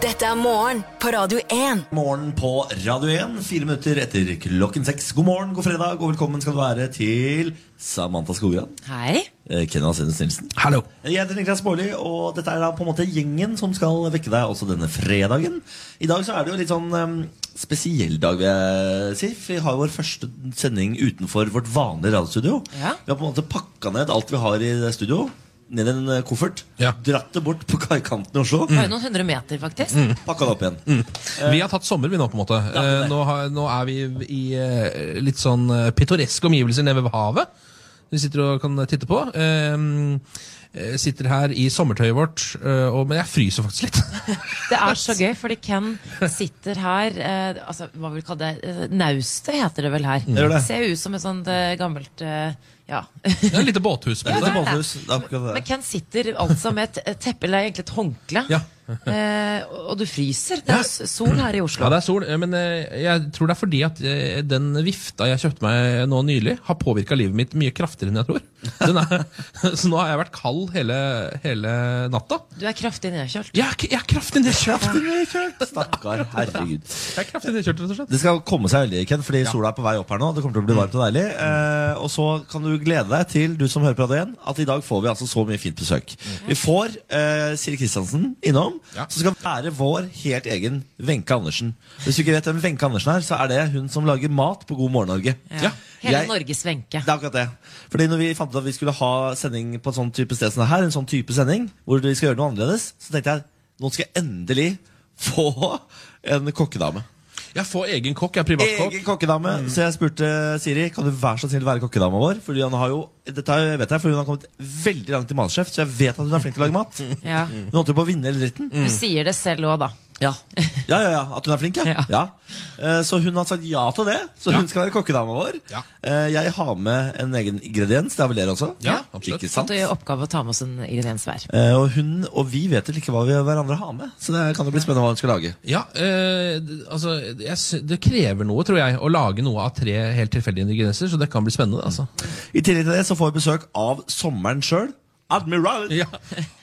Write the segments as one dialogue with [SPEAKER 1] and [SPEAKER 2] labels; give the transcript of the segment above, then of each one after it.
[SPEAKER 1] Dette er morgen på Radio 1.
[SPEAKER 2] Morgen på Radio 1, fire minutter etter klokken seks. God morgen, god fredag, og velkommen skal du være til Samantha Skogran.
[SPEAKER 3] Hei.
[SPEAKER 2] eh, Kenna Sennes Nilsen.
[SPEAKER 4] Hallo.
[SPEAKER 2] Jeg heter Niklas Baarli, og dette er da på en måte gjengen som skal vekke deg også denne fredagen. I dag så er det jo litt sånn em, spesiell dag, vil jeg si. for Vi har jo vår første sending utenfor vårt vanlige radiostudio.
[SPEAKER 3] Ja.
[SPEAKER 2] Vi har på en måte pakka ned alt vi har i det studio, ned i en eh, koffert,
[SPEAKER 4] Ja.
[SPEAKER 2] dratt det bort på kaikanten
[SPEAKER 4] Sånn.
[SPEAKER 2] i Oslo,
[SPEAKER 3] Bare noen hundre meter, faktisk.
[SPEAKER 4] Mm.
[SPEAKER 2] pakka det opp igjen.
[SPEAKER 4] Vi har tatt sommer, vi nå, på en måte. Eh, Nå, har, nå er vi i eh, litt sånn eh, pittoreske omgivelser nede ved havet. Vi sitter og kan titte på. Eh, eh, Sitter her i sommertøyet vårt, eh, og, men jeg fryser faktisk litt.
[SPEAKER 3] Det er så gøy, fordi Ken sitter her eh, altså, Hva vil vi kalle det? Eh, Naustet heter det vel her.
[SPEAKER 4] Mm.
[SPEAKER 2] gjør det.
[SPEAKER 3] Ser jo ut som et sånt eh, gammelt eh, Ja.
[SPEAKER 4] Det er et lite båthus på
[SPEAKER 2] Det er
[SPEAKER 4] det.
[SPEAKER 2] litt båthus, det er akkurat det.
[SPEAKER 3] Men Ken sitter altså med et teppe, eller egentlig et håndkle,
[SPEAKER 4] Ja.
[SPEAKER 3] eh, og du fryser. Det er s- sol her i
[SPEAKER 4] Ja,
[SPEAKER 3] Oslo.
[SPEAKER 4] det er sol, eh, men eh, jeg tror det er fordi at eh, den vifta jeg kjøpte meg eh, nå nylig, har påvirka livet mitt mye kraftigere enn jeg tror. Den er, så nå har jeg vært kald hele, hele natta.
[SPEAKER 3] Du er kraftig nedkjølt.
[SPEAKER 4] Jeg er, k- jeg er kraftig nedkjørt!
[SPEAKER 2] Stakkar, herregud.
[SPEAKER 4] Jeg er kraftig nedkjørt, rett og slett.
[SPEAKER 2] Det skal komme seg veldig, Ken, fordi sola er på vei opp her nå. Det kommer til å bli varmt og deilig.
[SPEAKER 4] Mm.
[SPEAKER 2] Eh, og så kan du glede deg til, du som hører på Radio 1, at i dag får vi altså så mye fint besøk. Vi får eh, Siri Kristiansen innom,
[SPEAKER 4] Mm. Ja.
[SPEAKER 2] som skal være vår helt egen Wenche Andersen. Hvis du ikke vet hvem Wenche Andersen er, så er det hun som lager mat på God morgen Norge.
[SPEAKER 4] Ja.
[SPEAKER 3] Hele
[SPEAKER 2] Jeg-
[SPEAKER 3] Norges Wenche.
[SPEAKER 2] Det er akkurat det. Fordi når vi fant ut at vi skulle ha sending på et sånn type sted som det her, en sånn type sending, hvor vi skal gjøre noe annerledes, så tenkte jeg nå skal jeg endelig få en kokkedame.
[SPEAKER 4] Jeg får egen kokk, jeg er privatkokk.
[SPEAKER 2] Egen kokkedame. Så jeg spurte Siri kan du være så snill være kokkedama vår. Fordi hun har jo, dette har jeg- vet jeg, for hun har kommet veldig langt i Matsjef, så jeg vet at hun er flink til å lage mat. Hun
[SPEAKER 3] Ja.
[SPEAKER 4] Mm.
[SPEAKER 2] holdt jo på å vinne hele dritten.
[SPEAKER 3] Du sier det selv òg, da.
[SPEAKER 2] Ja. ja, ja, ja, At hun er flink, ja.
[SPEAKER 3] Ja.
[SPEAKER 2] ja. Eh, Så hun har sagt ja til det. Så hun skal være kokkedama vår.
[SPEAKER 4] Ja.
[SPEAKER 2] Eh, Jeg har med en egen ingrediens. Det har vel dere også?
[SPEAKER 4] Ja, absolutt.
[SPEAKER 2] Ikke
[SPEAKER 3] At
[SPEAKER 2] sant?
[SPEAKER 3] du gjør oppgave å ta med oss en ingrediens hver.
[SPEAKER 2] Eh, Og hun og vi vet vel ikke hva vi hverandre har med, så det kan jo bli spennende hva hun skal lage.
[SPEAKER 4] Ja, eh, d- altså, jeg, sy- det krever noe, tror jeg, å lage noe av tre helt tilfeldige ingredienser, så det kan bli spennende. altså.
[SPEAKER 2] I tillegg til det så får vi besøk av sommeren sjøl. Admiral!
[SPEAKER 4] Ja.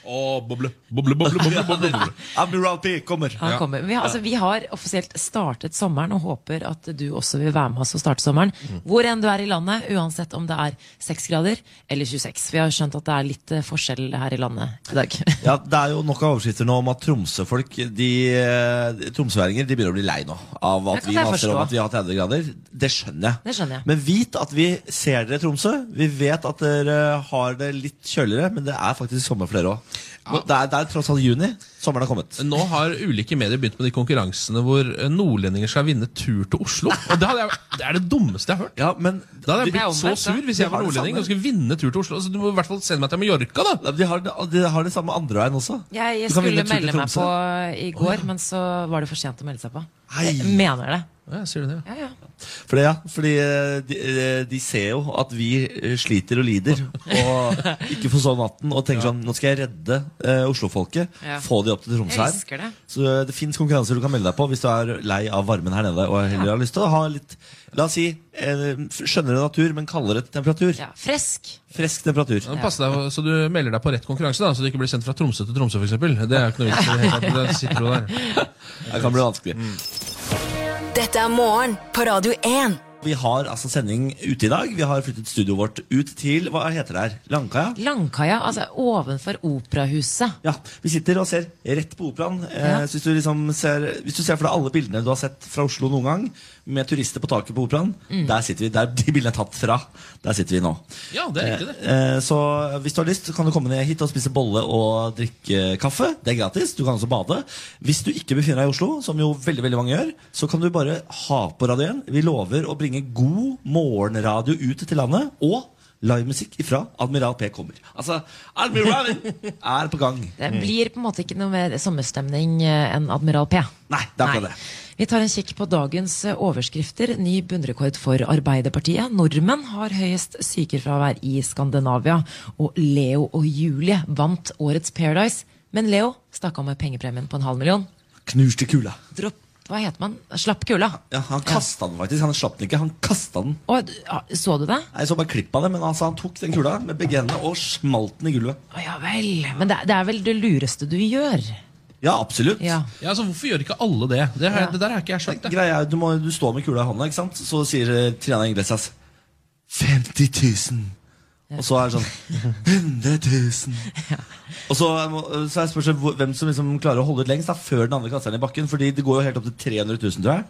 [SPEAKER 4] Å, boble, boble, boble, boble, boble, boble.
[SPEAKER 2] Admiral P kommer.
[SPEAKER 3] Han
[SPEAKER 4] Ja.
[SPEAKER 3] kommer. Vi har, altså, vi har offisielt startet sommeren og håper at du også vil være med oss og starte sommeren.
[SPEAKER 2] Mm.
[SPEAKER 3] Hvor enn du er i landet, uansett om det er 6 grader eller 26. Vi har skjønt at det er litt eh, forskjell her i landet i dag.
[SPEAKER 2] Ja, Det er jo nok av overskrifter nå om at tromsøfolk de, eh, Tromsøværinger de begynner å bli lei nå av
[SPEAKER 3] Det
[SPEAKER 2] at
[SPEAKER 3] kan
[SPEAKER 2] vi
[SPEAKER 3] jeg
[SPEAKER 2] maser om
[SPEAKER 3] forstå.
[SPEAKER 2] at vi har 30 grader. Det skjønner jeg.
[SPEAKER 3] Det skjønner jeg.
[SPEAKER 2] Men vit at vi ser dere, Tromsø. Vi vet at dere har det litt kjøligere, men det er faktisk sommer for dere òg. Det, er- det er tross alt juni. Sommeren har kommet.
[SPEAKER 4] Nå har ulike medier begynt med de konkurransene hvor eh, nordlendinger skal vinne tur til Oslo. Og Det, hadde jeg, det er det dummeste jeg har hørt.
[SPEAKER 2] Ja, men
[SPEAKER 4] Da hadde jeg
[SPEAKER 3] Det er
[SPEAKER 4] blitt så
[SPEAKER 3] omvendt, da.
[SPEAKER 4] sur hvis
[SPEAKER 2] Vi
[SPEAKER 4] jeg
[SPEAKER 2] har
[SPEAKER 4] var
[SPEAKER 2] det
[SPEAKER 4] nordlending
[SPEAKER 2] samme.
[SPEAKER 4] og skulle vinne tur til Oslo. Så Du må i hvert fall sende meg til Mallorca, da!
[SPEAKER 2] de har, det- de har det samme andre veien også.
[SPEAKER 3] Jeg
[SPEAKER 2] Du kan
[SPEAKER 3] skulle
[SPEAKER 2] vinne tur til
[SPEAKER 3] melde meg
[SPEAKER 2] Tromsø.
[SPEAKER 3] på eh, i går, men så var det for sent å melde seg på.
[SPEAKER 2] Hei.
[SPEAKER 3] Jeg mener det.
[SPEAKER 4] Ja, jeg sier det, ja.
[SPEAKER 3] Ja, ja.
[SPEAKER 2] For det, ja, fordi eh, de, eh, de ser jo at vi eh, sliter og lider og ikke får sove natten. Og tenker sånn Nå skal jeg redde eh, oslofolket.
[SPEAKER 3] Ja.
[SPEAKER 2] Få de opp til Tromsø
[SPEAKER 3] Jeg elsker
[SPEAKER 2] her.
[SPEAKER 3] det.
[SPEAKER 2] Så eh, det fins konkurranser du kan melde deg på hvis du er lei av varmen her nede og heller har lyst til å ha litt La oss si eh, skjønnere natur, men kaldere temperatur.
[SPEAKER 3] ja. Fresk.
[SPEAKER 2] Frisk temperatur.
[SPEAKER 4] Men Pass deg, så du melder deg på rett konkurranse, da, så du ikke blir sendt fra Tromsø til Tromsø, f.eks. Det er jo ikke noe vits i det hele tatt. Da sitter du der. Mm.
[SPEAKER 2] Det kan bli vanskelig.
[SPEAKER 1] Dette er morgen på Radio 1.
[SPEAKER 2] Vi har altså sending ute i dag. Vi har flyttet studioet vårt ut til Hva heter det her? Langkaia?
[SPEAKER 3] Langkaia, altså ovenfor Operahuset.
[SPEAKER 2] Ja, Vi sitter og ser rett på operaen. Eh,
[SPEAKER 3] Ja.
[SPEAKER 2] så hvis, du liksom ser, hvis du ser for deg alle bildene du har sett fra Oslo noen gang, med turister på taket på operaen,
[SPEAKER 3] Mm.
[SPEAKER 2] der sitter vi, der de bildene er tatt fra. Der sitter vi nå.
[SPEAKER 4] Ja, det er riktig, det.
[SPEAKER 2] Eh, så hvis du har lyst, så kan du komme ned hit og spise bolle og drikke kaffe. Det er gratis. Du kan også bade. Hvis du ikke befinner deg i Oslo, som jo veldig veldig mange gjør, så kan du bare ha på Radio 1. Vi lover å bringe god morgenradio ut til landet. og Livemusikk ifra Admiral P kommer. Altså, Admiral er på gang.
[SPEAKER 3] Det blir på en måte ikke noe mer sommerstemning eh, enn Admiral P.
[SPEAKER 2] Nei, det er akkurat
[SPEAKER 3] Nei.
[SPEAKER 2] det.
[SPEAKER 3] Vi tar en kikk på dagens eh, overskrifter. Ny bunnrekord for Arbeiderpartiet. Nordmenn har høyest sykefravær i Skandinavia. Og Leo og Julie vant årets Paradise. Men Leo stakk av med pengepremien på en halv million.
[SPEAKER 2] Knuste kula.
[SPEAKER 3] Dropp, hva heter man? Slapp kula.
[SPEAKER 2] Ja, han kasta den faktisk. Han slapp den ikke. Han kasta den.
[SPEAKER 3] Å, d- ja, så du det?
[SPEAKER 2] Nei, Jeg så bare klipp av det, men altså, han tok den kula med begge hendene og smalt den i gulvet.
[SPEAKER 3] Å ja vel. Men det, det er vel det lureste du gjør?
[SPEAKER 2] Ja, absolutt.
[SPEAKER 3] Ja.
[SPEAKER 4] Ja, altså Hvorfor gjør ikke alle det? Det, har,
[SPEAKER 3] Ja.
[SPEAKER 4] det der har ikke jeg skjønt. det.
[SPEAKER 2] Greia er, du, må, du står med kula i hånda, ikke sant? Så sier eh, Triana Inglesias 50 000. Og så er det sånn 100 000. Og så, er må- så er spørsmålet hvor- hvem som liksom klarer å holde ut lengst da, før den andre kaster den i bakken. Fordi det går jo helt opp til 300 000, tror jeg.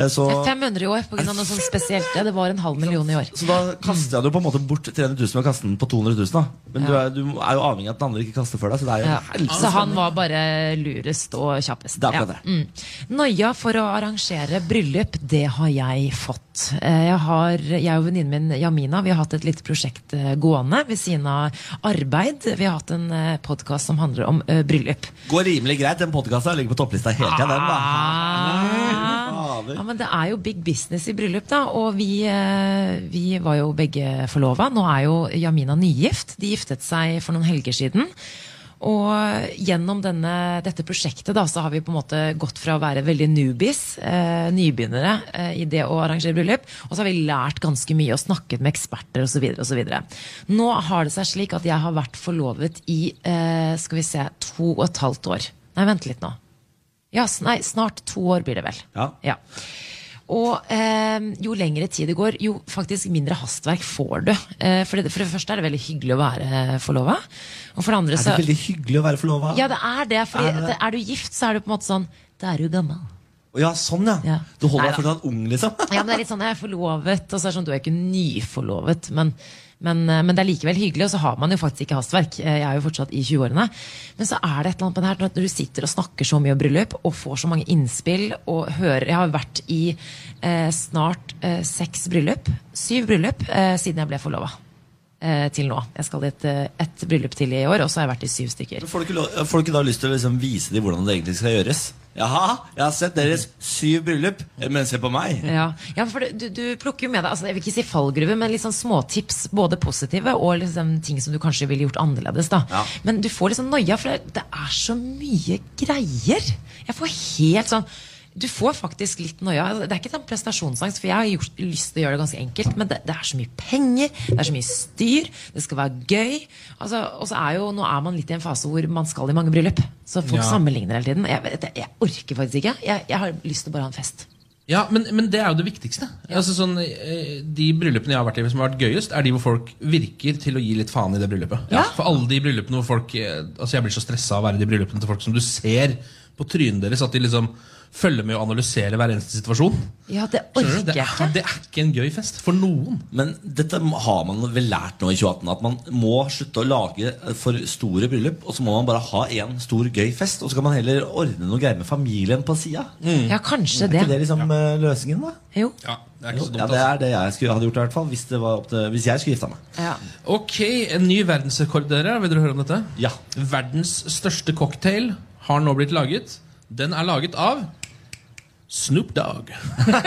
[SPEAKER 2] Eh, Så,
[SPEAKER 3] Det er 500 i år pga. noe sånt spesielt. Ja, det var en halv million i år.
[SPEAKER 2] så da kaster jeg det jo på en måte bort 300 000 ved å kaste den på 200 000. Da. Men du,
[SPEAKER 3] Ja.
[SPEAKER 2] er, du er jo avhengig av at den andre ikke kaster før deg. Så det er jo
[SPEAKER 3] Ja.
[SPEAKER 2] helsike.
[SPEAKER 3] Så han var bare lurest og kjappest.
[SPEAKER 2] Det er akkurat det.
[SPEAKER 3] Mm. Noia for å arrangere bryllup, det har jeg fått. Eh, Jeg, har, jeg og venninnen min Jamina vi har hatt et lite prosjekt eh, gående ved siden av arbeid. Vi har hatt en podkast som handler om eh, bryllup.
[SPEAKER 2] Går rimelig greit. Den podkasten ligger på topplista hele tida, den. da
[SPEAKER 3] Ah. Ja, men det er jo big business i bryllup, da. Og vi, eh, vi var jo begge forlova. Nå er jo Jamina nygift. De giftet seg for noen helger siden. Og gjennom denne, dette prosjektet da, så har vi på en måte gått fra å være veldig newbies, eh, nybegynnere, eh, i det å arrangere bryllup, og så har vi lært ganske mye og snakket med eksperter osv. osv. Nå har det seg slik at jeg har vært forlovet i eh, skal vi se, to og et halvt år. Nei, vent litt nå. Ja, s- nei, snart to år blir det vel.
[SPEAKER 2] Ja.
[SPEAKER 3] Og eh, jo lengre tid det går, jo faktisk mindre hastverk får du. Eh, for, det, for det første er det veldig hyggelig å være forlova. Og for det andre
[SPEAKER 2] Er
[SPEAKER 3] så
[SPEAKER 2] det veldig hyggelig å være forlova?
[SPEAKER 3] Ja, det er det. For
[SPEAKER 2] Er det det?
[SPEAKER 3] er du gift, så er du på en måte sånn Da er du gammel.
[SPEAKER 2] Ja, sånn, ja.
[SPEAKER 3] Ja.
[SPEAKER 2] Du holder deg
[SPEAKER 3] Neida.
[SPEAKER 2] fortsatt ung, liksom.
[SPEAKER 3] Ja, men det er litt sånn, jeg er forlovet, og så er det sånn, du er ikke nyforlovet, men, men, eh, men det er likevel hyggelig, og så har man jo faktisk ikke hastverk. Eh, Jeg er jo fortsatt i 20-årene. Men så er det et eller annet med det her, når du sitter og snakker så mye om bryllup, og får så mange innspill, og hører, jeg har vært i eh, snart eh, seks bryllup, syv bryllup, eh, siden jeg ble forlovet. Eh, til nå. Jeg skal i et, eh, et bryllup til i år, og så har jeg vært i syv stykker.
[SPEAKER 2] Får du ikke, lov- får du ikke da lyst til å liksom vise dem hvordan det egentlig skal gjøres? Jaha, jeg har sett deres syv bryllup, men se på meg.
[SPEAKER 3] Ja, ja for du, du plukker jo med deg altså, Jeg vil ikke si fallgruve, men litt sånn småtips. Både positive og liksom ting som du kanskje ville gjort annerledes. Da.
[SPEAKER 2] Ja.
[SPEAKER 3] Men du får liksom noia, for det- det er så mye greier. Jeg får helt sånn du får faktisk litt noia. Det er ikke sånn prestasjonsangst, for jeg har gjort, lyst til å gjøre det ganske enkelt, men det, det er så mye penger, det er så mye styr, det skal være gøy. Altså, og så er jo, nå er man litt i en fase hvor man skal i mange bryllup. Så folk
[SPEAKER 4] Ja.
[SPEAKER 3] sammenligner hele tiden. Jeg, vet- jeg orker faktisk ikke. Jeg, jeg har lyst til å bare ha en fest.
[SPEAKER 4] Ja, men, men det er jo det viktigste. Altså sånn, eh, De bryllupene jeg har vært i som har vært gøyest, er de hvor folk virker til å gi litt faen i det bryllupet.
[SPEAKER 3] Ja.
[SPEAKER 4] For alle de bryllupene hvor folk eh, Altså Jeg blir så stressa av å være i de bryllupene til folk som du ser på trynet deres at de liksom følger med og analyserer hver eneste situasjon.
[SPEAKER 3] Ja, det
[SPEAKER 4] Skjønner
[SPEAKER 3] orker
[SPEAKER 4] du? Det
[SPEAKER 3] jeg ikke.
[SPEAKER 4] er, det er ikke en gøy fest for noen.
[SPEAKER 2] Men dette har man vel lært nå i 2018, at man må slutte å lage for store bryllup, og så må man bare ha én stor gøy fest, og så kan man heller ordne noe greier med familien på sida.
[SPEAKER 3] Ja, kanskje
[SPEAKER 2] Er
[SPEAKER 3] det.
[SPEAKER 2] ikke det liksom eh, løsningen, da?
[SPEAKER 3] Jo.
[SPEAKER 4] Ja, det er
[SPEAKER 2] Jo, ja, det er
[SPEAKER 4] altså.
[SPEAKER 2] det jeg skulle, hadde gjort i hvert fall, hvis, det var opp til, hvis jeg skulle gifta meg.
[SPEAKER 3] Ja.
[SPEAKER 4] Ok, en ny verdensrekord, dere. Vil dere høre om dette?
[SPEAKER 2] Ja.
[SPEAKER 4] Verdens største cocktail har nå blitt laget. Den er laget av Snoop Dogg. Ja.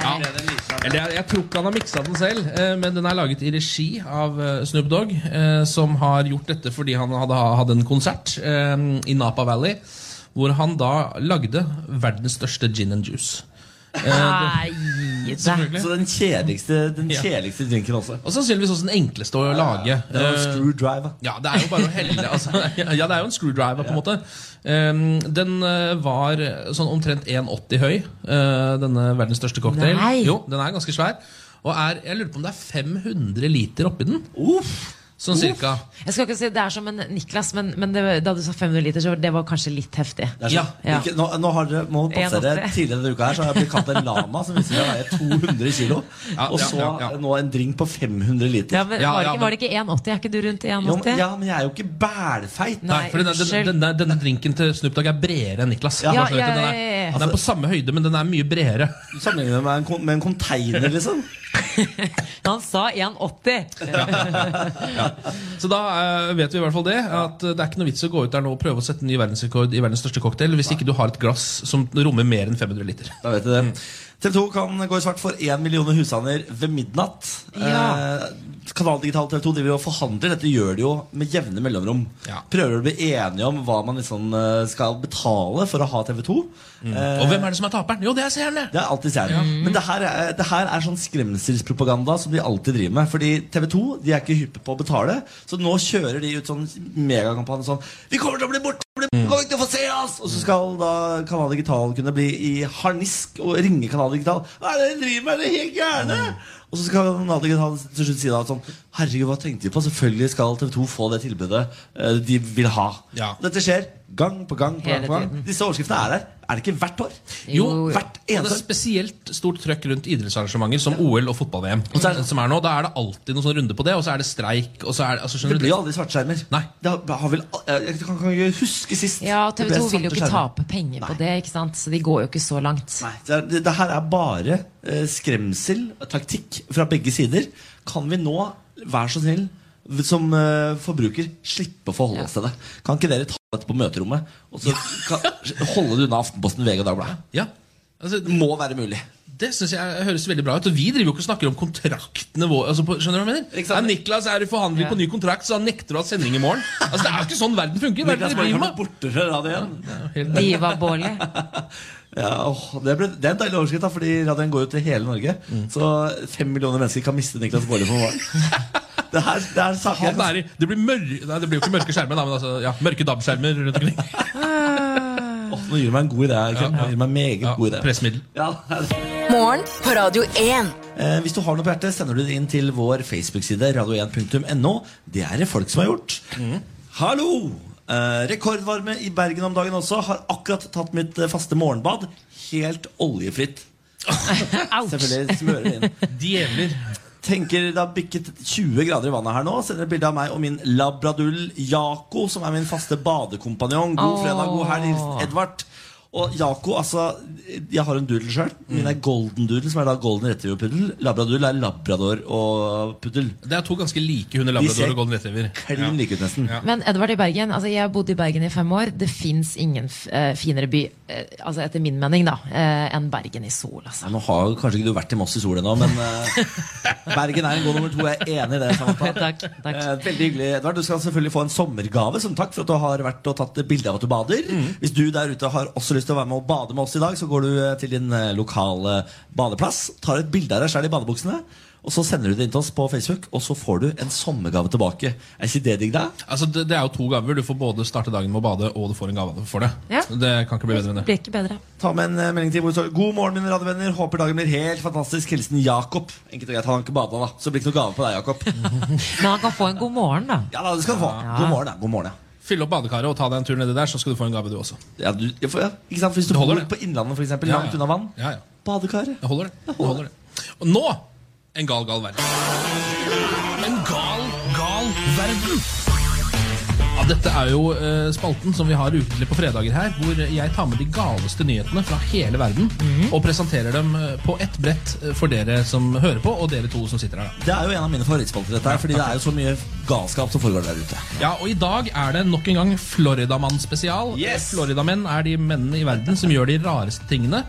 [SPEAKER 4] Eller jeg, jeg tror ikke han har miksa den selv, eh, men den er laget i regi av eh, Snoop Dogg, eh, som har gjort dette fordi han hadde, hadde en konsert eh, i Napa Valley, hvor han da lagde verdens største gin and juice. Eh,
[SPEAKER 3] Nei, det.
[SPEAKER 2] Så Altså, den kjedeligste, den
[SPEAKER 4] Ja.
[SPEAKER 2] kjedeligste drinken også.
[SPEAKER 4] Og sannsynligvis også den enkleste å lage.
[SPEAKER 2] Det var
[SPEAKER 4] Eh,
[SPEAKER 2] screwdriver.
[SPEAKER 4] Ja, det er jo bare å helle altså, Ja, det er jo en screwdriver, på en måte. Um, den eh, var sånn omtrent 1,80 høy, eh, denne verdens største cocktail.
[SPEAKER 3] Nei.
[SPEAKER 4] Jo, Den er ganske svær. Og er, jeg lurer på om det er 500 liter oppi den.
[SPEAKER 2] Uff.
[SPEAKER 4] Sånn cirka.
[SPEAKER 3] Jeg skal ikke si det er som en Niklas, men, men det, da du sa 500 liter, så det var kanskje litt heftig.
[SPEAKER 2] Det er
[SPEAKER 4] Ja,
[SPEAKER 2] sånn.
[SPEAKER 3] ja.
[SPEAKER 2] Ikke, nå, nå har dere, må dere passe dere
[SPEAKER 3] 1,80.
[SPEAKER 2] Tidligere denne uka her Så har jeg blitt kalt en lama Som viser seg å veie 200 kilo
[SPEAKER 4] Ja,
[SPEAKER 2] Og
[SPEAKER 4] ja,
[SPEAKER 2] så
[SPEAKER 4] ja, ja.
[SPEAKER 2] nå en drink på 500 liter
[SPEAKER 3] Ja, men,
[SPEAKER 4] Ja,
[SPEAKER 3] var, det
[SPEAKER 4] ja,
[SPEAKER 3] ikke, var det ikke 1,80? Er ikke du rundt
[SPEAKER 2] Jo, men-
[SPEAKER 3] 1,80?
[SPEAKER 2] Ja, men jeg er jo ikke bælfeit
[SPEAKER 3] Nei,
[SPEAKER 4] for denne,
[SPEAKER 3] unnskyld.
[SPEAKER 4] denne, denne, denne drinken til Snoop Dogg er bredere enn Niklas.
[SPEAKER 2] Ja,
[SPEAKER 4] Bare så du
[SPEAKER 3] ja,
[SPEAKER 4] vet det,
[SPEAKER 3] ja, ja,
[SPEAKER 4] den,
[SPEAKER 3] ja.
[SPEAKER 4] er, den er på samme høyde, men den er mye bredere.
[SPEAKER 2] Du sammenligner meg med en, kon- med en container liksom
[SPEAKER 3] Han sa 1,80!
[SPEAKER 4] Så da eh, vet vi i hvert fall det. At eh, det er ikke noe vits å gå ut der nå og prøve å sette en ny verdensrekord i verdens største cocktail hvis ikke du har et glass som rommer mer enn 500 liter.
[SPEAKER 2] Da vet du det TV 2 kan gå i svart for 1 million hushander ved midnatt
[SPEAKER 3] Ja.
[SPEAKER 2] eh, Kanal Digital TV 2 driver og forhandler Dette gjør de jo med jevne mellomrom
[SPEAKER 4] Ja.
[SPEAKER 2] Prøver å bli enige om hva man liksom eh, skal betale for å ha TV 2 eh,
[SPEAKER 4] Mm. Og hvem er det som er taperen? Jo, det er seerne! Mm.
[SPEAKER 2] Det er alltid seerne. Men det her, er, det her er sånn skremselspropaganda som de alltid driver med. Fordi TV 2 de er ikke hyppe på å betale, så nå kjører de ut sånn megakampanje sånn Vi kommer til å bli borte! blir-
[SPEAKER 4] Mm.
[SPEAKER 2] Kom ikke til å få se oss! Og så skal da Kanal Digital kunne bli i harnisk og ringe Kanal Digital. Hva er det dere driver med? Er dere helt gærne? Og så skal Kanal Digital til slutt si da sånn Herregud, hva tenkte de på? Selvfølgelig skal TV 2 få det tilbudet eh, de vil ha.
[SPEAKER 4] Ja.
[SPEAKER 2] Dette skjer gang på gang. på gang,
[SPEAKER 3] Hele
[SPEAKER 2] på gang.
[SPEAKER 3] tiden.
[SPEAKER 2] Disse overskriftene er der. Er det ikke hvert år?
[SPEAKER 4] Jo,
[SPEAKER 3] Jo, jo.
[SPEAKER 4] hvert eneste. Og det er spesielt stort trøkk rundt idrettsarrangementer som OL og fotball-VM.
[SPEAKER 2] så er det-
[SPEAKER 4] Som er nå, Da er det alltid noen sånn runde på det, og så er det streik. Og så er det, altså,
[SPEAKER 2] Det
[SPEAKER 4] skjønner
[SPEAKER 2] blir
[SPEAKER 4] du
[SPEAKER 2] jo aldri svartskjermer.
[SPEAKER 4] Nei.
[SPEAKER 2] Det har, har vel, al- jeg kan, kan ikke huske sist.
[SPEAKER 3] Ja, TV 2
[SPEAKER 2] det ble
[SPEAKER 3] vil jo
[SPEAKER 2] svarte
[SPEAKER 3] ikke
[SPEAKER 2] skjermer.
[SPEAKER 3] tape penger på det, ikke sant? så de går jo ikke så langt.
[SPEAKER 2] Nei, det, er- det, det her er bare eh, skremsel og taktikk fra begge sider. Kan vi nå, vær så snill, v- som eh, forbruker, slippe å forholde oss til det? Kan ikke dere ta dette på møterommet og så kan, holde det unna Aftenposten, VG og Dagbladet?
[SPEAKER 4] Ja. Altså,
[SPEAKER 2] Det må være mulig.
[SPEAKER 4] Det synes jeg høres veldig bra ut. Og vi driver jo ikke og snakker om kontraktene våre. Altså, på, skjønner du hva jeg mener?
[SPEAKER 2] Ikke sant?
[SPEAKER 4] Ja, Niklas er i forhandling
[SPEAKER 3] Ja.
[SPEAKER 4] på ny kontrakt, så han nekter å ha sending i morgen. Altså, Det er jo ikke sånn verden funker. Verden
[SPEAKER 2] Niklas
[SPEAKER 4] driver
[SPEAKER 2] Baarli
[SPEAKER 4] med.
[SPEAKER 2] er borte fra radioen.
[SPEAKER 4] Helt-
[SPEAKER 3] Diva-Bårli.
[SPEAKER 2] Ja, åh, det, ble, det er en deilig overskrift, da, fordi radioen går jo til hele Norge. Så fem millioner mennesker kan miste Niklas Baarli for morgenen. Det, her, det er saker jeg
[SPEAKER 4] Han
[SPEAKER 2] kan
[SPEAKER 4] er i, det, blir mør Nei, det blir jo ikke mørke skjermer, da, men altså, ja, mørke DAB-skjermer rundt omkring.
[SPEAKER 2] Åh, Nå gir du meg en god idé. her,
[SPEAKER 4] Ja,
[SPEAKER 2] Kim.
[SPEAKER 4] ja.
[SPEAKER 2] Nå gir du meg en meget
[SPEAKER 4] Ja,
[SPEAKER 2] god idé.
[SPEAKER 4] pressmiddel.
[SPEAKER 2] Ja, det er det.
[SPEAKER 1] Morgen på Radio 1.
[SPEAKER 2] Eh, hvis du har noe på hjertet, sender du det inn til vår Facebook-side, radio1.no. Det er det folk som har gjort. Hallo! Eh, rekordvarme i Bergen om dagen også. Har akkurat tatt mitt eh, faste morgenbad. Helt oljefritt.
[SPEAKER 3] Ouch!
[SPEAKER 2] Selvfølgelig smører det inn.
[SPEAKER 4] Djevler.
[SPEAKER 2] Tenker det har bikket 20 grader i vannet her nå. Sender et bilde av meg og min labradull Jako, som er min faste badekompanjong.
[SPEAKER 3] Åh.
[SPEAKER 2] God fredag, god helg, hilsen Edvard. Og Jako, altså Jeg har en doodle sjøl.
[SPEAKER 4] Mm.
[SPEAKER 2] Min er golden doodle, som er da golden retriever-puddel. Labradoodle er labrador og puddel.
[SPEAKER 4] Det er to ganske like hunder,
[SPEAKER 2] De ser
[SPEAKER 4] labrador og golden retriever. Ja.
[SPEAKER 2] Klin like ut, nesten.
[SPEAKER 4] Ja.
[SPEAKER 3] Men Edvard i Bergen, altså jeg bodde i Bergen i fem år. Det fins ingen f eh, finere by, eh, altså etter min mening, da, eh, enn Bergen i sol. altså.
[SPEAKER 2] Nei, Nå har jo kanskje ikke du vært i Moss i sol ennå, men eh, Bergen er en god nummer to. Jeg er enig i det. Samantha.
[SPEAKER 3] Takk, takk.
[SPEAKER 2] Eh, veldig hyggelig, Edvard. Du skal selvfølgelig få en sommergave som takk for at du har vært og tatt bilde av at du bader.
[SPEAKER 3] Mm.
[SPEAKER 2] Hvis du der ute har også lyst til å være med og bade med oss i dag, så går du eh, til din eh, lokale badeplass, tar et bilde av deg sjøl i badebuksene, og så sender du det inn til oss på Facebook, og så får du en sommergave tilbake. Er ikke det digg, da?
[SPEAKER 4] Altså, det, det er jo to gaver. Du får både starte dagen med å bade, og du får en gave for det.
[SPEAKER 3] Ja.
[SPEAKER 4] Det kan ikke bli bedre enn det.
[SPEAKER 3] Blir ikke bedre.
[SPEAKER 2] Ta med en eh, melding til hvor det står God morgen, mine radiovenner. Håper dagen blir helt fantastisk. Hilsen Jakob. Enkelt og greit, han har ikke bada, da. Så det blir ikke noe gave på deg, Jakob.
[SPEAKER 3] Men han kan få en god morgen, da.
[SPEAKER 2] Ja, da, det skal du få. God morgen, da. God morgen, ja.
[SPEAKER 4] Fyll opp badekaret og ta deg en tur nedi der, så skal du få en gave, du også.
[SPEAKER 2] ja, du, ja, for, ja. Ikke sant? For Hvis du
[SPEAKER 4] Det holder,
[SPEAKER 2] bor på Innlandet, for eksempel,
[SPEAKER 4] Ja,
[SPEAKER 2] langt
[SPEAKER 4] ja.
[SPEAKER 2] unna vann.
[SPEAKER 4] Ja, ja.
[SPEAKER 2] Badekaret.
[SPEAKER 4] Det holder, det. det, holder det. Og nå en gal, gal verden. En gal, gal verden. Ja, dette er jo eh, spalten som vi har ukentlig på fredager her, hvor jeg tar med de galeste nyhetene fra hele verden
[SPEAKER 2] Mhm.
[SPEAKER 4] og presenterer dem eh, på ett brett eh, for dere som hører på, og dere to som sitter her. da.
[SPEAKER 2] Det er jo en av mine favorittspalter, dette her, fordi det er jo så mye galskap som foregår der ute.
[SPEAKER 4] Ja, og I dag er det nok en gang Floridamann-spesial.
[SPEAKER 2] Yes!
[SPEAKER 4] Floridamenn er de mennene i verden som gjør de rareste tingene.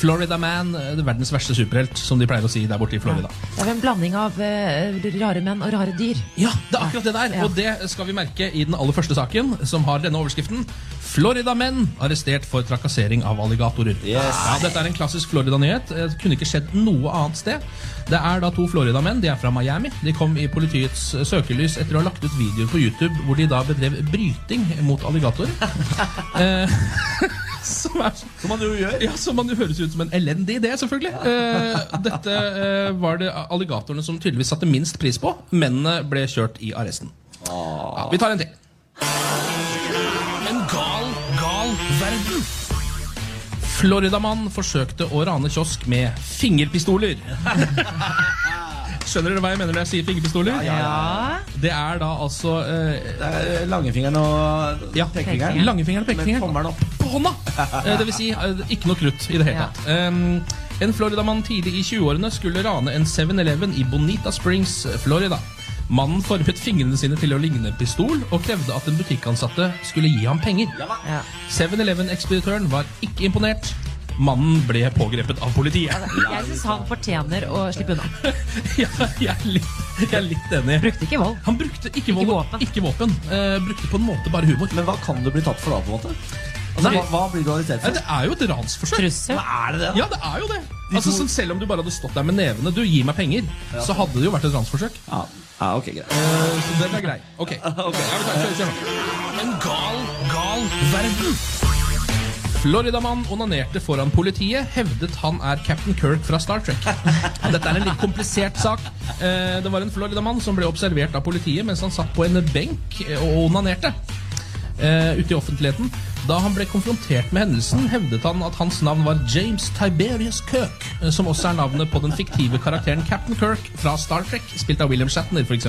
[SPEAKER 4] Floridaman, eh, verdens verste superhelt, som de pleier å si der borte i Florida.
[SPEAKER 3] Det er en blanding av eh, rare menn og rare dyr.
[SPEAKER 4] Ja, det er akkurat det der.
[SPEAKER 3] Ja.
[SPEAKER 4] Og det skal vi merke i den aller første saken, som har denne overskriften. Florida-menn arrestert for trakassering av alligatorer. Ja, dette er en klassisk Florida-nyhet. Eh, Kunne ikke skjedd noe annet sted. Det er da to Florida-menn. De er fra Miami. De kom i politiets eh, søkelys etter å ha lagt ut videoer på YouTube hvor de da bedrev bryting mot alligatorer. Eh, som er så
[SPEAKER 2] Som man jo gjør.
[SPEAKER 4] ja, som man jo høres ut som en elendig idé, selvfølgelig. Eh, dette eh, var det alligatorene som tydeligvis satte minst pris på. Mennene ble kjørt i arresten.
[SPEAKER 2] Ah.
[SPEAKER 4] Ja, vi tar en til. En gal, gal verden. Floridamann forsøkte å rane kiosk med fingerpistoler. Skjønner dere hva jeg mener når jeg sier fingerpistoler?
[SPEAKER 3] Ja.
[SPEAKER 4] Det er da altså eh,
[SPEAKER 2] Det er langfingeren og
[SPEAKER 4] ja.
[SPEAKER 2] pekefingeren.
[SPEAKER 4] Langefingeren og
[SPEAKER 2] Med
[SPEAKER 4] pekefingeren.
[SPEAKER 2] tommelen opp.
[SPEAKER 4] på hånda! Eh, Det vil si, eh, ikke noe krutt i det hele
[SPEAKER 3] Ja.
[SPEAKER 4] tatt. Um, en Floridamann tidlig i 20-årene skulle rane en 7-Eleven i Bonita Springs, Florida. Mannen formet fingrene sine til å ligne en pistol, og krevde at den butikkansatte skulle gi ham penger.
[SPEAKER 3] Ja.
[SPEAKER 4] 7-Eleven-ekspeditøren var ikke imponert. Mannen ble pågrepet av politiet.
[SPEAKER 3] Jeg syns han fortjener å slippe unna.
[SPEAKER 4] ja, jeg, er litt, jeg er litt enig.
[SPEAKER 3] Brukte ikke vold.
[SPEAKER 4] Han brukte ikke vold,
[SPEAKER 3] våpen.
[SPEAKER 4] ikke våpen. Eh, brukte på en måte bare humor.
[SPEAKER 2] Men hva kan du bli tatt for da, på en måte? Altså,
[SPEAKER 4] Nei.
[SPEAKER 2] hva, hva blir du arrestert
[SPEAKER 4] Eh,
[SPEAKER 2] for?
[SPEAKER 4] Det er jo et ransforsøk.
[SPEAKER 3] Trussel.
[SPEAKER 2] Er det det?
[SPEAKER 4] Ja, det er jo det. Altså,
[SPEAKER 2] to-
[SPEAKER 4] sånn, selv om du bare hadde stått der med nevene Du, gi meg penger, så hadde det jo vært et ransforsøk.
[SPEAKER 2] Ja. ja, ok, greit.
[SPEAKER 4] Eh, så den er grei. Ok. Ja, vi tar- kjør, kjør nå. En gal, gal all verden? Floridamann onanerte foran politiet, hevdet han er Captain Kirk fra Star Trek. Dette er en litt komplisert sak. Eh, Det var en floridamann som ble observert av politiet mens han satt på en benk eh, og onanerte eh, ute i offentligheten. Da han ble konfrontert med hendelsen, hevdet han at hans navn var James Tiberius Kirk, eh, som også er navnet på den fiktive karakteren Captain Kirk fra Star Trek, spilt av William Shatner f.eks.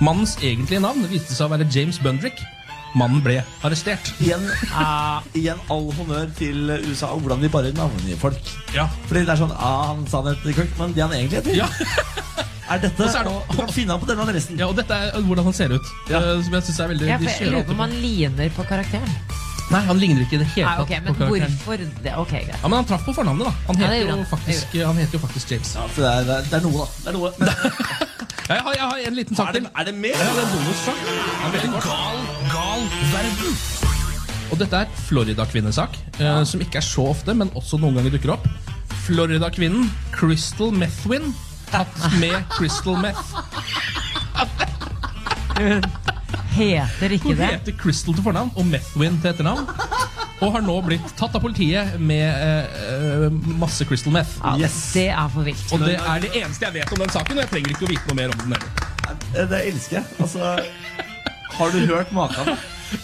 [SPEAKER 4] Mannens egentlige navn viste seg å være James Bundrick. Mannen ble arrestert.
[SPEAKER 2] Igjen, eh, igjen all honnør til USA og hvordan de bare navngir folk.
[SPEAKER 4] Ja.
[SPEAKER 2] Fordi det er sånn ah, han sa det til Kirk, men det han egentlig heter,
[SPEAKER 4] Ja.
[SPEAKER 2] er dette.
[SPEAKER 4] Og så er det-
[SPEAKER 2] og du kan finne han på denne adressen.
[SPEAKER 4] ja, og dette er hvordan han ser ut.
[SPEAKER 2] Ja.
[SPEAKER 4] eh, Som jeg synes er veldig
[SPEAKER 3] Ja,
[SPEAKER 4] de
[SPEAKER 3] for jeg
[SPEAKER 4] kjører
[SPEAKER 3] lurer på
[SPEAKER 4] alltid
[SPEAKER 3] om han ligner på karakteren.
[SPEAKER 4] på- Nei, han ligner ikke i det hele
[SPEAKER 3] Nei,
[SPEAKER 4] tatt
[SPEAKER 3] ok,
[SPEAKER 4] på
[SPEAKER 3] Men
[SPEAKER 4] karakteren.
[SPEAKER 3] hvorfor det? Ok, greit.
[SPEAKER 4] Ja, men han traff på fornavnet, da. Han
[SPEAKER 3] Ja,
[SPEAKER 4] heter,
[SPEAKER 3] det gjorde
[SPEAKER 4] jo,
[SPEAKER 3] han.
[SPEAKER 4] faktisk, han heter jo faktisk James.
[SPEAKER 2] Ja, for det er, det er- det er noe, da. Det er noe.
[SPEAKER 4] Ja, Jeg har, jeg har en liten sak
[SPEAKER 2] Er det,
[SPEAKER 4] til.
[SPEAKER 2] er det mer?
[SPEAKER 4] Ja, det er en bonussak. Det er veldig kort.
[SPEAKER 2] Gal, gal verden.
[SPEAKER 4] Og dette er Florida-kvinnesak, eh, som ikke er så ofte, men også noen ganger dukker opp. Florida-kvinnen Crystal Methwin tatt med Crystal Meth.
[SPEAKER 3] Heter ikke
[SPEAKER 4] Hun
[SPEAKER 3] det?
[SPEAKER 4] heter Crystal til fornavn og Methwin til etternavn. Og har nå blitt tatt av politiet med eh, eh, masse Crystal Meth.
[SPEAKER 3] Ja,
[SPEAKER 2] Yes.
[SPEAKER 3] Det er for vilt.
[SPEAKER 4] Og det er det eneste jeg vet om den saken, og jeg trenger ikke å vite noe mer om den heller.
[SPEAKER 2] Eh, Det elsker jeg. Altså, har du hørt maken?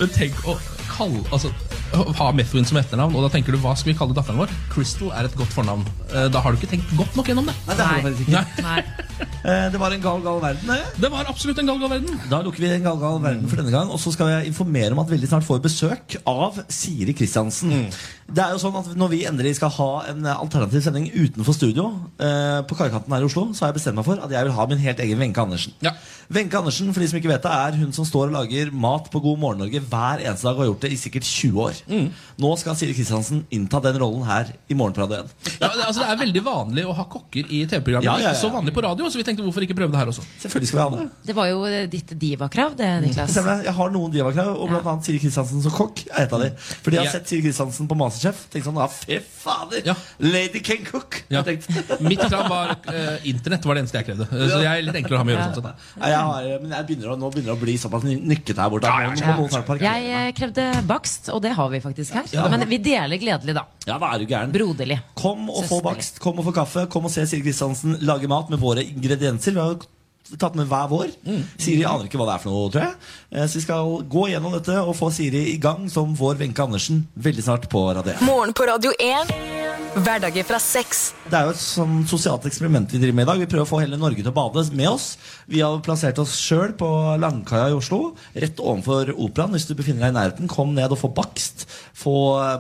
[SPEAKER 4] Men tenk å kalle Altså å ha Methuen som etternavn, og da tenker du hva skal vi kalle datteren vår? Crystal er et godt fornavn. Eh, Da har du ikke tenkt godt nok gjennom det.
[SPEAKER 2] Nei, det har du
[SPEAKER 3] Nei.
[SPEAKER 2] faktisk ikke.
[SPEAKER 3] Nei.
[SPEAKER 2] Eh, Det var en gal, gal verden, det.
[SPEAKER 4] Det var absolutt en galgal verden.
[SPEAKER 2] Da lukker vi en gal, gal verden for denne gang, og så skal jeg informere om at veldig snart får vi besøk av Siri Kristiansen. Det er jo sånn at Når vi endelig skal ha en eh, alternativ sending utenfor studio, eh, på Kaikanten her i Oslo, så har jeg bestemt meg for at jeg vil ha min helt egen Wenche Andersen.
[SPEAKER 4] Ja.
[SPEAKER 2] Wenche Andersen for de som ikke vet det, er hun som står og lager mat på God morgen Norge hver eneste dag og har gjort det i sikkert 20 år.
[SPEAKER 4] Mm.
[SPEAKER 2] Nå skal Siri Kristiansen innta den rollen her i Morgenpradet 1.
[SPEAKER 4] Ja, det, altså, det er veldig vanlig å ha kokker i TV-programmet.
[SPEAKER 2] Ja, ja, ja.
[SPEAKER 4] Ikke så vanlig på radio, så vi tenkte hvorfor ikke prøve det her også.
[SPEAKER 2] Selvfølgelig skal vi ha det.
[SPEAKER 3] Det var jo eh, ditt divakrav, det, Niklas.
[SPEAKER 2] Stemmer det. Jeg har noen divakrav, og blant annet Siri Kristiansen som kokk er et av de. Fordi jeg har
[SPEAKER 4] Ja.
[SPEAKER 2] sett Siri Kristiansen på Masterchef. Tenkt sånn, ja, fy fader!
[SPEAKER 4] Ja.
[SPEAKER 2] Lady can cook!
[SPEAKER 4] Ja.
[SPEAKER 2] Jeg tenkte.
[SPEAKER 4] Mitt krav var eh, internett var det eneste jeg krevde. Eh, Så jeg er litt enklere å ha med å gjøre. sånn sett.
[SPEAKER 2] Nei, jeg har, men jeg begynner å, nå begynner det å bli såpass ny- nykket her borte.
[SPEAKER 4] ja,
[SPEAKER 2] Nå må
[SPEAKER 3] ja.
[SPEAKER 2] noen snart parkere
[SPEAKER 3] Jeg eh, krevde bakst, og det har vi faktisk her.
[SPEAKER 2] Ja.
[SPEAKER 3] Men vi deler gledelig, da.
[SPEAKER 2] meg. Ja, da er du gæren.
[SPEAKER 3] Broderlig.
[SPEAKER 2] Kom og få
[SPEAKER 3] Søsterlig.
[SPEAKER 2] bakst, kom og få kaffe, kom og se Siri Kristiansen lage mat med våre ingredienser. Vi har jo tatt med hver vår.
[SPEAKER 4] Mm.
[SPEAKER 2] Siri aner ikke hva det er for noe, tror jeg. Eh, Så vi skal gå gjennom dette og få Siri i gang som vår Wenche Andersen veldig snart på Radio 1.
[SPEAKER 1] Morgen på Radio 1. Hverdager fra seks.
[SPEAKER 2] Det er jo et sånn sosialt eksperiment vi driver med i dag. Vi prøver å få hele Norge til å bade med oss. Vi har plassert oss sjøl på Langkaia i Oslo, rett ovenfor Operaen. Hvis du befinner deg i nærheten, kom ned og få bakst, få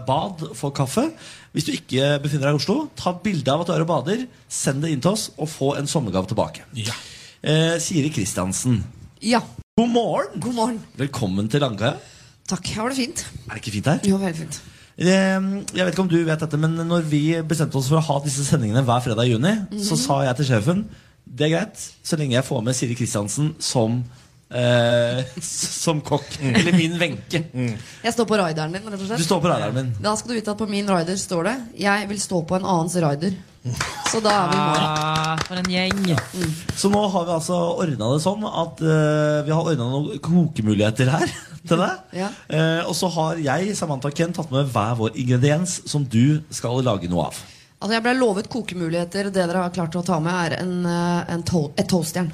[SPEAKER 2] bad, få kaffe. Hvis du ikke befinner deg i Oslo, ta bilde av at du er og bader, send det inn til oss, og få en sommergave tilbake.
[SPEAKER 4] Ja.
[SPEAKER 2] Eh, Siri Kristiansen,
[SPEAKER 5] Ja,
[SPEAKER 2] god morgen!
[SPEAKER 5] god morgen.
[SPEAKER 2] Velkommen til Langkaia.
[SPEAKER 5] Takk. Har det fint?
[SPEAKER 2] Er det ikke fint her?
[SPEAKER 5] Jo, veldig fint.
[SPEAKER 2] Eh, Jeg vet ikke om du vet dette, men når vi bestemte oss for å ha disse sendingene hver fredag i juni,
[SPEAKER 5] Mhm.
[SPEAKER 2] så sa jeg til sjefen det er greit, så lenge jeg får med Siri Kristiansen som eh, s- som kokk.
[SPEAKER 3] Mm.
[SPEAKER 2] Eller min Wenche.
[SPEAKER 5] Jeg står på rideren din, rett og
[SPEAKER 2] Du
[SPEAKER 5] slett.
[SPEAKER 2] står på radaren min.
[SPEAKER 5] Da skal du vite at på min rider står det 'Jeg vil stå på en annens rider'. Så da er vi i mål. Mm.
[SPEAKER 3] Ah, for en gjeng.
[SPEAKER 2] Så nå har vi altså ordna det sånn at eh, vi har ordna noen kokemuligheter her til deg.
[SPEAKER 5] Ja.
[SPEAKER 2] Eh, og så har jeg Samantha og Ken tatt med hver vår ingrediens som du skal lage noe av.
[SPEAKER 5] Altså, jeg ble lovet kokemuligheter. Det dere har klart å ta med, er en, eh, en to et toastjern.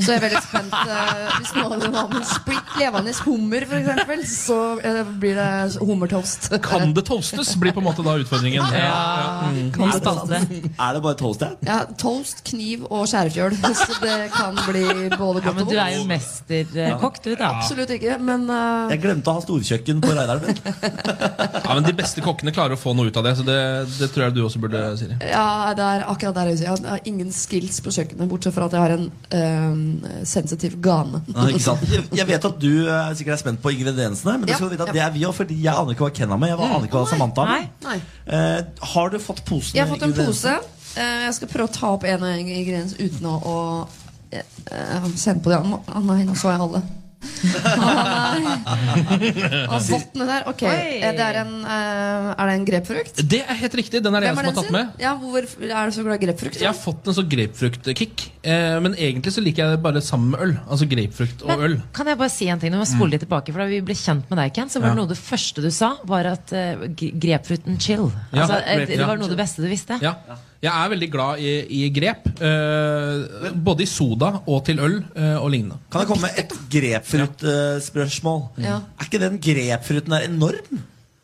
[SPEAKER 5] Så jeg er veldig spent. eh, Hvis noen har med splitt levende hummer, f.eks., så eh, blir det hummertoast.
[SPEAKER 4] Kan det toastes, blir på en måte da utfordringen. Ja, Mm. ja.
[SPEAKER 3] Kan du kalle det
[SPEAKER 2] Er det bare toast igjen?
[SPEAKER 5] Ja, toast, kniv og skjærefjøl. Så det kan bli både
[SPEAKER 3] Ja,
[SPEAKER 5] godt
[SPEAKER 3] men
[SPEAKER 5] og
[SPEAKER 3] du er jo
[SPEAKER 5] vondt.
[SPEAKER 3] mesterkokk, du, da.
[SPEAKER 5] Absolutt ikke, men eh,
[SPEAKER 2] Jeg glemte å ha storkjøkken på radaren min.
[SPEAKER 4] ja, men De beste kokkene klarer å få noe ut av det, så det, det tror jeg du også burde, Siri.
[SPEAKER 5] Ja, det er akkurat der jeg vil si. Jeg har ingen skills på kjøkkenet, bortsett fra at jeg har en øhm, sensitiv gane.
[SPEAKER 2] Ja, Eh, ikke sant? Jeg- Jeg vet at du eh, sikkert er spent på ingrediensene, men du
[SPEAKER 5] Ja,
[SPEAKER 2] skal vite
[SPEAKER 5] ja.
[SPEAKER 2] at det er vi òg, fordi jeg aner ikke hva Ken har med. Jeg aner ikke hva Samantha har med.
[SPEAKER 5] Nei.
[SPEAKER 2] Eh, har du fått posen?
[SPEAKER 5] Jeg har fått en
[SPEAKER 2] med
[SPEAKER 5] pose. Eh, jeg skal prøve å ta opp en og en ingrediens uten å, å eh, eh, kjenne på de andre. Å nei, nå så jeg alle. Og vottene der, ok
[SPEAKER 3] Oi.
[SPEAKER 5] eh, det er, en, eh, er det en grepfrukt?
[SPEAKER 4] Det er helt riktig. Den er det jeg
[SPEAKER 5] Hvem
[SPEAKER 4] som har tatt
[SPEAKER 5] sin?
[SPEAKER 4] med.
[SPEAKER 5] Ja, hvorfor er du så glad i grepfrukt?
[SPEAKER 4] Jeg har fått en sånn grapefruktkick. Eh, men egentlig så liker jeg det bare sammen med øl. Altså grapefrukt og øl.
[SPEAKER 3] Men kan jeg bare si en ting? Nå må jeg
[SPEAKER 2] Mm.
[SPEAKER 3] spole litt tilbake, for Da vi ble kjent med deg, Ken, så var
[SPEAKER 4] Ja.
[SPEAKER 3] det noe av det første du sa, var at uh, grepfruten chill.
[SPEAKER 4] Ja,
[SPEAKER 3] altså, eh, det
[SPEAKER 4] grapefruit,
[SPEAKER 3] var
[SPEAKER 4] ja.
[SPEAKER 3] noe av det beste du visste.
[SPEAKER 4] Ja. Jeg er veldig glad i, i grep. Eh, både i soda og til øl eh, og lignende.
[SPEAKER 2] Kan jeg komme med et eh, grepfruttspørsmål?
[SPEAKER 5] Ja.
[SPEAKER 2] Mm. Er ikke den grepfruten der enorm?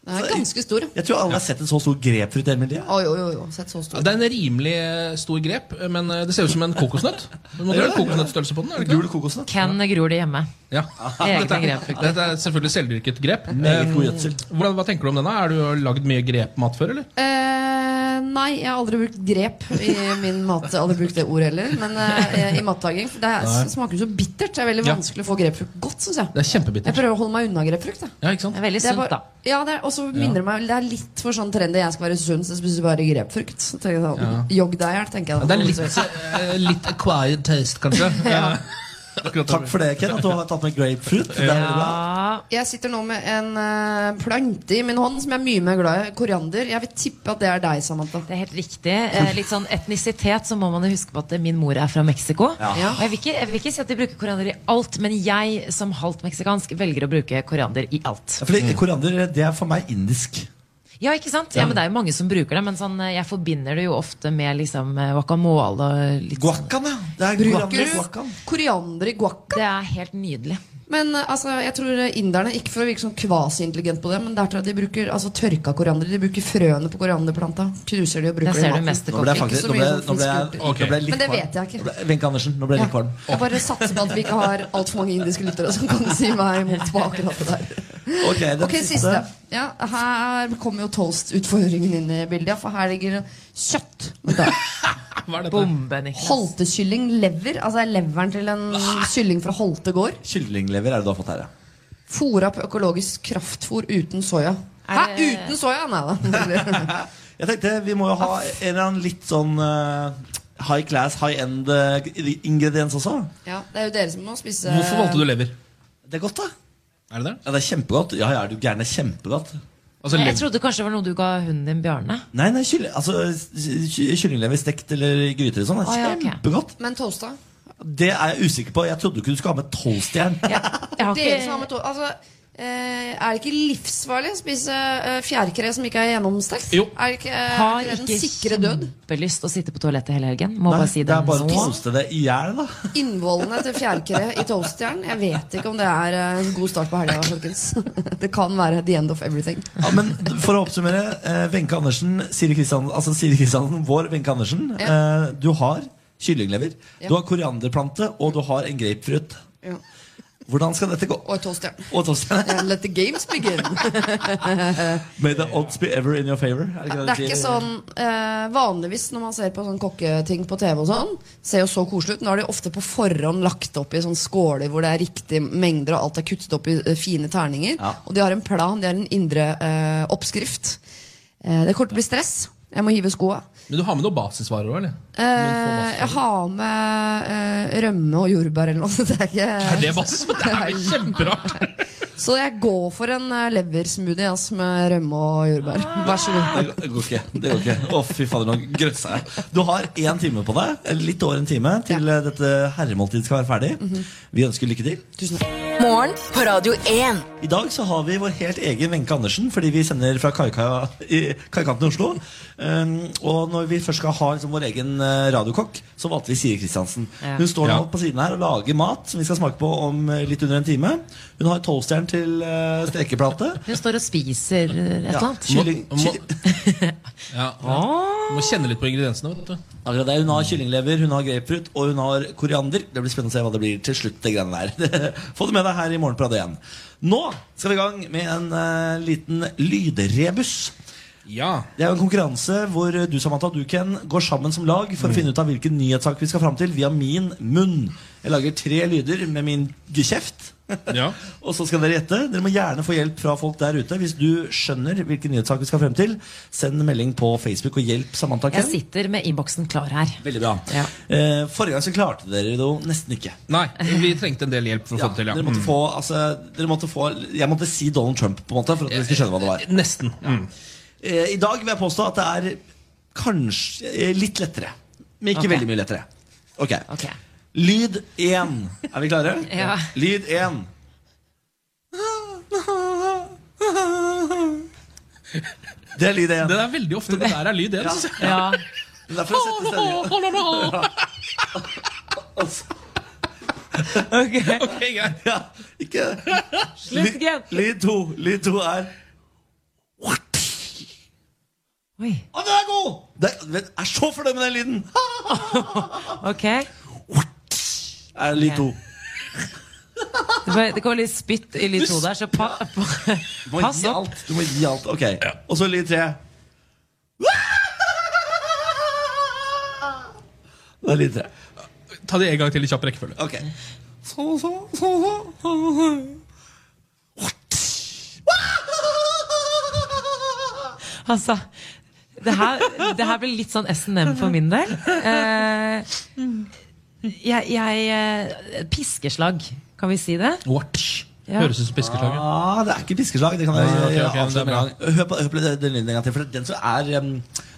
[SPEAKER 5] Den er ganske stor.
[SPEAKER 2] Jeg tror alle har sett en så stor grepfrutt i hele mitt liv.
[SPEAKER 5] Oi, oi, oi, oi, sett så
[SPEAKER 4] Ja,
[SPEAKER 5] stor.
[SPEAKER 4] Det er en rimelig eh, stor grep, eh, men eh, det ser ut som en kokosnøtt. Du må ha kokosnøttstørrelse på den, er det ikke
[SPEAKER 2] Gul
[SPEAKER 4] det?
[SPEAKER 2] kokosnøtt.
[SPEAKER 3] Ken gror det hjemme.
[SPEAKER 4] Ja.
[SPEAKER 3] Egne
[SPEAKER 4] Dette, er,
[SPEAKER 3] grep.
[SPEAKER 4] dette er selvfølgelig selvdyrket grep.
[SPEAKER 2] Meget god
[SPEAKER 4] Eh,
[SPEAKER 2] gjødsel.
[SPEAKER 4] Hvordan, hva tenker du om denne? Er du har du lagd mye grepmat før, eller?
[SPEAKER 5] Eh, nei, jeg har aldri brukt grep i min mat. Jeg har aldri brukt det ordet heller. Men eh, i matlaging. For det er, smaker jo så bittert. Det er veldig
[SPEAKER 4] Ja.
[SPEAKER 5] vanskelig å få grepfrukt godt, syns jeg.
[SPEAKER 4] Det er
[SPEAKER 5] Jeg
[SPEAKER 4] kjempebittert.
[SPEAKER 5] prøver å holde meg unna grepfrukt. Jeg.
[SPEAKER 4] Ja, ikke sant?
[SPEAKER 3] Det er veldig
[SPEAKER 5] Det er
[SPEAKER 3] sunt,
[SPEAKER 5] bare-
[SPEAKER 3] da.
[SPEAKER 5] Ja, det er, og så minner det meg Det er litt for sånn trendy. Jeg skal være sunn, så jeg spiser bare grepfrukt. Så tenker jeg sånn, Jogg deg i hjel, tenker jeg. da.
[SPEAKER 4] Det er litt, eh, litt acquired taste, kanskje.
[SPEAKER 5] Ja.
[SPEAKER 4] Akkurat
[SPEAKER 2] Takk for det, Ken, at du har tatt med grapefruit. Det er veldig bra.
[SPEAKER 3] Ja,
[SPEAKER 5] Jeg sitter nå med en eh, plante i min hånd som jeg er mye mer glad i. Koriander. Jeg vil tippe at det er deg, Samantha.
[SPEAKER 3] det er helt riktig. Eh, Litt sånn etnisitet, så må man jo huske på at eh, min mor er fra Mexico.
[SPEAKER 5] Ja.
[SPEAKER 3] Og jeg vil, ikke, jeg vil ikke si at de bruker koriander i alt, men jeg som halvt meksikansk velger å bruke koriander i alt.
[SPEAKER 2] Ja, Fordi koriander, det er for meg indisk.
[SPEAKER 3] Ja, ikke sant? Ja, men Det er jo mange som bruker det, men sånn, eh, jeg forbinder det jo ofte med liksom, eh, guacamole. Og litt sånn.
[SPEAKER 2] Guacan, ja. Det er
[SPEAKER 5] Bruker
[SPEAKER 2] koriander i
[SPEAKER 5] du
[SPEAKER 2] guacan.
[SPEAKER 5] koriander i guaca?
[SPEAKER 3] Det er helt nydelig.
[SPEAKER 5] Men eh, altså, jeg tror eh, inderne, ikke for å virke sånn kvasi-intelligent på det, men der tror jeg de bruker altså, tørka koriander. De bruker frøene på korianderplanta. Knuser de og
[SPEAKER 3] Der
[SPEAKER 5] bruker
[SPEAKER 3] ser
[SPEAKER 5] det i maten.
[SPEAKER 3] du
[SPEAKER 2] Nå ble jeg
[SPEAKER 3] mesterkokken.
[SPEAKER 5] så
[SPEAKER 2] faktisk Nå ble,
[SPEAKER 5] mye
[SPEAKER 2] jeg- nå ble jeg,
[SPEAKER 5] sånn
[SPEAKER 4] Ok.
[SPEAKER 2] nå ble jeg litt
[SPEAKER 5] Men det
[SPEAKER 2] kvalm.
[SPEAKER 5] vet jeg ikke.
[SPEAKER 2] Nå ble- Wenche Andersen, nå ble jeg litt
[SPEAKER 5] Ja.
[SPEAKER 2] kvalm.
[SPEAKER 5] Jeg bare satser på at vi ikke har altfor mange indiske lyttere som kan si meg imot på akkurat det der.
[SPEAKER 2] Ok, den
[SPEAKER 5] Ok, siste. Ja, her kommer jo toast-utfordringen inn i bildet. ja, For her ligger kjøtt.
[SPEAKER 4] Hva er dette?
[SPEAKER 3] Bombe, Niklas.
[SPEAKER 5] Holtekylling, lever. Altså er leveren til en kylling fra Holte gård.
[SPEAKER 2] Kyllinglever er det du har fått her, ja.
[SPEAKER 5] Fôra på økologisk kraftfôr uten soya. Hæ,
[SPEAKER 3] Er det-
[SPEAKER 5] uten soya? Nei da.
[SPEAKER 2] Jeg tenkte vi må jo ha en eller annen litt sånn eh, high class, high end eh, ingrediens også.
[SPEAKER 5] Ja, det er jo dere som må spise
[SPEAKER 4] Hvorfor valgte du lever?
[SPEAKER 2] Det er godt, da.
[SPEAKER 4] Er det det?
[SPEAKER 2] Ja, det er kjempegodt. Ja, ja, er du gæren, det er kjempegodt.
[SPEAKER 4] Altså,
[SPEAKER 3] Eh, Jeg
[SPEAKER 4] lever.
[SPEAKER 3] trodde kanskje det var noe du ga hunden din, Bjarne.
[SPEAKER 2] Nei, nei, kylling, altså, ky- kyllinglever stekt eller i gryter og sånn. Det
[SPEAKER 3] Å, ja,
[SPEAKER 2] er
[SPEAKER 3] ok.
[SPEAKER 2] kjempegodt.
[SPEAKER 5] Men toasta?
[SPEAKER 2] Det er jeg usikker på. Jeg trodde ikke du skulle ha med tolvstjern.
[SPEAKER 3] Jeg, jeg har
[SPEAKER 5] Dere som har
[SPEAKER 3] ikke,
[SPEAKER 5] med to altså, eh, er det ikke livsfarlig å spise eh, fjærkre som ikke er gjennomstekt?
[SPEAKER 4] Jo.
[SPEAKER 5] Er det ikke, eh,
[SPEAKER 3] har
[SPEAKER 5] er ikke det
[SPEAKER 3] ikke
[SPEAKER 5] den sikre død?
[SPEAKER 3] kjempelyst å sitte på toalettet hele helgen. Må
[SPEAKER 2] Nei,
[SPEAKER 3] bare si
[SPEAKER 2] det er bare å
[SPEAKER 3] nå.
[SPEAKER 2] toaste det i hjel, da.
[SPEAKER 5] Innvollene til fjærkre i toastjern? Jeg vet ikke om det er eh, en god start på helga, folkens. Det kan være the end of everything.
[SPEAKER 2] Ja, men for å oppsummere, eh, Wenche Andersen, Siri Kristiansen, altså Siri Kristiansen, vår Wenche Andersen. Eh, du har kyllinglever,
[SPEAKER 5] Ja.
[SPEAKER 2] du har korianderplante, og du har en grapefruit.
[SPEAKER 5] Ja.
[SPEAKER 2] Hvordan skal dette gå?
[SPEAKER 5] Og toastjern.
[SPEAKER 2] Og Torstein,
[SPEAKER 5] Yeah, Eh, Let the games begin.
[SPEAKER 2] May the odds be ever in your favor. Er
[SPEAKER 5] Det er ikke sånn eh, Vanligvis når man ser på sånn kokketing på TV, og sånn ser jo så koselig ut. Nå har de ofte på forhånd lagt opp i sånn skåler hvor det er riktige mengder, og alt er kuttet opp i eh, fine terninger.
[SPEAKER 2] Ja.
[SPEAKER 5] Og de har en plan, de har en indre eh, oppskrift. Eh, det kommer til å bli stress. Jeg må hive skoa.
[SPEAKER 4] Men du har med noen basisvarer òg, eller?
[SPEAKER 5] Eh, jeg har med eh, rømme og jordbær eller noe. så Det er
[SPEAKER 4] Er
[SPEAKER 5] ikke
[SPEAKER 4] det basis? Men Det er jo kjemperart!
[SPEAKER 5] Så jeg går for en eh, leversmoothie ass, med rømme og jordbær. Vær så god.
[SPEAKER 2] Det går ikke. det går ikke Å, fy fader, nå grøssa jeg. Du har én time på deg, eller litt over en time, til eh, dette herremåltidet skal være ferdig.
[SPEAKER 5] Mhm.
[SPEAKER 2] Vi ønsker lykke til.
[SPEAKER 1] Morgen på Radio 1.
[SPEAKER 2] I dag så har vi vår helt egen Wenche Andersen, fordi vi sender fra kaikaia i kaikanten i Oslo. Um, og når vi først skal ha liksom, vår egen eh, radiokokk, så valgte vi Siri Kristiansen.
[SPEAKER 3] Ja.
[SPEAKER 2] Hun står nå
[SPEAKER 4] Ja.
[SPEAKER 2] på siden her og lager mat som vi skal smake på om eh, litt under en time. Hun har toastjern til eh, stekeplate.
[SPEAKER 3] Hun står og spiser eh, et eller
[SPEAKER 2] Ja,
[SPEAKER 3] annet.
[SPEAKER 2] kylling,
[SPEAKER 4] Må-
[SPEAKER 2] kylling,
[SPEAKER 4] Ja,
[SPEAKER 3] Åh.
[SPEAKER 4] Du må kjenne litt på ingrediensene. vet du
[SPEAKER 2] Akkurat det, Hun har kyllinglever, hun har grapefruit og hun har koriander. Det blir spennende å se hva det blir til slutt. det greiene der Få det med deg her i morgen på Radio 1. Nå skal vi i gang med en eh, liten lydrebus.
[SPEAKER 4] Ja,
[SPEAKER 2] Det er jo en konkurranse hvor eh, du Samantha og du Ken går sammen som lag
[SPEAKER 4] Mm.
[SPEAKER 2] for å finne ut av hvilken nyhetssak vi skal fram til via min munn. Jeg lager tre lyder med min kjeft.
[SPEAKER 4] Ja.
[SPEAKER 2] Og så skal dere gjette. Dere må gjerne få hjelp fra folk der ute. Hvis du skjønner hvilken nyhetssak vi skal frem til, send en melding på Facebook og hjelp Samantha
[SPEAKER 3] Jeg
[SPEAKER 2] Ken.
[SPEAKER 3] sitter med innboksen klar her.
[SPEAKER 2] Veldig bra.
[SPEAKER 3] Ja.
[SPEAKER 2] Eh, forrige gang så klarte dere det jo nesten ikke.
[SPEAKER 4] Nei, vi trengte en del hjelp for å
[SPEAKER 2] Ja,
[SPEAKER 4] få det til. Ja.
[SPEAKER 2] dere måtte
[SPEAKER 4] Mm.
[SPEAKER 2] få, altså, dere måtte få Jeg måtte si Donald Trump på en måte for at dere skulle skjønne hva det var.
[SPEAKER 4] Nesten. Mm.
[SPEAKER 2] Eh, I dag vil jeg påstå at det er kanskje eh, litt lettere. Men ikke
[SPEAKER 3] Ok.
[SPEAKER 2] veldig mye lettere. Ok.
[SPEAKER 3] Ok.
[SPEAKER 2] Lyd én. Er vi klare?
[SPEAKER 3] Ja.
[SPEAKER 2] Lyd én. Det er lyd én.
[SPEAKER 4] Det er veldig ofte det der er lyd, det.
[SPEAKER 2] Ja.
[SPEAKER 4] synes jeg.
[SPEAKER 3] Ja.
[SPEAKER 2] Det er for å sette stemningen.
[SPEAKER 3] Ok.
[SPEAKER 4] Ok, greit.
[SPEAKER 2] Ja, ikke
[SPEAKER 3] Slutt, Gent.
[SPEAKER 2] Lyd to. Lyd to er
[SPEAKER 3] Oi.
[SPEAKER 2] Å, den er god! Det er, jeg er så fornøyd med den lyden.
[SPEAKER 3] Ok.
[SPEAKER 2] Er lyd to.
[SPEAKER 3] Det var- det kom litt spytt i lyd to der, så pa, pa,
[SPEAKER 2] Du må
[SPEAKER 3] pass
[SPEAKER 2] gi
[SPEAKER 3] opp.
[SPEAKER 2] alt. Du må gi alt. Ok. Og så lyd tre. Det er lyd tre.
[SPEAKER 4] Ta det en gang til i kjapp rekkefølge.
[SPEAKER 2] Ok.
[SPEAKER 3] Altså, det her, det her blir litt sånn S&M for min del. Eh, jeg, jeg eh, Piskeslag, kan vi si det?
[SPEAKER 4] Watch.
[SPEAKER 3] Ja.
[SPEAKER 4] Høres ut som piskeslaget.
[SPEAKER 2] Ah, det er ikke piskeslag. Det kan jeg
[SPEAKER 4] Ah, ok, ok, men det
[SPEAKER 2] jeg
[SPEAKER 4] er
[SPEAKER 2] avsløre med
[SPEAKER 4] bra.
[SPEAKER 2] en gang. Hør på, hør på den den lyden en gang til. For den som er um,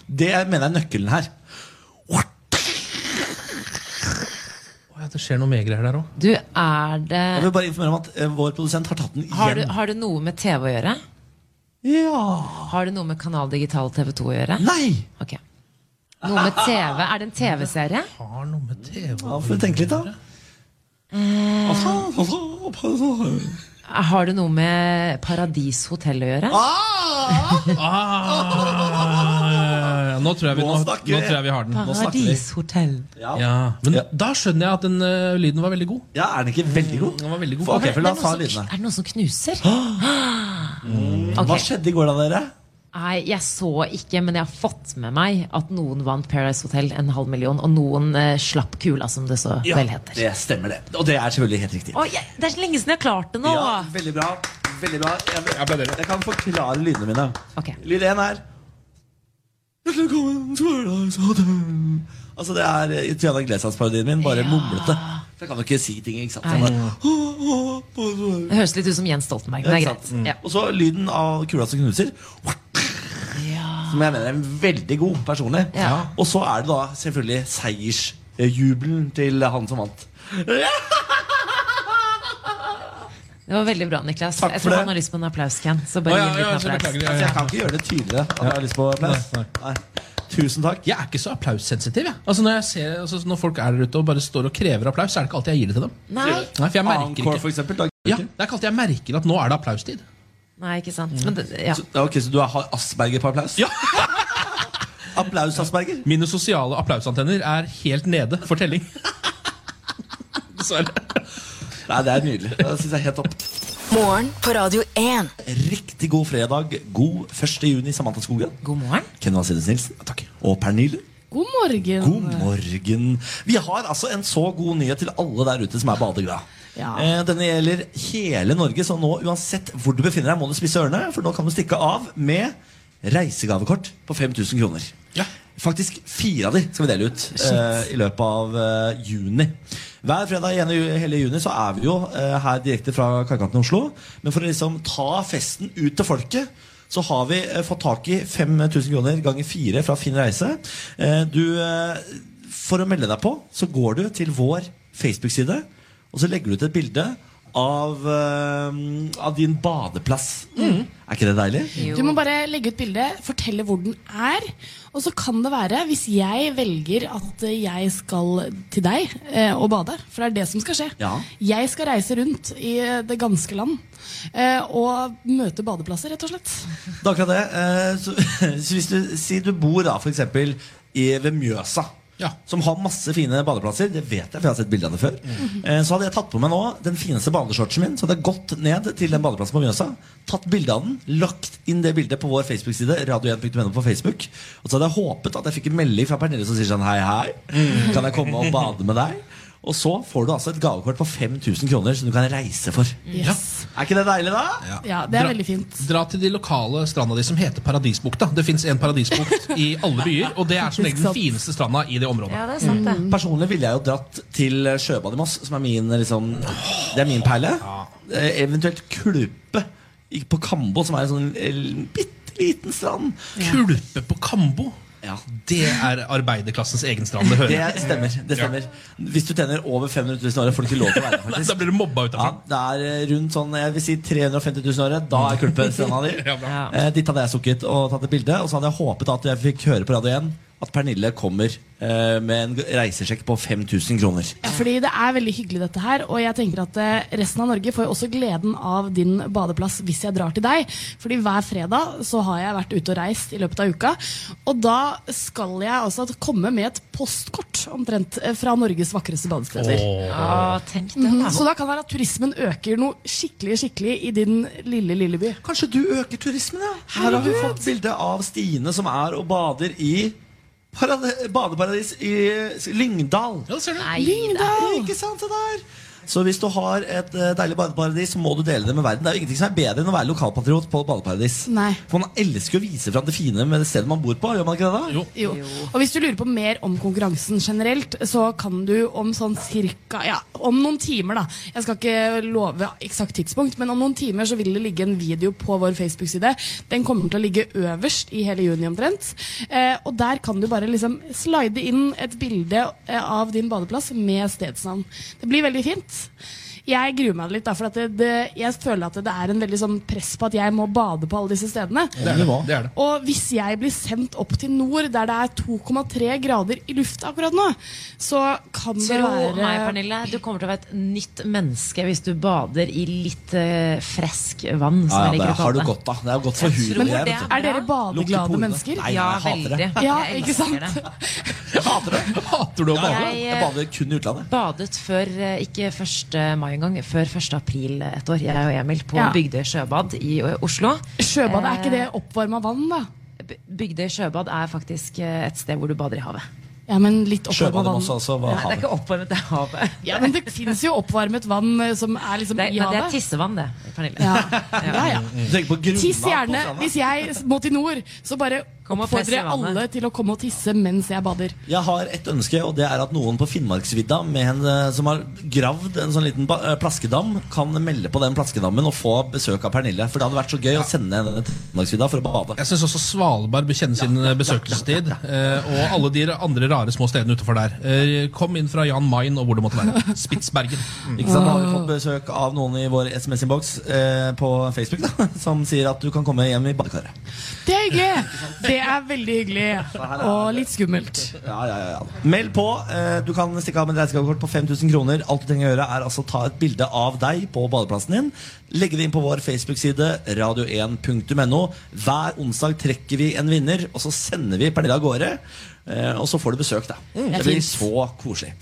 [SPEAKER 2] Det jeg mener er nøkkelen her.
[SPEAKER 4] Å, ja, Det skjer noe mer greier der òg.
[SPEAKER 3] Du, er
[SPEAKER 2] Jeg
[SPEAKER 3] det
[SPEAKER 2] vil bare informere om at eh, vår produsent har tatt den
[SPEAKER 3] Har du,
[SPEAKER 2] igjen.
[SPEAKER 3] har det noe med TV å gjøre?
[SPEAKER 2] Ja
[SPEAKER 3] Har det noe med Kanal Digital TV 2 å gjøre?
[SPEAKER 2] Nei!
[SPEAKER 3] Ok. Noe med TV? Er det en TV-serie?
[SPEAKER 4] Har noe med TV
[SPEAKER 2] Ja, får vi tenke litt, da.
[SPEAKER 3] Har det noe med Paradis Hotel å gjøre?
[SPEAKER 2] Ah!
[SPEAKER 4] Ah, nå, tror jeg vi, nå,
[SPEAKER 2] Nå
[SPEAKER 4] nå tror
[SPEAKER 2] snakker vi.
[SPEAKER 4] jeg vi har den.
[SPEAKER 2] nå snakker vi.
[SPEAKER 3] Paradis Hotel.
[SPEAKER 2] Ja.
[SPEAKER 4] Ja. Men
[SPEAKER 2] Ja.
[SPEAKER 4] da skjønner jeg at den eh, lyden var veldig god.
[SPEAKER 2] ja, er den ikke veldig god?
[SPEAKER 4] Den var veldig god.
[SPEAKER 2] For- ok,
[SPEAKER 3] Er
[SPEAKER 2] for
[SPEAKER 3] det
[SPEAKER 2] la
[SPEAKER 3] noen
[SPEAKER 2] oss ta
[SPEAKER 3] som,
[SPEAKER 2] lydene.
[SPEAKER 3] er det noen som knuser? Mm.
[SPEAKER 2] Hva
[SPEAKER 3] Ok.
[SPEAKER 2] skjedde i går, da, dere?
[SPEAKER 3] Nei, jeg så ikke, men jeg har fått med meg at noen vant Paradise Hotel en halv million, og noen eh, slapp kula, som det så vel heter.
[SPEAKER 2] det stemmer, det. Og det er selvfølgelig helt riktig.
[SPEAKER 3] Å, jeg, det er så lenge siden jeg har klart det nå!
[SPEAKER 2] Ja, veldig bra. Veldig bra. Jeg,
[SPEAKER 4] Applauderer.
[SPEAKER 2] jeg kan forklare lydene mine.
[SPEAKER 3] Ok.
[SPEAKER 2] Lyd én er Hjertelig velkommen til Hverdagshotell. Altså, det er eh, Triana Glesas-parodien min, bare mumlete. For jeg kan jo ikke si ting, ikke sant. Så jeg
[SPEAKER 3] Nei.
[SPEAKER 2] bare, «Åh, åh, åh, åh».
[SPEAKER 3] Det høres litt ut som Jens Stoltenberg, men det er
[SPEAKER 2] Ikke
[SPEAKER 3] greit.
[SPEAKER 2] sant?
[SPEAKER 3] Ja.
[SPEAKER 2] Og så lyden av kula som knuser. Som jeg mener er veldig god personlig.
[SPEAKER 3] Ja.
[SPEAKER 2] Og så er det da selvfølgelig seiersjubelen til han som vant.
[SPEAKER 3] Det var veldig bra, Niklas.
[SPEAKER 2] Takk
[SPEAKER 3] jeg
[SPEAKER 2] for
[SPEAKER 3] tror
[SPEAKER 2] det.
[SPEAKER 3] han har lyst på en applaus, Ken. Så
[SPEAKER 4] Å,
[SPEAKER 3] bare
[SPEAKER 4] ja,
[SPEAKER 3] gi
[SPEAKER 4] ja,
[SPEAKER 3] en
[SPEAKER 4] så
[SPEAKER 3] liten applaus.
[SPEAKER 4] beklager jeg.
[SPEAKER 2] Altså, jeg kan ikke gjøre det tydeligere at jeg har lyst på applaus.
[SPEAKER 4] Nei,
[SPEAKER 2] Nei. Tusen takk.
[SPEAKER 4] Jeg er ikke så applaussensitiv. Jeg. Altså, når, jeg ser, altså, når folk er der ute og bare står og krever applaus, så er det ikke alltid jeg gir det til dem.
[SPEAKER 3] Nei,
[SPEAKER 4] Nei, for jeg merker
[SPEAKER 2] Encore, for
[SPEAKER 4] ikke
[SPEAKER 2] eksempel. Da.
[SPEAKER 4] ja, Det er ikke alltid jeg merker at nå er det applaustid.
[SPEAKER 3] nei, ikke sant. Men det, ja.
[SPEAKER 2] Så, ja, ok, så du har Asperger på applaus?
[SPEAKER 4] Ja.
[SPEAKER 2] Applaus, Asperger.
[SPEAKER 4] Mine sosiale applausantenner er helt nede for telling. Dessverre.
[SPEAKER 2] Nei, det er nydelig. Det synes jeg er helt topp.
[SPEAKER 1] Morgen på Radio 1.
[SPEAKER 2] Riktig god fredag. God 1. juni, Samantha Skogen.
[SPEAKER 3] God morgen.
[SPEAKER 2] Ken Vasilius Nilsen. Takk. Og Pernille.
[SPEAKER 6] God morgen.
[SPEAKER 2] God morgen. Vi har altså en så god nyhet til alle der ute som er badeglad.
[SPEAKER 6] Ja.
[SPEAKER 2] Eh, Denne gjelder hele Norge, så nå uansett hvor du befinner deg, må du spisse ørene, for nå kan du stikke av med reisegavekort på 5000 kroner.
[SPEAKER 4] Ja.
[SPEAKER 2] Faktisk fire av de skal vi dele ut eh, i løpet av eh, juni. Hver fredag igjen i ju- hele juni så er vi jo eh, her direkte fra Kaikanten i Oslo. Men for å liksom ta festen ut til folket, så har vi eh, fått tak i 5000 kroner ganger fire fra Finn Reise. Eh, du, eh, for å melde deg på, så går du til vår Facebook-side, og så legger du ut et bilde av, eh, av din badeplass. Er ikke det deilig?
[SPEAKER 6] Du må bare legge ut bildet, fortelle hvor den er. Og så kan det være, hvis jeg velger at eh, jeg skal til deg eh, og bade, for det er det som skal skje
[SPEAKER 2] Ja.
[SPEAKER 6] Jeg skal reise rundt i eh, det ganske land eh, og møte badeplasser, rett og slett.
[SPEAKER 2] Det er akkurat det. Eh, Så, så hvis du sier du bor da for eksempel i- ved Mjøsa,
[SPEAKER 4] Ja.
[SPEAKER 2] som har masse fine badeplasser, det vet jeg, for jeg har sett bilde av det før, Eh, så hadde jeg tatt på meg nå den fineste badeshortsen min, så hadde jeg gått ned til den badeplassen på Mjøsa, tatt bilde av den, lagt inn det bildet på vår Facebook-side, radio1.no på Facebook, og så hadde jeg håpet at jeg fikk en melding fra Pernille som sier sånn hei, hei, kan jeg komme og bade med deg? Og så får du altså et gavekort på 5000 kroner som du kan reise for.
[SPEAKER 6] Yes.
[SPEAKER 2] Er ikke det deilig, da?
[SPEAKER 6] Ja, det er
[SPEAKER 4] Dra-
[SPEAKER 6] veldig fint.
[SPEAKER 4] Dra til de lokale stranda di som heter Paradisbukta. Det fins en paradisbukt i alle byer, og det er som regel den fineste stranda i det området.
[SPEAKER 3] Ja, det er sant, det.
[SPEAKER 2] Mm. Personlig ville jeg jo dratt til eh, sjøbad i Moss, som er min, liksom, det er min perle. Eh, Eventuelt Kulpe i- på Kambo, som er en sånn eh, bitte liten strand.
[SPEAKER 4] Kulpe på Kambo!
[SPEAKER 2] Ja,
[SPEAKER 4] Det er arbeiderklassens egen strand. Det hører jeg.
[SPEAKER 2] Det stemmer. det stemmer Hvis du tjener over 500 000 i året, får du ikke lov til å være der.
[SPEAKER 4] Da
[SPEAKER 2] faktisk
[SPEAKER 4] blir du mobba
[SPEAKER 2] ja,
[SPEAKER 4] utenfor.
[SPEAKER 2] Det er eh, rundt sånn, jeg vil si 350 000 i året. Da er Kulpe stranda di.
[SPEAKER 4] Ja, bra.
[SPEAKER 3] Ja.
[SPEAKER 2] Eh, dit hadde jeg sukket og tatt et bilde. Og så hadde jeg håpet at jeg fikk høre på radio 1 at Pernille kommer eh, med en g- reisesjekk på 5000 kroner.
[SPEAKER 6] Ja, fordi det er veldig hyggelig dette her, og jeg tenker at eh, resten av Norge får jo også gleden av din badeplass hvis jeg drar til deg. Fordi hver fredag så har jeg vært ute og reist i løpet av uka, og da skal jeg altså komme med et postkort omtrent eh, fra Norges vakreste badesteder. Mhm.
[SPEAKER 4] Åh.
[SPEAKER 3] Ja, tenk det, da.
[SPEAKER 6] Så da kan det være at turismen øker noe skikkelig, skikkelig i din lille, lille by.
[SPEAKER 2] Kanskje du øker turismen, ja? Her har vi fått bilde av Stine som er og bader i parade- badeparadis i s- Lyngdal.
[SPEAKER 4] Ja, det ser du.
[SPEAKER 6] Lyngdal!
[SPEAKER 2] Ikke sant, det der? Så hvis du har et eh, deilig badeparadis, så må du dele det med verden. Det er jo ingenting som er bedre enn å være lokalpatriot på et badeparadis.
[SPEAKER 6] Nei.
[SPEAKER 2] For man elsker å vise fram det fine med det stedet man bor på. Gjør man ikke det da?
[SPEAKER 4] Jo.
[SPEAKER 6] Jo. Og hvis du lurer på mer om konkurransen generelt, så kan du om sånn cirka Ja, om noen timer, da. Jeg skal ikke love eksakt tidspunkt, men om noen timer så vil det ligge en video på vår Facebook-side. Den kommer til å ligge øverst i hele juni omtrent. Eh, og der kan du bare liksom slide inn et bilde eh, av din badeplass med stedsnavn. Det blir veldig fint. Jeg gruer meg litt, da, for at det, det, jeg føler at det er en veldig sånn press på at jeg må bade på alle disse stedene.
[SPEAKER 4] Det er det. det, er det.
[SPEAKER 6] Og hvis jeg blir sendt opp til nord, der det er 2,3 grader i lufta akkurat nå, så kan det
[SPEAKER 3] Tro
[SPEAKER 6] være
[SPEAKER 3] meg, Pernille, du kommer til å være et nytt menneske hvis du bader i litt eh, fresk vann. Som
[SPEAKER 2] Ja,
[SPEAKER 3] jeg
[SPEAKER 2] ja,
[SPEAKER 3] liker å
[SPEAKER 2] det har
[SPEAKER 3] kalle
[SPEAKER 2] du
[SPEAKER 3] det.
[SPEAKER 2] godt da. Det er jo godt for huden.
[SPEAKER 3] tror
[SPEAKER 2] og jeg,
[SPEAKER 3] det.
[SPEAKER 2] vet du.
[SPEAKER 6] Er dere
[SPEAKER 2] Lukter på
[SPEAKER 6] badeglade
[SPEAKER 2] hodet.
[SPEAKER 6] mennesker?
[SPEAKER 2] Nei,
[SPEAKER 3] Ja,
[SPEAKER 2] jeg
[SPEAKER 3] veldig.
[SPEAKER 2] hater det.
[SPEAKER 6] Ja,
[SPEAKER 3] Jeg
[SPEAKER 6] ikke sant?
[SPEAKER 3] elsker det.
[SPEAKER 2] Jeg hater det.
[SPEAKER 4] Hater du å
[SPEAKER 2] Jeg,
[SPEAKER 4] bade?
[SPEAKER 3] Jeg, eh,
[SPEAKER 2] jeg bader kun i utlandet.
[SPEAKER 3] Badet før, eh, ikke 1. mai engang, før 1. april et år. Jeg og Emil på
[SPEAKER 6] Ja.
[SPEAKER 3] Bygdøy sjøbad i eh, Oslo.
[SPEAKER 6] Sjøbad, er ikke det oppvarma vann, da?
[SPEAKER 3] B- Bygdøy Eh, sjøbad er faktisk eh, et sted hvor du bader i havet.
[SPEAKER 6] Ja, men litt oppvarma
[SPEAKER 2] Sjøbadet
[SPEAKER 6] vann.
[SPEAKER 2] også, altså. Hva
[SPEAKER 3] Nei, det er
[SPEAKER 2] havet.
[SPEAKER 3] ikke oppvarmet, det er havet.
[SPEAKER 6] Ja, men det fins jo oppvarmet vann eh, som er liksom
[SPEAKER 3] Det er,
[SPEAKER 6] i
[SPEAKER 3] men det er
[SPEAKER 6] havet.
[SPEAKER 3] tissevann, det, Pernille.
[SPEAKER 6] Ja. ja, ja.
[SPEAKER 2] Du tenker på grunna
[SPEAKER 6] Tiss
[SPEAKER 2] på
[SPEAKER 6] gjerne.
[SPEAKER 2] stranda.
[SPEAKER 6] Hvis jeg må til nord, så bare
[SPEAKER 3] Kom og press i
[SPEAKER 6] oppfordrer jeg
[SPEAKER 3] vannet.
[SPEAKER 6] alle til å komme og tisse mens jeg bader.
[SPEAKER 2] Jeg har et ønske, og det er at noen på Finnmarksvidda med en, eh, som har gravd en sånn liten ba- eh, plaskedam, kan melde på den plaskedammen og få besøk av Pernille. For det hadde vært så gøy å sende henne til Finnmarksvidda for å bade.
[SPEAKER 4] Jeg syns også Svalbard bør kjenne sin besøkelsestid. eh, Og alle de andre rare små stedene utenfor der. Eh, Kom inn fra Jan Mayen og hvor det måtte være. Spitsbergen.
[SPEAKER 2] Ikke sant? Da har vi fått besøk av noen i vår SMS-innboks eh, på Facebook da, som sier at du kan komme hjem i badekaret.
[SPEAKER 6] Det er hyggelig! Det er veldig hyggelig. Og litt skummelt.
[SPEAKER 2] Ja, ja, ja, ja. Meld på. Eh, Du kan stikke av med et reisegavekort på 5000 kroner. Alt du trenger å gjøre, er altså ta et bilde av deg på badeplassen din. Legge det inn på vår Facebook-side, radio1.no. Hver onsdag trekker vi en vinner, og så sender vi Pernille av gårde. eh, Og så får du besøk, da.
[SPEAKER 3] Mm,
[SPEAKER 2] Det blir så koselig.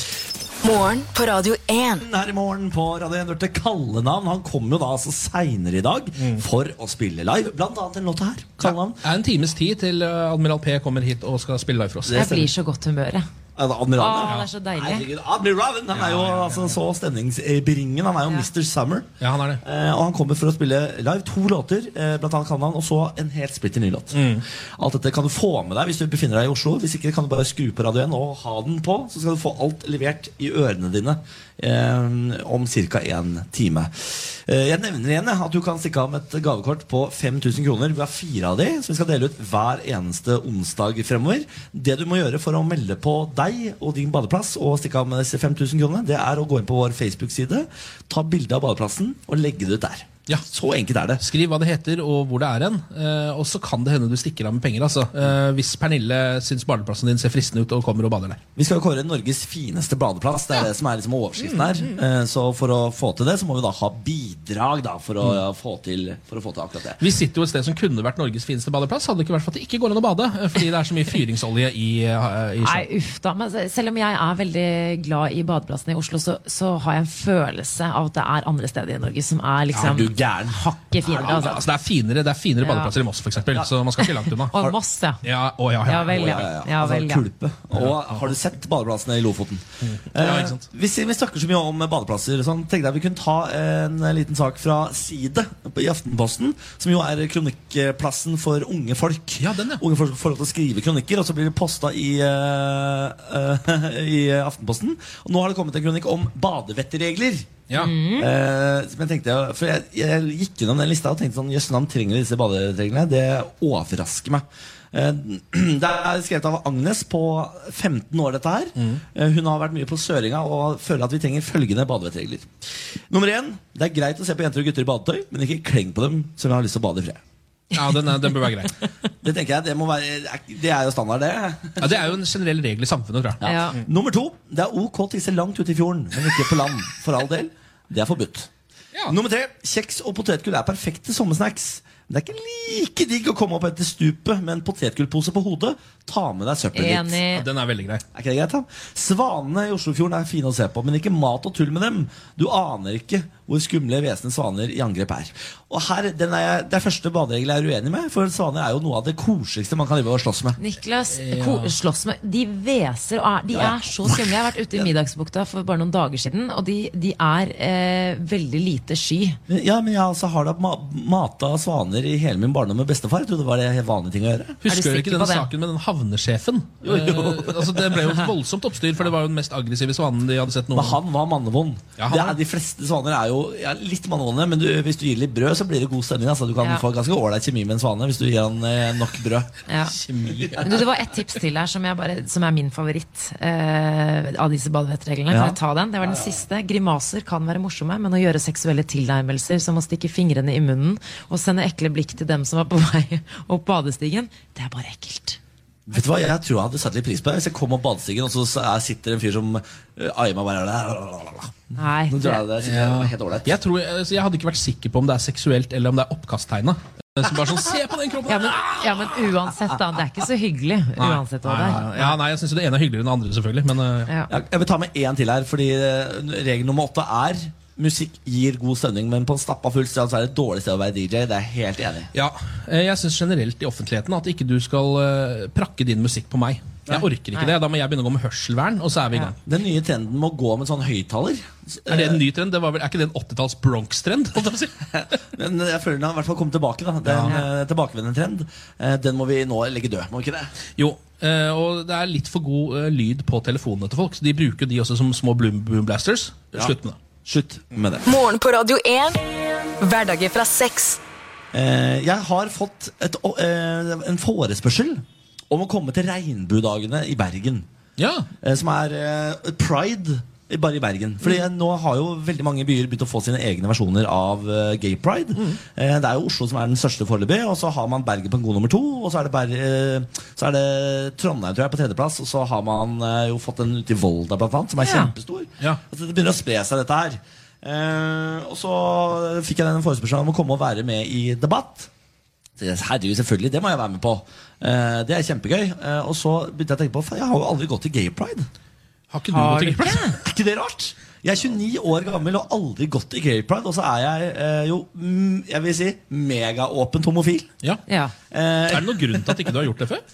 [SPEAKER 1] Morgen på Radio 1.
[SPEAKER 2] Her i morgen på Radio 1 hørte kallenavn. Han kommer jo da altså seinere i dag
[SPEAKER 3] Mm.
[SPEAKER 2] for å spille live. Blant annet den låta her. Kallenavn.
[SPEAKER 4] Det er en times tid til eh, Admiral P kommer hit og skal spille live for oss.
[SPEAKER 2] Det
[SPEAKER 3] Jeg
[SPEAKER 2] stemmer.
[SPEAKER 3] blir så godt humør, jeg.
[SPEAKER 2] Admiralen.
[SPEAKER 3] Å,
[SPEAKER 2] ja.
[SPEAKER 3] det er så deilig.
[SPEAKER 2] Herregud, Admiralen han er jo altså, så stemningsbringende. Han er jo Mr. Summer.
[SPEAKER 4] Ja, han er det.
[SPEAKER 2] Eh, og han kommer for å spille live to låter, eh, blant annet Kandan, og så en helt splitter ny låt. Alt dette kan du få med deg hvis du befinner deg i Oslo. Hvis ikke kan du bare skru på radioen og ha den på, så skal du få alt levert i ørene dine eh, om ca. en time. Eh, jeg nevner igjen jeg, at du kan stikke av med et gavekort på 5000 kroner. Vi har fire av de, som vi skal dele ut hver eneste onsdag fremover. Det du må gjøre for å melde på deg og din badeplass og stikke av med disse 5000 kronene, det er å gå inn på vår Facebook-side, ta bilde av badeplassen og legge det ut der.
[SPEAKER 4] Ja.
[SPEAKER 2] Så enkelt er det.
[SPEAKER 4] Skriv hva det heter og hvor det er hen. eh, Og så kan det hende du stikker av med penger. altså. Eh, Hvis Pernille syns badeplassen din ser fristende ut og kommer og bader der.
[SPEAKER 2] Vi skal jo kåre Norges fineste badeplass. Det er det som er liksom overskriften her.
[SPEAKER 4] Mm.
[SPEAKER 2] Eh, Så for å få til det, så må vi da ha bidrag da, for, å, ja, få til, for å få til akkurat det.
[SPEAKER 4] Mm. Vi sitter jo et sted som kunne vært Norges fineste badeplass. Hadde det ikke vært for at det ikke går an å bade, eh, fordi det er så mye fyringsolje i, eh, i sjøen.
[SPEAKER 3] Nei, uff da. Men se- selv om jeg er veldig glad i badeplassene i Oslo, så, så har jeg en følelse av at det er andre steder i Norge som er liksom
[SPEAKER 2] Er du gæren.
[SPEAKER 3] Hakket finere,
[SPEAKER 4] Ja,
[SPEAKER 3] altså.
[SPEAKER 4] altså, det er finere, det er finere
[SPEAKER 3] Ja.
[SPEAKER 4] badeplasser i Moss, for eksempel, så man skal ikke langt unna.
[SPEAKER 3] Og masse.
[SPEAKER 4] Ja, å, ja, ja.
[SPEAKER 3] Ja vel, ja. ja,
[SPEAKER 2] altså,
[SPEAKER 3] vel, ja.
[SPEAKER 2] Kulpe. Og har du sett badeplassene i Lofoten?
[SPEAKER 4] Ja,
[SPEAKER 2] Eh,
[SPEAKER 4] ikke sant.
[SPEAKER 2] vi, sier- vi snakker så mye om eh, badeplasser. og Sånn. Tenkte jeg vi kunne ta en eh, liten sak fra Side på- i Aftenposten, som jo er kronikkplassen for unge folk.
[SPEAKER 4] Ja, den, ja.
[SPEAKER 2] Unge folk får lov til å skrive kronikker, og så blir det posta i, eh, eh, i eh, Aftenposten. Og nå har det kommet en kronikk om badevettregler.
[SPEAKER 4] Ja.
[SPEAKER 2] Eh, som jeg tenkte, for jeg, jeg gikk gjennom den lista og tenkte sånn Jøss, navn trenger vi disse badereglene? Det overrasker meg. Eh, Det er skrevet av Agnes på 15 år, dette her. Eh, Hun har vært mye på Søringa og føler at vi trenger følgende badevettregler. Nummer én, det er greit å se på jenter og gutter i badetøy, men ikke kleng på dem selv om de har lyst til å bade i fred.
[SPEAKER 4] ja den, er, den bør være grei.
[SPEAKER 2] Det tenker jeg, det, må være, det er jo standard, det.
[SPEAKER 4] Ja, det er jo en generell regel i samfunnet, tror jeg.
[SPEAKER 3] Ja.
[SPEAKER 2] Mm. Nummer to, det er ok å tisse langt ute i fjorden, men ikke på land. For all del. Det er forbudt.
[SPEAKER 4] Ja.
[SPEAKER 2] Nummer tre, kjeks og potetgull er perfekte sommersnacks. Men det er ikke like digg å komme opp etter stupet med en potetgullpose på hodet. Ta med deg søppel ditt.
[SPEAKER 4] Ja,
[SPEAKER 3] Enig.
[SPEAKER 4] den er veldig grei.
[SPEAKER 2] Er ikke det greit, da? Svanene i Oslofjorden er fine å se på, men ikke mat og tull med dem. Du aner ikke hvor skumle vesenet svaner i angrep er. Og her, den er jeg, Det er første baderegel jeg er uenig med, for svaner er jo noe av det koseligste man kan drive og slåss med.
[SPEAKER 3] Niklas, ko- slåss med De hveser og er De
[SPEAKER 2] Ja.
[SPEAKER 3] er så skumle. Jeg har vært ute i Middagsbukta for bare noen dager siden, og de, de er eh, veldig lite sky.
[SPEAKER 2] Men- Ja, men jeg altså, har da ma mata svaner i hele min barndom med bestefar. Jeg trodde det var det helt vanlige ting å gjøre.
[SPEAKER 3] Er du
[SPEAKER 4] Husker dere ikke
[SPEAKER 3] sikker på
[SPEAKER 4] denne
[SPEAKER 3] det?
[SPEAKER 4] saken med den havnesjefen? Eh, altså, det ble jo et voldsomt oppstyr, for det var jo den mest aggressive svanen de hadde sett noen
[SPEAKER 2] Men han var mannevond.
[SPEAKER 4] Ja, han
[SPEAKER 2] det
[SPEAKER 4] var-
[SPEAKER 2] er, de fleste svaner er jo ja, litt mannevonde, men du, hvis du gir litt brød, så blir det god stemning. Altså. Du kan
[SPEAKER 3] Ja.
[SPEAKER 2] få ganske ålreit kjemi med en svane hvis du gir han eh, nok brød.
[SPEAKER 3] Ja.
[SPEAKER 4] kjemi.
[SPEAKER 3] Men du, det var ett tips til her som, jeg bare, som er min favoritt eh, av disse badevettreglene.
[SPEAKER 2] Ja.
[SPEAKER 3] Kan jeg ta den? Det var den siste. Grimaser kan være morsomme, men å gjøre seksuelle tilnærmelser som å stikke fingrene i munnen og sende ekle blikk til dem som var på vei opp badestigen, det er bare ekkelt.
[SPEAKER 2] Vet du hva, Jeg tror jeg hadde satt litt pris på det hvis jeg kom opp badestigen, og så s- er- sitter en fyr som uh, aier meg bare der.
[SPEAKER 3] Nei,
[SPEAKER 2] Nå drar jeg det, synes jeg var helt ålreit.
[SPEAKER 4] Jeg, tror, altså, jeg hadde ikke vært sikker på om det er seksuelt eller om det er oppkasttegna. Som bare sånn, se på den kroppen!
[SPEAKER 3] Ja men, ja, men uansett, da. Det er ikke så hyggelig. Uansett hva det
[SPEAKER 4] Nei,
[SPEAKER 3] er.
[SPEAKER 4] nei, ja, nei, jeg syns det ene er hyggeligere enn det andre, selvfølgelig. Men eh,
[SPEAKER 3] Ja.
[SPEAKER 2] Ja, Jeg vil ta med én til her, fordi eh, regel nummer åtte er musikk gir god stemning, men på en stappa full sted så er det et dårlig sted å være DJ. Det er jeg helt enig i.
[SPEAKER 4] ja, eh, jeg syns generelt i offentligheten at ikke du skal eh, prakke din musikk på meg. Jeg orker ikke det. Da må jeg begynne å gå med hørselvern, og så er vi i gang.
[SPEAKER 2] Den nye trenden med å gå med en sånn høyttaler
[SPEAKER 4] Er det en ny trend? Det var vel, er ikke det en 80-talls Bronx-trend? holdt jeg på å si?
[SPEAKER 2] Men jeg føler den har i hvert fall kommet tilbake. da Det er en eh, tilbakevendende trend. Eh, Den må vi nå legge død. må vi ikke det?
[SPEAKER 4] Jo, eh, og det er litt for god eh, lyd på telefonene til folk. Så de bruker de også som små bloom, boom blasters. Slutt med det.
[SPEAKER 2] Slutt med det.
[SPEAKER 1] Morgen på Radio 1. Hverdager fra seks.
[SPEAKER 2] Eh, Jeg har fått et, å- eh, en forespørsel om å komme til Regnbuedagene i Bergen.
[SPEAKER 4] Ja,
[SPEAKER 2] eh, Som er eh, pride i- bare i Bergen. Fordi eh, nå har jo veldig mange byer begynt å få sine egne versjoner av eh, gay pride. Eh, Det er jo Oslo som er den største foreløpig, og så har man Bergen på en god nummer to. Og så er det, Ber eh, så er det Trondheim tror jeg, på tredjeplass, og så har man eh, jo fått den ute i Volda, blant annet, som er
[SPEAKER 3] Ja.
[SPEAKER 2] kjempestor.
[SPEAKER 4] Ja.
[SPEAKER 2] Altså, det begynner å spre seg, dette her. Eh, og så fikk jeg den forespørselen om å komme og være med i debatt. Så jeg sa, Herregud, selvfølgelig, det må jeg være med på. Eh, det er kjempegøy. Eh, og så begynte jeg å tenke på faen, jeg har jo aldri gått til gay pride.
[SPEAKER 4] Har ikke du
[SPEAKER 3] Har du
[SPEAKER 4] gått i
[SPEAKER 3] ikke?
[SPEAKER 4] gipplass?
[SPEAKER 2] Er ikke det rart? Jeg er 29 år gammel og aldri gått til gay pride, og så er jeg eh, jo mm, jeg vil si, megaåpent homofil.
[SPEAKER 4] Ja.
[SPEAKER 3] Ja.
[SPEAKER 2] Eh,
[SPEAKER 4] Er det noen grunn til at ikke du har gjort det før?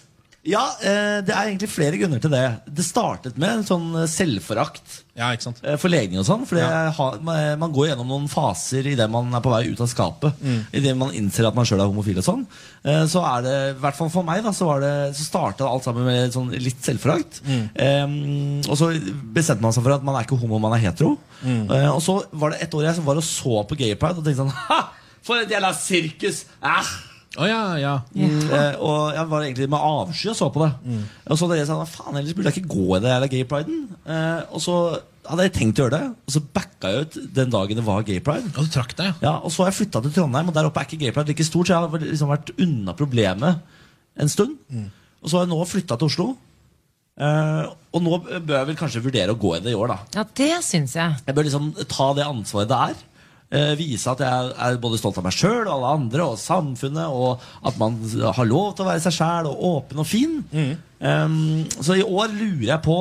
[SPEAKER 2] ja, eh, det er egentlig flere grunner til det. Det startet med en sånn eh, selvforakt.
[SPEAKER 4] Ja, ikke sant?
[SPEAKER 2] eh, for legning og sånn. For det har- man, man går gjennom noen faser idet man er på vei ut av skapet. I Idet man innser at man sjøl er homofil og sånn. Eh, Så er det, i hvert fall for meg, da, så, var det- så starta alt sammen med sånn litt selvforakt. Eh, og så bestemte man seg for at man er ikke homo, man er hetero. Eh, og så var det et år jeg som var og så på Gay Pride og tenkte sånn Ha! For et jævla sirkus! Ah!
[SPEAKER 4] Å ja, ja.
[SPEAKER 2] Eh, og jeg var egentlig med avsky og så på det.
[SPEAKER 4] Mm.
[SPEAKER 2] Og så dere sa "Hva faen, ellers burde jeg ikke gå i det jævla gay priden. Eh, og så hadde jeg tenkt å gjøre det, og så backa jeg ut den dagen det var gay pride.
[SPEAKER 4] Og du trakk deg, ja.
[SPEAKER 2] Ja, og så har jeg flytta til Trondheim, og der oppe er ikke gay pride like stort, så jeg har liksom vært unna problemet en stund.
[SPEAKER 4] Mm.
[SPEAKER 2] Og så har jeg nå flytta til Oslo. Eh, og nå bør jeg vel kanskje vurdere å gå i det i år, da.
[SPEAKER 3] ja, det syns jeg.
[SPEAKER 2] Jeg bør liksom ta det ansvaret det er. eh, vise at jeg er både stolt av meg sjøl og alle andre og samfunnet. Og at man har lov til å være seg sjæl og åpen og fin. Ehm, Um, så i år lurer jeg på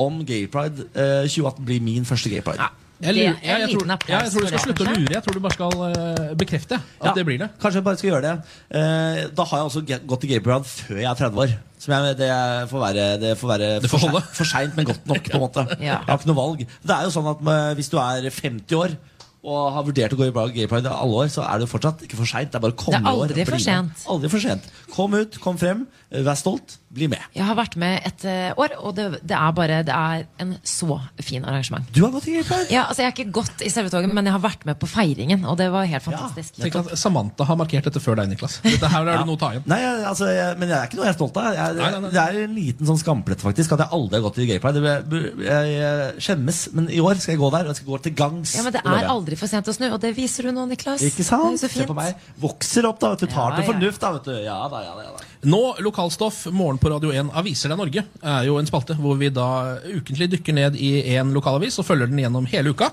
[SPEAKER 2] om Gay Pride eh, 2018 blir min første Gay Pride.
[SPEAKER 3] Ja,
[SPEAKER 4] Jeg,
[SPEAKER 3] Det er
[SPEAKER 4] lurer, jeg, jeg,
[SPEAKER 3] en
[SPEAKER 4] tror,
[SPEAKER 3] liten
[SPEAKER 4] ja, jeg
[SPEAKER 3] applaus
[SPEAKER 4] tror
[SPEAKER 3] for
[SPEAKER 4] du skal
[SPEAKER 3] det,
[SPEAKER 4] slutte å
[SPEAKER 3] kanskje?
[SPEAKER 4] lure. Jeg tror du bare skal eh, bekrefte at
[SPEAKER 2] Ja,
[SPEAKER 4] det blir det.
[SPEAKER 2] Kanskje jeg bare skal gjøre det. Eh, da har jeg også ge- gått til Gabriel før jeg er 30 år. Som jeg, det får være, det får være
[SPEAKER 4] Det får
[SPEAKER 2] for
[SPEAKER 4] holde.
[SPEAKER 2] sein- for seint, men godt nok. på en måte
[SPEAKER 3] Ja.
[SPEAKER 2] Jeg har ikke noe valg. Det er jo sånn at med, Hvis du er 50 år og har vurdert å gå i Bra- gay pride i alle år, så er det jo fortsatt ikke for seint. Det er bare å komme
[SPEAKER 3] Det er
[SPEAKER 2] i år og
[SPEAKER 3] aldri for
[SPEAKER 2] bli med.
[SPEAKER 3] sent.
[SPEAKER 2] Aldri for sent. Kom ut, kom frem, eh, vær stolt, bli med.
[SPEAKER 3] Jeg har vært med et eh, år, og det, det er bare Det er en så fin arrangement.
[SPEAKER 2] Du har gått i gay pride.
[SPEAKER 3] Ja, altså Jeg har ikke gått i selve toget, men jeg har vært med på feiringen, og det var helt fantastisk.
[SPEAKER 4] Tenk at Samantha har markert dette før deg, Niklas. Dette her har du noe å ta igjen.
[SPEAKER 2] Nei, jeg, altså, jeg, men det er ikke noe jeg er stolt av. Jeg,
[SPEAKER 4] Nei, nei, nei.
[SPEAKER 2] Det er en liten sånn skamplett faktisk at jeg aldri har gått i gay pride. Det bør- bør- Jeg, jeg skjemmes, men i år skal jeg gå der. Og jeg skal gå til gangs.
[SPEAKER 3] Ja, men Det
[SPEAKER 2] lover jeg.
[SPEAKER 3] er aldri for sent å snu, og det viser du nå, Niklas.
[SPEAKER 2] Ikke
[SPEAKER 3] Det er jo
[SPEAKER 2] sant?
[SPEAKER 3] så fint.
[SPEAKER 2] Se på meg. Vokser opp, da. vet du Tar
[SPEAKER 3] Ja,
[SPEAKER 2] til
[SPEAKER 3] ja.
[SPEAKER 2] fornuft, da. vet du Ja da, ja da. ja da
[SPEAKER 4] Nå, lokalstoff, morgen på Radio 1, Aviser deg Norge, er jo en spalte hvor vi da ukentlig dykker ned i én lokalavis og følger den gjennom hele uka.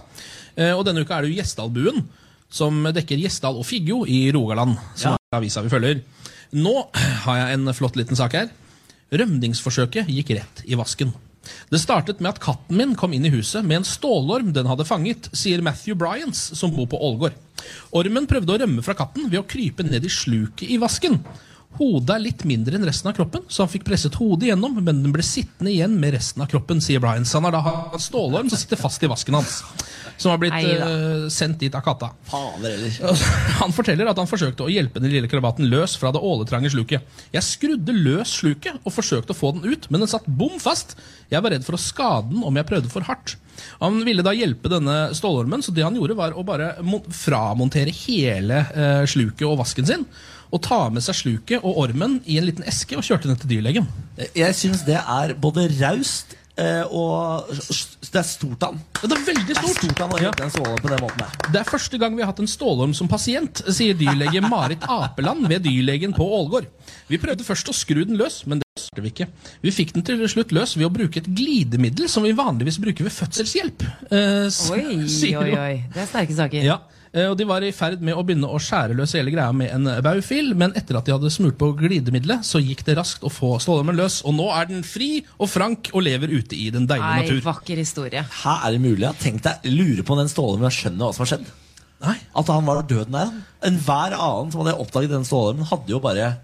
[SPEAKER 4] Eh, Og denne uka er det jo Gjesdalbuen, som dekker Gjesdal og Figgjo i Rogaland. Som er avisa vi følger. Nå har jeg en flott liten sak her. Rømningsforsøket gikk rett i vasken. Det startet med at katten min kom inn i huset med en stålorm den hadde fanget, sier Matthew Bryans, som bor på Ålgård. Ormen prøvde å rømme fra katten ved å krype ned i sluket i vasken. Hodet er litt mindre enn resten av kroppen, så han fikk presset hodet igjennom, men den ble sittende igjen med resten av kroppen, sier Bryans. Han har da hatt en stålorm som sitter fast i vasken hans, som har blitt
[SPEAKER 3] Neida.
[SPEAKER 4] eh, sendt dit av katta.
[SPEAKER 2] Fader heller.
[SPEAKER 4] Han forteller at han forsøkte å hjelpe den lille krabaten løs fra det åletrange sluket. Jeg skrudde løs sluket og forsøkte å få den ut, men den satt bom fast. Jeg var redd for å skade den om jeg prøvde for hardt. Han ville da hjelpe denne stålormen, så det han gjorde var å bare mon- framontere hele eh, sluket og vasken sin. Og ta med seg sluket og ormen i en liten eske og kjørte den til dyrlegen.
[SPEAKER 2] Jeg syns det er både raust eh, og s- s- Det er stort av han.
[SPEAKER 4] Ja, Det er veldig
[SPEAKER 2] Det er
[SPEAKER 4] stort!
[SPEAKER 2] stort av han å
[SPEAKER 4] Ja.
[SPEAKER 2] hjelpe en stråle på den måten der.
[SPEAKER 4] Det er første gang vi har hatt en stålorm som pasient, sier dyrlege Marit Apeland ved dyrlegen på Ålgård. Vi prøvde først å skru den løs, men det klarte vi ikke. Vi fikk den til slutt løs ved å bruke et glidemiddel som vi vanligvis bruker ved fødselshjelp. eh, s-
[SPEAKER 3] Oi,
[SPEAKER 4] sier
[SPEAKER 3] oi,
[SPEAKER 4] hun.
[SPEAKER 3] oi. Det er sterke saker.
[SPEAKER 4] Ja, eh, og De var i ferd med å begynne å skjære løs hele greia med en baufil, men etter at de hadde smurt på glidemiddelet, så gikk det raskt å få stålormen løs. Og nå er den fri og frank og lever ute i den deilige
[SPEAKER 3] Nei,
[SPEAKER 4] natur.
[SPEAKER 3] vakker historie.
[SPEAKER 2] Her er det mulig. Jeg tenk deg, lurer på om den strålen men jeg skjønner hva som har skjedd.
[SPEAKER 4] Nei,
[SPEAKER 2] At han var døden der. han. Enhver annen som hadde oppdaget den strålen, hadde jo bare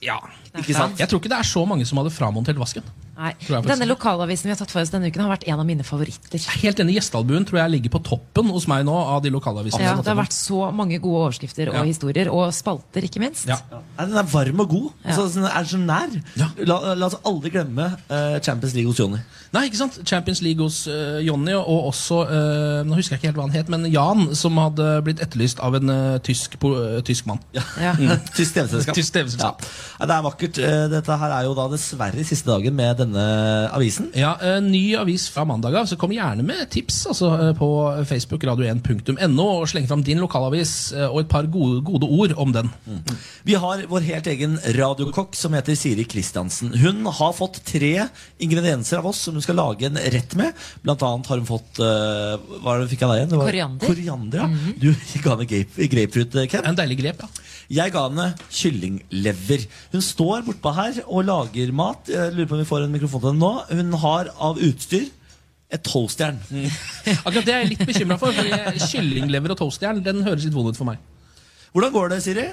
[SPEAKER 4] ja.
[SPEAKER 2] Ikke sant?
[SPEAKER 4] Jeg tror ikke det er så mange som hadde framontert vasken.
[SPEAKER 3] Nei.
[SPEAKER 4] Tror jeg faktisk.
[SPEAKER 3] Denne lokalavisen vi har tatt for oss denne uken, har vært en av mine favoritter.
[SPEAKER 4] Helt enig, Gjesdalbuen tror jeg ligger på toppen hos meg nå av de lokalavisene.
[SPEAKER 3] Ja,
[SPEAKER 4] som
[SPEAKER 3] det har
[SPEAKER 4] har
[SPEAKER 3] vært så mange gode overskrifter og
[SPEAKER 4] Ja.
[SPEAKER 3] historier, og spalter, ikke minst.
[SPEAKER 4] Ja.
[SPEAKER 2] Nei, Den er varm og god. Så, så den er så nær.
[SPEAKER 4] Ja.
[SPEAKER 2] La, la oss aldri glemme eh, Champions League hos Jonny.
[SPEAKER 4] tatt den. Nei, ikke sant? Champions League hos eh, Jonny, og også eh, Nå husker jeg ikke helt hva han het, men Jan, som hadde blitt etterlyst av en eh, tysk, po eh, tysk mann.
[SPEAKER 3] Ja.
[SPEAKER 2] Tysk TV-selskap.
[SPEAKER 4] Tysk TV-selskap.
[SPEAKER 2] Ja. Nei, Det er vakkert. Eh, Dette her er jo da dessverre siste dagen med denne avisen.
[SPEAKER 4] Ja, eh, Ny avis fra mandag av, så kom gjerne med tips altså, eh, på Facebook radio1.no. Og sleng fram din lokalavis eh, og et par gode, gode ord om den.
[SPEAKER 2] Mm. Vi har vår helt egen eh, radiokokk som heter Siri Kristiansen. Hun har fått tre ingredienser av oss som hun skal lage en rett med. Blant annet har hun fått eh, Hva var det du fikk av deg igjen? Det var-
[SPEAKER 3] Koriander.
[SPEAKER 2] Koriander, Mm. ja. Du ga henne grape- grapefruit, eh, Ken.
[SPEAKER 4] En deilig grep, ja.
[SPEAKER 2] Jeg ga henne kyllinglever. Hun står bortpå her og lager mat. Jeg lurer på om vi får en mikrofon til henne nå. Hun har av utstyr et toastjern.
[SPEAKER 5] Mm.
[SPEAKER 4] Akkurat det er jeg litt bekymra for. fordi Kyllinglever og toastjern den høres litt vond ut for meg.
[SPEAKER 2] Hvordan går det, Siri?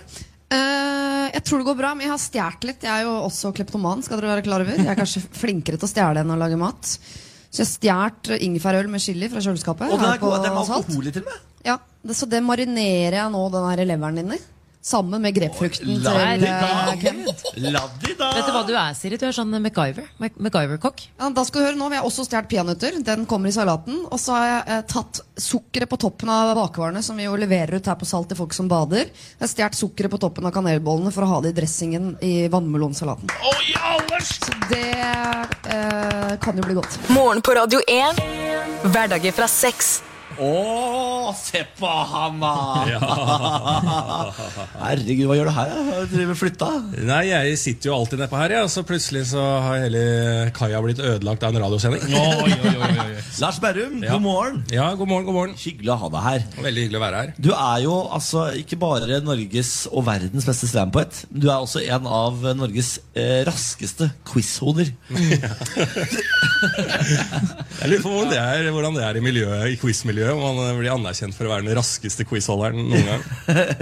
[SPEAKER 5] Eh, jeg tror det går bra, men jeg har stjålet litt. Jeg er jo også kleptoman. skal dere være klar over Jeg er kanskje flinkere til å stjele enn å lage mat. Så jeg stjal ingefærøl med chili fra kjøleskapet.
[SPEAKER 2] Og den
[SPEAKER 5] her
[SPEAKER 2] er
[SPEAKER 5] på
[SPEAKER 2] god. Den er
[SPEAKER 5] Salt.
[SPEAKER 2] alkohol i til og med.
[SPEAKER 5] Ja, det, Så det marinerer jeg nå den her leveren din i. Sammen med grepfrukten til
[SPEAKER 2] La de
[SPEAKER 5] eh, Ken.
[SPEAKER 2] da! La de da!
[SPEAKER 3] Vet du hva du er, Siri? Du er sånn MacGyver. Mac- MacGyver-kokk.
[SPEAKER 5] Ja, da skal du høre, Nå har jeg også stjålet peanøtter. Den kommer i salaten. Og så har jeg eh, tatt sukkeret på toppen av bakevarene, som vi jo leverer ut her på Salt til folk som bader. Jeg har stjålet sukkeret på toppen av kanelbollene for å ha det i dressingen i vannmelonsalaten.
[SPEAKER 4] Å, i allers!
[SPEAKER 5] Det eh, kan jo bli godt.
[SPEAKER 1] Morgen på Radio 1. Hverdager fra seks.
[SPEAKER 2] Å, se på han, da! Herregud, hva gjør du her? da? Har du Driver og flytta?
[SPEAKER 7] Nei, jeg sitter jo alltid nedpå her, ja, og så plutselig så har hele kaia blitt ødelagt av en radiosending.
[SPEAKER 4] Oi, oi, oi, oi, oi.
[SPEAKER 2] Lars Berrum,
[SPEAKER 7] Ja.
[SPEAKER 2] god morgen.
[SPEAKER 7] Ja, god morgen, god morgen.
[SPEAKER 2] Hyggelig å ha deg her.
[SPEAKER 7] Veldig hyggelig å være her.
[SPEAKER 2] Du er jo altså ikke bare Norges og verdens beste slampoet. Du er også en av Norges eh, raskeste quizhoder.
[SPEAKER 7] Jeg lurer på hvordan det er, hvordan det er i, miljøet, i miljø om han blir anerkjent for å være den raskeste quizholderen noen gang.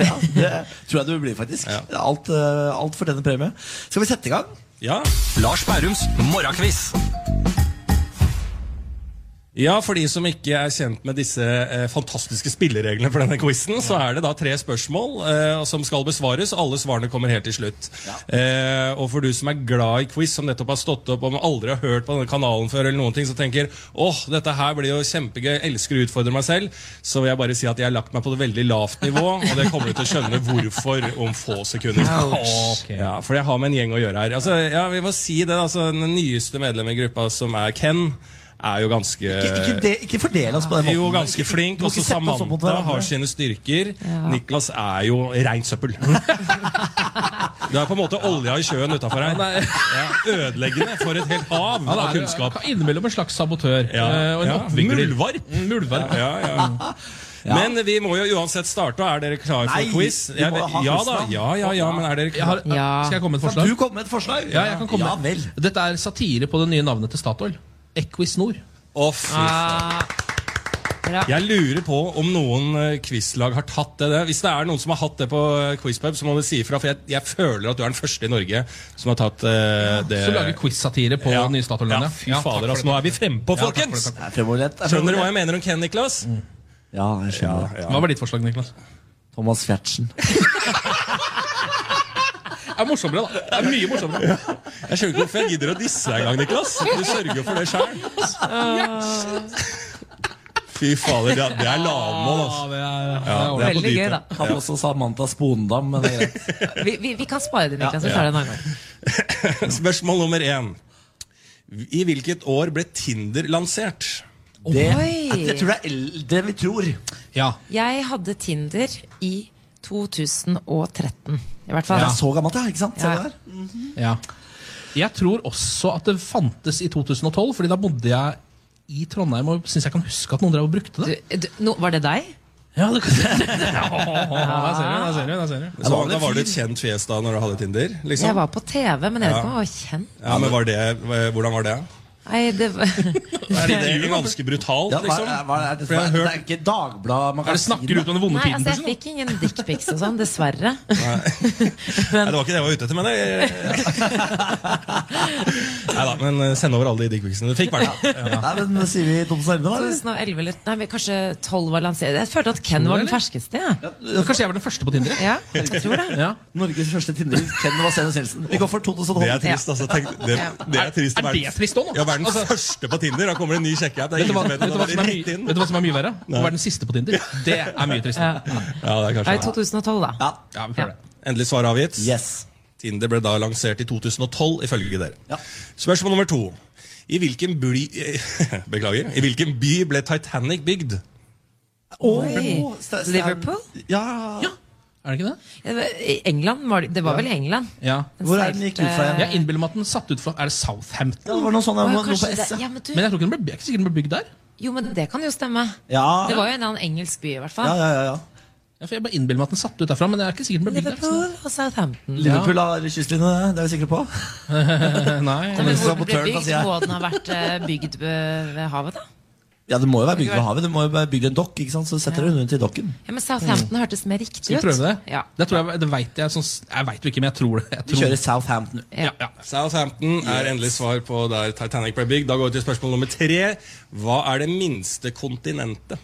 [SPEAKER 2] Ja, det tror jeg du blir, faktisk.
[SPEAKER 7] Ja.
[SPEAKER 2] Alt, eh, alt fortjener premie. Skal vi sette i gang?
[SPEAKER 7] Ja,
[SPEAKER 8] Lars Bærums morgenkviss.
[SPEAKER 7] ja for de som ikke er kjent med disse eh, fantastiske spillereglene for denne quizen, så er det da tre spørsmål eh, som skal besvares, og alle svarene kommer helt til slutt. Eh, og for du som er glad i quiz, som nettopp har stått opp og aldri har hørt på denne kanalen før, eller noen ting, som tenker åh, dette her blir jo kjempegøy, elsker å utfordre meg selv, så vil jeg bare si at jeg har lagt meg på et veldig lavt nivå, og det kommer du til å skjønne hvorfor om få sekunder. Ja, for jeg har med en gjeng å gjøre her. Altså, ja, vi må si det, altså, Den nyeste medlemmet i gruppa, som er Ken, er jo ganske
[SPEAKER 2] Ikke, ikke, de, ikke fordel oss på den måten.
[SPEAKER 7] Eh, jo, ganske flink.
[SPEAKER 2] Du må ikke
[SPEAKER 7] Også
[SPEAKER 2] sette oss opp mot
[SPEAKER 7] Samantha
[SPEAKER 2] hverandre.
[SPEAKER 7] har sine styrker. Niklas er jo reint søppel. Du er på en måte olja i sjøen utafor her. Ja, ødeleggende for et helt hav
[SPEAKER 4] Han
[SPEAKER 7] av
[SPEAKER 4] er
[SPEAKER 7] kunnskap.
[SPEAKER 4] innimellom en slags sabotør.
[SPEAKER 7] Ja,
[SPEAKER 4] eh, Og en
[SPEAKER 7] ja.
[SPEAKER 4] oppvigler.
[SPEAKER 7] Muldvarp.
[SPEAKER 4] Mm, Muldvarp.
[SPEAKER 7] Ja, ja. Men vi må jo uansett starte. og Er dere klare for
[SPEAKER 2] Nei,
[SPEAKER 7] quiz?
[SPEAKER 2] vi må
[SPEAKER 7] Jeg
[SPEAKER 2] jo
[SPEAKER 7] vet-
[SPEAKER 2] ha
[SPEAKER 7] ja
[SPEAKER 2] quiz,
[SPEAKER 7] da.
[SPEAKER 2] da.
[SPEAKER 7] Ja, ja, ja, men er dere
[SPEAKER 4] Jeg har,
[SPEAKER 7] klare?
[SPEAKER 3] Ja.
[SPEAKER 4] Skal jeg komme med et
[SPEAKER 2] Kan
[SPEAKER 4] forslag?
[SPEAKER 2] du komme med et forslag?
[SPEAKER 4] Ja, jeg kan komme
[SPEAKER 2] Ja, vel.
[SPEAKER 4] Dette er satire på det nye navnet til Statoil. Equisnor.
[SPEAKER 7] Å, fy faen.
[SPEAKER 3] Ah,
[SPEAKER 7] Jeg lurer på om noen eh, quizlag har tatt det. der. Hvis det er noen som har hatt det på eh, Quizpub, så må du si ifra. For jeg, jeg føler at du er den første i Norge som har tatt eh, det.
[SPEAKER 4] Som lager quiz-satire på
[SPEAKER 7] Ja.
[SPEAKER 4] det nye Statoil-landet.
[SPEAKER 7] Ja, fy fader, altså, nå er vi frempå,
[SPEAKER 4] Ja, takk for det,
[SPEAKER 7] folkens!
[SPEAKER 4] takk
[SPEAKER 2] Det er fremoverlent. Det er
[SPEAKER 7] Skjønner du hva
[SPEAKER 2] fremoverlent.
[SPEAKER 7] jeg mener om Ken, Niklas?
[SPEAKER 2] Mm. Ja, jeg skjønner.
[SPEAKER 4] Hva var ditt forslag, Niklas?
[SPEAKER 2] Thomas Fjertsen.
[SPEAKER 4] Det er morsommere, da. Det er mye morsommere.
[SPEAKER 7] Jeg skjønner ikke hvorfor jeg gidder å disse deg engang, Niklas. Du sørger jo for det sjøl. Fy fader, det er, det er lavmål, altså.
[SPEAKER 4] det er,
[SPEAKER 7] det er på
[SPEAKER 3] Veldig gøy,
[SPEAKER 7] dypet.
[SPEAKER 3] da.
[SPEAKER 2] Han også Samantha Spondam. Men det er greit.
[SPEAKER 3] Vi, vi, vi kan spare det, Niklas. Vi tar det en annen gang.
[SPEAKER 7] Spørsmål nummer én. I hvilket år ble Tinder lansert?
[SPEAKER 2] det,
[SPEAKER 3] Oi.
[SPEAKER 2] jeg tror det er el- det vi tror.
[SPEAKER 4] Ja.
[SPEAKER 3] Jeg hadde Tinder i 2013, i hvert fall.
[SPEAKER 2] Det er så gammelt, ja. ikke sant?
[SPEAKER 3] Ja.
[SPEAKER 2] Ser du der?
[SPEAKER 4] ja. Jeg tror også at det fantes i 2012, Fordi da bodde jeg i Trondheim og syns jeg kan huske at noen drev og brukte
[SPEAKER 3] Du,
[SPEAKER 4] det.
[SPEAKER 3] du, nå- var det deg?
[SPEAKER 4] Ja, det kan Der ser du, der ser du.
[SPEAKER 7] Så, da var du et kjent fjes da når du hadde Tinder? liksom?
[SPEAKER 3] Jeg var på TV, men jeg vet ikke om jeg var kjent.
[SPEAKER 7] Ja, men var det, Hvordan var det?
[SPEAKER 3] Nei, det var
[SPEAKER 7] Er det egentlig ganske brutalt,
[SPEAKER 2] Ja, hva,
[SPEAKER 7] liksom?
[SPEAKER 2] hva er det,
[SPEAKER 7] For jeg har
[SPEAKER 2] det
[SPEAKER 7] hørt-
[SPEAKER 2] er ikke Dagbladet man
[SPEAKER 4] Er
[SPEAKER 2] kan
[SPEAKER 4] det snakker ut om den vonde
[SPEAKER 3] Nei,
[SPEAKER 4] tiden?
[SPEAKER 3] altså
[SPEAKER 2] liksom?
[SPEAKER 3] jeg fikk ingen dickpics og sånn, dessverre.
[SPEAKER 7] Nei, det var ikke det jeg var ute etter, men det Nei da, men eh, send over alle de dickpicsene du fikk. Bernt.
[SPEAKER 2] Nei, men da sier vi Thomas Elvdal, eller?
[SPEAKER 3] 2011 eller Nei, men kanskje 12 var lansert. Jeg følte at Ken var den ferskeste, jeg.
[SPEAKER 4] Kanskje jeg var den første på Tinder?
[SPEAKER 3] Ja, jeg tror det.
[SPEAKER 4] Ja.
[SPEAKER 2] Norges første Tinder. Ken Vasenius Nielsen. Vi går for
[SPEAKER 7] Det er
[SPEAKER 2] 2012.
[SPEAKER 7] trist, altså. Tenk, det, det er trist å
[SPEAKER 4] Er det
[SPEAKER 7] være
[SPEAKER 4] trist òg, nå?
[SPEAKER 7] ja, være den
[SPEAKER 4] Altså,
[SPEAKER 7] første på Tinder. Da kommer det en ny sjekkeapp. Det er
[SPEAKER 4] Vet du,
[SPEAKER 7] ingen
[SPEAKER 4] hva,
[SPEAKER 7] som vet
[SPEAKER 4] vet, du
[SPEAKER 7] det.
[SPEAKER 4] hva
[SPEAKER 7] Det
[SPEAKER 4] som
[SPEAKER 7] er rett
[SPEAKER 4] er mye,
[SPEAKER 7] inn.
[SPEAKER 4] vet du hva som er mye verre? Å være den siste på Tinder. Det er mye tristere.
[SPEAKER 7] Ja,
[SPEAKER 3] Nei,
[SPEAKER 7] det er kanskje det.
[SPEAKER 3] 2012, da.
[SPEAKER 2] Ja.
[SPEAKER 4] Ja, vi prøver det.
[SPEAKER 7] Endelig svar avgitt.
[SPEAKER 2] Yes.
[SPEAKER 7] Tinder ble da lansert i 2012, ifølge dere.
[SPEAKER 2] Ja.
[SPEAKER 7] Spørsmål nummer to. I hvilken, bly, beklager. I hvilken by ble Titanic bygd?
[SPEAKER 3] Oi.
[SPEAKER 2] St- St-
[SPEAKER 3] Liverpool?
[SPEAKER 2] Ja.
[SPEAKER 4] Er det ikke det?
[SPEAKER 3] Det var- I England var det Det var vel i England? eh,
[SPEAKER 4] Ja.
[SPEAKER 2] Hvor er den gikk ut fra igjen?
[SPEAKER 4] Jeg innbiller meg at den satt ut fra Er det Southampton?
[SPEAKER 2] Ja, det var noe sånt,
[SPEAKER 3] Å,
[SPEAKER 2] noe
[SPEAKER 3] ja,
[SPEAKER 2] noe på
[SPEAKER 3] kanskje
[SPEAKER 2] S.
[SPEAKER 3] det. Ja,
[SPEAKER 2] ja.
[SPEAKER 3] men du,
[SPEAKER 4] Men jeg tror ikke den ble, jeg er ikke sikkert den ble bygd der.
[SPEAKER 3] jo, men det kan jo stemme.
[SPEAKER 2] Ja.
[SPEAKER 3] Det var jo en eller annen engelsk by, i hvert
[SPEAKER 2] Ja,
[SPEAKER 3] fall.
[SPEAKER 2] ja, ja,
[SPEAKER 4] Ja, for jeg bare innbiller meg at den satt ut derfra, men jeg er ikke sikkert den ble bygd der.
[SPEAKER 3] Liverpool og Southampton.
[SPEAKER 2] Liverpool har kystlinje, det er vi sikre på.
[SPEAKER 4] så-
[SPEAKER 3] Men
[SPEAKER 4] Nei.
[SPEAKER 2] Men
[SPEAKER 3] hvor den ble
[SPEAKER 2] sabotøren, da,
[SPEAKER 3] bygd?
[SPEAKER 2] sier jeg.
[SPEAKER 3] Må den ha vært eh, bygd ved ved havet, da?
[SPEAKER 2] Ja, Det må jo være bygd ved havet. Det må jo være bygd en dokk, ikke sant? så setter du den rundt i dokken.
[SPEAKER 3] Ja, Men Southampton hørtes mer riktig ut.
[SPEAKER 4] Mm. Skal vi prøve det?
[SPEAKER 3] Ja.
[SPEAKER 4] Det, tror jeg, det vet jeg sånn, Jeg vet jo ikke, men jeg tror det. Jeg
[SPEAKER 2] Vi
[SPEAKER 4] tror.
[SPEAKER 2] kjører Southampton.
[SPEAKER 4] Ja, ja.
[SPEAKER 7] Southampton er endelig svar på der Titanic ble bygd. Da går vi til spørsmål nummer tre. Hva er det minste kontinentet?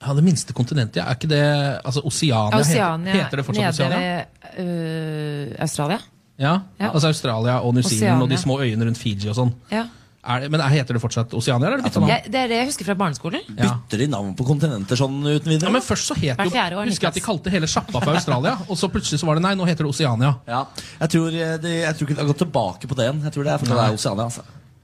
[SPEAKER 4] ja, Det minste kontinentet, ja. Er ikke det altså Oceania?
[SPEAKER 3] Oceania.
[SPEAKER 4] Heter, heter det fortsatt
[SPEAKER 3] nede
[SPEAKER 4] Oceania?
[SPEAKER 3] ved øh, Australia.
[SPEAKER 4] Ja.
[SPEAKER 3] Ja.
[SPEAKER 4] Altså Australia og New Zealand og
[SPEAKER 3] Oceania.
[SPEAKER 4] de små øyene rundt Fiji og sånn.
[SPEAKER 3] Ja.
[SPEAKER 4] Er det, men er- heter det fortsatt Oceania? Eller er det byttet navn?
[SPEAKER 3] Jeg, det er det jeg husker fra barneskolen.
[SPEAKER 4] Ja.
[SPEAKER 2] Bytter de navn på kontinenter sånn uten
[SPEAKER 4] Ja,
[SPEAKER 2] videre?
[SPEAKER 4] men først så het
[SPEAKER 3] Hvert
[SPEAKER 4] jo,
[SPEAKER 3] fjerde år,
[SPEAKER 4] Husker jeg at de
[SPEAKER 3] Niklas.
[SPEAKER 4] kalte hele sjappa for Australia, og så plutselig så var det nei, nå heter det Oceania.
[SPEAKER 2] Ja. Jeg, tror, eh, de, jeg tror ikke de har gått tilbake på det igjen. Jeg tror det er fordi det er Oceania. Altså.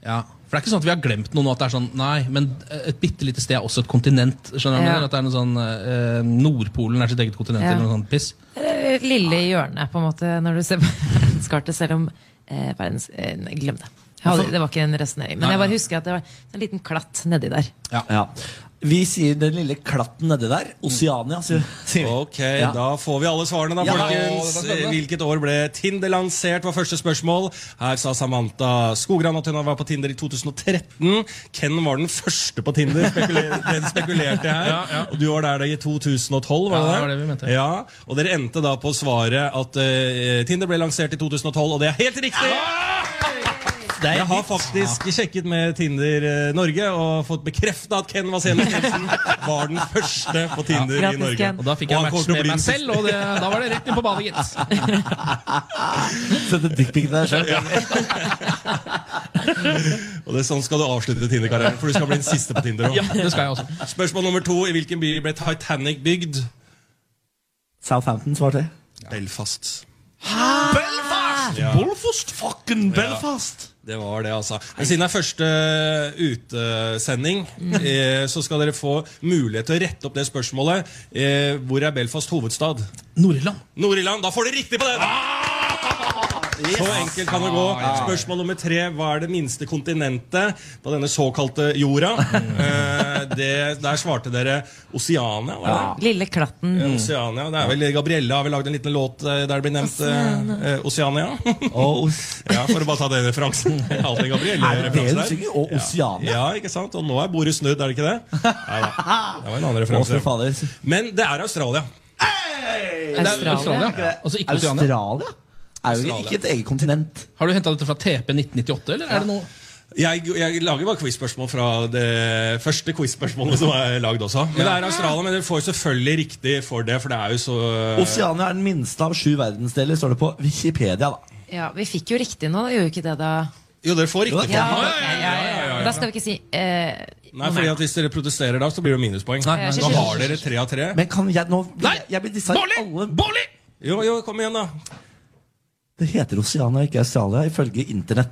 [SPEAKER 4] Ja. For det er ikke sånn at vi har glemt noe nå, at det er sånn nei, men et bitte lite sted er også et kontinent. Skjønner du? hva jeg
[SPEAKER 3] Ja.
[SPEAKER 4] mener? At det er noe sånn eh, Nordpolen er sitt eget kontinent,
[SPEAKER 3] Ja.
[SPEAKER 4] eller noe sånt piss.
[SPEAKER 3] Eh, Lille hjørne, på en måte, når du ser på verdenskartet, selv om eh, verdens... Eh, nei, glem det. Jeg hadde, det var ikke en resonnering. Men jeg bare husker at det var en liten klatt nedi der.
[SPEAKER 2] Ja. Vi sier den lille klatten nedi der. Oceania, sier sier vi.
[SPEAKER 7] Ok,
[SPEAKER 2] Ja.
[SPEAKER 7] da får vi alle svarene, da,
[SPEAKER 2] Ja, da.
[SPEAKER 7] folkens. Eh,
[SPEAKER 4] Å, dette er spennende.
[SPEAKER 7] Hvilket år ble Tinder lansert, var første spørsmål. Her sa Samantha Skogran at hun var på Tinder i 2013. Ken var den første på Tinder, spekuler- den spekulerte jeg her. Og du var der da i 2012, var
[SPEAKER 4] Ja,
[SPEAKER 7] det
[SPEAKER 4] det var det vi mente.
[SPEAKER 7] Ja, og dere endte da på svaret at eh, Tinder ble lansert i 2012, og det er helt riktig!
[SPEAKER 2] Det er
[SPEAKER 7] Jeg har faktisk sjekket med Tinder eh, Norge og fått bekrefta at Ken Vasenius Nilsen var den første på Tinder
[SPEAKER 3] Ja,
[SPEAKER 7] i
[SPEAKER 3] grattis,
[SPEAKER 7] Norge.
[SPEAKER 3] Ken.
[SPEAKER 4] Og da fikk
[SPEAKER 7] Og
[SPEAKER 4] jeg
[SPEAKER 7] han kommer
[SPEAKER 4] match
[SPEAKER 7] til å
[SPEAKER 4] med
[SPEAKER 7] bli
[SPEAKER 4] meg
[SPEAKER 7] den
[SPEAKER 4] selv, og det, da var det rett inn på badet, gitt.
[SPEAKER 2] Sette dickpicen der sjøl.
[SPEAKER 7] Og det er sånn skal du avslutte Tinder-karrieren, for du skal bli den siste på Tinder
[SPEAKER 4] Ja,
[SPEAKER 7] også.
[SPEAKER 4] det skal jeg også.
[SPEAKER 7] Spørsmål nummer to. I hvilken by ble Titanic bygd?
[SPEAKER 2] Southampton svarte.
[SPEAKER 7] Belfast.
[SPEAKER 2] Belfast!
[SPEAKER 7] Ja.
[SPEAKER 2] Belfast! Fucking Belfast!
[SPEAKER 7] Det var det, altså. Men siden det er første utesending,
[SPEAKER 4] Mm.
[SPEAKER 7] eh, så skal dere få mulighet til å rette opp det spørsmålet. Eh, hvor er Belfast hovedstad?
[SPEAKER 4] Nord-Irland.
[SPEAKER 7] Nord-Irland. Da får dere riktig på den!
[SPEAKER 4] Ah.
[SPEAKER 7] Så enkelt kan det gå. Spørsmål nummer tre. Hva er det minste kontinentet på denne såkalte jorda?
[SPEAKER 2] Mm.
[SPEAKER 7] Eh, det, der svarte dere Oseania. Var det?
[SPEAKER 3] Lille klatten.
[SPEAKER 7] Oceania. Det er vel Gabrielle har vel lagd en liten låt eh, der det blir nevnt eh, eh, Oceania.
[SPEAKER 2] Og Os-
[SPEAKER 7] ja, For å bare ta den referansen. Alltid en
[SPEAKER 2] Er det det hun
[SPEAKER 7] Gabrielle-referanse der.
[SPEAKER 2] synger? Og Oceania.
[SPEAKER 7] Ja, ikke sant? Og nå er bordet snudd, er det ikke det? Nei da. Det var en annen
[SPEAKER 2] Å, fy
[SPEAKER 7] referanse.
[SPEAKER 2] fader.
[SPEAKER 7] Men det er Australia.
[SPEAKER 3] Australia.
[SPEAKER 4] Australia. Altså ikke Oceania.
[SPEAKER 2] Australia? Er jo ikke- ikke et eget kontinent.
[SPEAKER 4] Har du henta dette fra TP 1998, eller er det noe
[SPEAKER 7] Jeg, jeg lager bare quizspørsmål fra det første quizspørsmålet som er lagd også. Men det er Australia, men du får selvfølgelig riktig for det, for det er jo så
[SPEAKER 2] Oceania er den minste av sju verdensdeler, står det på Wikipedia. da
[SPEAKER 3] Ja, vi fikk jo riktig nå, gjorde vi ikke det da?
[SPEAKER 7] Jo, dere får riktig for
[SPEAKER 3] Ja,
[SPEAKER 7] det.
[SPEAKER 3] ja, ja, ja. Da skal vi ikke si eh,
[SPEAKER 7] Nei, fordi at Hvis dere protesterer da, så blir det minuspoeng.
[SPEAKER 4] nei,
[SPEAKER 7] Da har dere tre av tre.
[SPEAKER 2] Men kan jeg nå
[SPEAKER 4] Nei!
[SPEAKER 2] Jeg blir dissa i
[SPEAKER 4] Bolly!
[SPEAKER 2] alle
[SPEAKER 4] Bolly!
[SPEAKER 7] Jo, jo, kom igjen, da.
[SPEAKER 2] Det heter Oceania, ikke Australia, ifølge Internett.